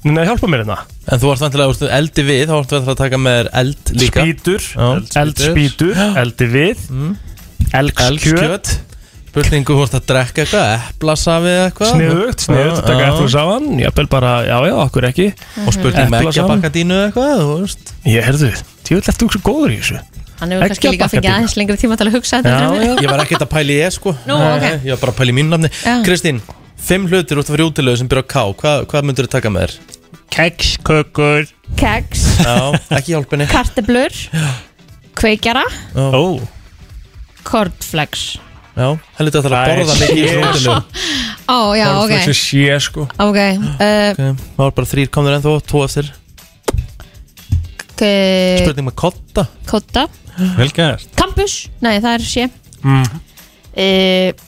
Nei, hjálpa mér hérna
En þú ert vantilega úr eldi við, þá ert vantilega að taka með þér eld líka
Spýtur,
Já.
eldspýtur, eldi við Elgskjöt
Elgskjöt Spurningu hvort að drekka eitthvað, eplasafi eða eitthvað
Sniðugt, sniðugt,
Já,
taka
já.
eftir saman Jafnvel bara, já, já, okkur ekki
Og spurning með
Eplasafann.
eggjabakadínu eða eitthvað, þú veist
Ég herðu, djúvill ert þú svo góður í þessu
Hann hefur kannski líka fengið aðeins lengri tíma til að hugsa þetta
Já,
heldur en
já,
við.
ég var ekkert að pæla í ég sko
Nú, ok.
Nei, Ég var bara að pæla í mínu nafni
Já.
Kristín, fimm hlutir út af fyrir útilegu sem byrja á K Hvað, hvað myndur þú taka með þér?
Keks, kökur
Keks,
Já, ekki hjálpinni
karteblur, kveikjara,
Ó
kornflex.
Já, heldur þetta að borða
Það er
mikið í
shit.
þessu útilegu
Ó, já, ok.
sé sko
Ok, uh,
Ok, Það var bara þrýr komður ennþá, tvo eftir
okay.
Spurning með kotta
kotta,
Vel gert
kampus, nei það er sé,
mm.
uh,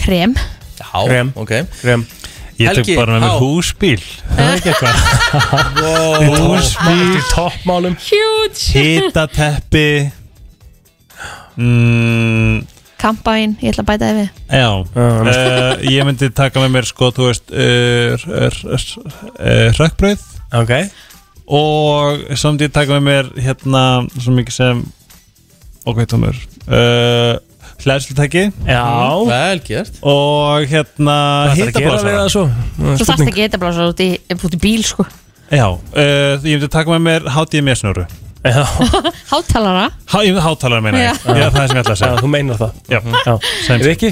krem.
Já, Krem. ok
Krem.
Ég tek
Helgi,
bara með
á.
mér húsbíl Það er ekki
eitthvað
Húsbíl
Toppmálum
Huge.
Hitateppi mm,
Kampavín, ég ætla að bæta þið við.
Já uh, Ég myndi taka með mér sko Þú veist Rökkbröð
Ok
eh, Og svo myndi ég taka með mér Hérna svo mikið sem Ok, tómur uh, Hlæðslutæki
Já.
Mhm. Vel gert
Og hérna
Hvað ætlarðu að gera við það svo?
Þú þarfst ekki eitthvað bara svo út í, út í bíl, sko.
Já, uh, ég myndi taka með mér HDMI-snöru
Já,
Hátalara.
Há, ég myndi hátalara meina ég
Já.
Já, það er sem ég ætla að segja
Já, þú meinar það
Já,
já,
sem
Rikki?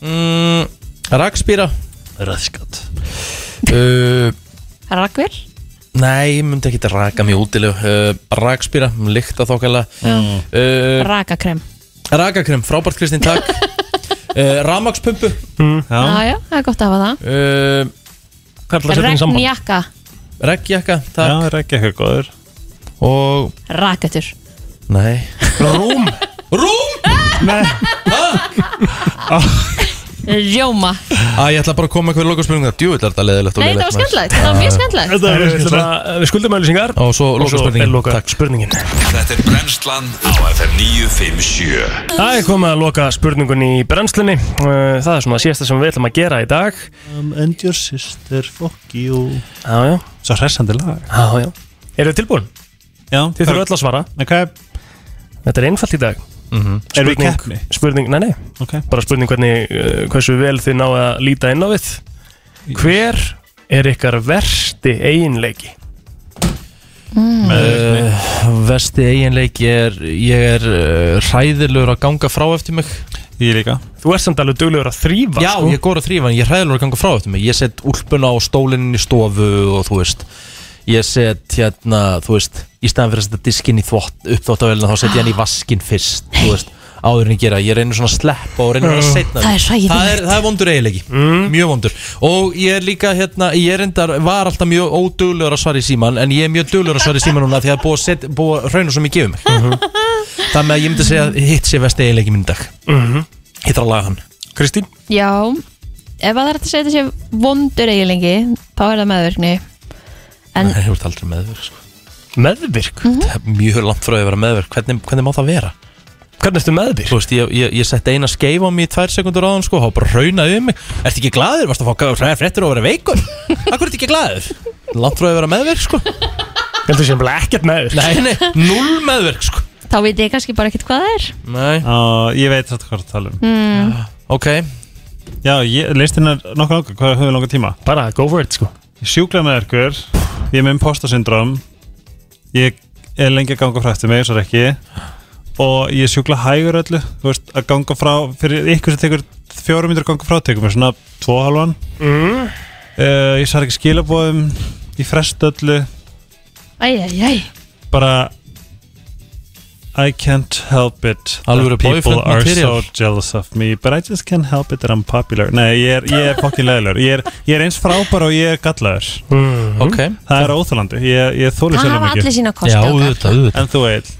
Mhm. Mm, Rakspýra
Raðskat
uh,
Rakvél.
Nei, ég myndi ekki raka mig útilegu uh, Rakspýra, líkta þókala
Mm.
uh,
Rakakrem.
Rakakrem, frábært Kristín, takk uh, Ramakspumpu
mm.
Já. já, það er gott að hafa það.
uh,
um Regnjakka,
Reggjakka, takk
Já, reggjakka, góður
Og,
rakatur.
nei
Rúm
Rúm?
Nei
Rjóma.
Æ, ég ætla bara að koma eitthvað í lokaspurningu Djú, þetta er þetta leðilegt og
Nei,
leiðilegt
það var skemmtilegt. Það var mjög skemmtilegt.
Þetta er svona, við skuldum auðlýsingar
Og svo lokaspurningin.
Takk spurningin
Þetta er brennslan á FM 957
Það er komið að loka spurningun í brennslunni Uh, Það er svona síðasta sem við ætlum að gera í dag
um, And your sister, fuck you
Já, já
Svo hressandi lag
Já, já Eru þið tilbúin?
Já
Þið þurfum öll að svara
okay.
Þetta er einfalt í dag mm -hmm.
Erum við Mhm. í keppni?
Spurning, nei, nei
Ok.
Bara spurning hvernig, uh, hversu vel þið náðu að líta inn á við Hver er ykkar versti eiginleiki?
uh, Vesti eiginleik er, ég er uh, hræðilegur að ganga frá eftir mig
Ég líka
Þú ert samt alveg duglegur að þrýfa
Já,
sko.
ég er góður að þrýfa en ég er hræðilegur að ganga frá eftir mig Ég set úlpuna á stólinn í stofu og þú veist Ég set hérna, þú veist Í staðan fyrir að setja diskinn í þvott uppþóttavélina þá set ég hann í vaskinn fyrst Þú veist, áður en ég gera, ég reynir svona að sleppa og reynir að vera setna
Það er hræðilegt.
það er, það er vondur eiginleiki,
Mm.
mjög vondur Og ég er líka, hérna, ég er endar Var alltaf mjög óduglegur að svara í síman En ég er mjög duglegur að svara í síman núna Því að það er búið að set- búið að hrauna svo mikið um mig
Mhm.
Þannig að ég myndi segja að hitt sé vesti eiginleiki minn í dag
Mhm.
Ég þarf að laga hann
Kristín?
Já, ef að það er hægt að segja þetta sé vondur eiginleiki, þá er það meðvirkni. En
Nei, þú ert aldrei meðvirk sko.
Meðvirk?
Það er mjög langt frá því að vera meðvirk hvernig, hvernig má það vera?
Hvernig ertu meðvirk?
Þú veist, ég, ég, ég setti eina skeif á mig í tvær sekundur áðan sko, og bara raunaði um mig Ertu ekki glaður? Varstu að fá gæða fréttir og vera veikur? Akkur ertu ekki glaður? Langt frá því að vera meðvirk sko
Þetta sé bara ekkert meðvirk
Nei, nei, null meðvirk sko
þá veit ég kannski bara ekkert hvað það er.
Nei
Á, Ég veit þetta hvað það tala um
Mm.
Ok
Já, ég, listin er nokkuð langar, hvað höfum við langar tíma?
Bara, go for it, sko
Sjúkla með ykkur, ég er með impostasyndrom Ég er lengi að ganga frá eftir mig, svo er ekki Og ég sjúkla hægur öllu, þú veist, að ganga frá Fyrir ykkur sem tekur fjórum myndir gangu frátekum er svona tvo og halvan mm. ég sær ekki skilabóðum ég frest öllu
Æj, æj, æj
bara I can't help it
Alvöru
that people
boyfriend
are
material.
so jealous of me but I just can't help it that I'm popular Nei, ég er, ég er fokkin leðilegur ég, er- ég er eins frábær og ég er gallaður
Ok.
Það er óþálandi, ég, ég þóli
Það
sjálf
hafa
mikið
allir sína kosti Já, okkar. auðvitað,
auðvitað En þú eitt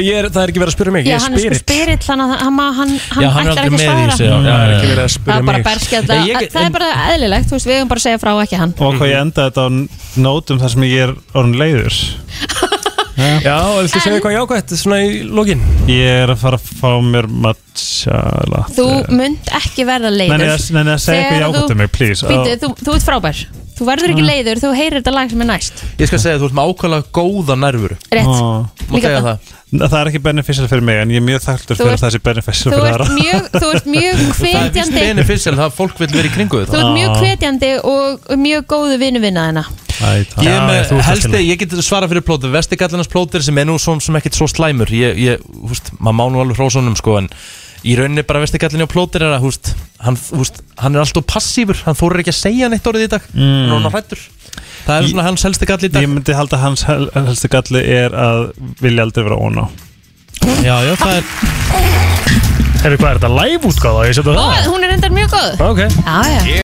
er, Það er ekki verið að spyrja
Já, hann er sko spyrill þannig að hann, hann, hann ætlar ekki að svara
Það er ekki verið að
Það er bara berskjölda, það er bara eðlilegt, þú veist, við höfum bara að segja frá ekki hann
Og hvað
Mhm.
ég enda þetta á n- nótum þar sem ég er orðin leiður
Já, viltu segja eitthvað jákvætt svona í lokin?
Ég er að fara að fá mér matjala
Þú munt ekki verða leiður
Nei, nei, nei, nei, segðu eitthvað jákvætt um mig, please. Mm.
Býtu, þú, þú ert frábær Þú verður ekki leiður, þú heyrir þetta lag sem er næst
Ég skal segja að þú ert með ákvæmlega góða nervur
Rétt.
Má
Líka
segja
það.
það
Nei, Það er ekki beneficial fyrir mig En ég er mjög þakktur
Þú
fyrir
ert-
að það sé beneficial
Þú
fyrir
ert
aðra
mjög, þú ert mjög
Það er vist
hvetjandi
beneficial, það fólk vil vera í kringu
Þú
þetta
ert mjög hvetjandi og og mjög góðu vinnu vinna þina
Ég,
Já,
er
já,
með,
þú ert
helsti,
skemmtileg.
ég get svara fyrir plótur Vestigallannars plótur sem er nú svona sem ekkert svo slæmur ég, ég, húst, maður má nú alveg hrósunum sko en í rauninni bara vestigallinni á plótur er að húst, hann, húst, hann er alltaf passífur hann þórir ekki að segja neitt orðið í dag
Mm.
hann er hann hrættur það er svona hans helsti galli í dag
Ég myndi halda að hans hel- helsti galli er að vilja aldrei vera óná
Já, já, það er
Hefur hvað er þetta live útgáða? Ég setja
Ó, Hún er endar mjög góð
Ok
Já, já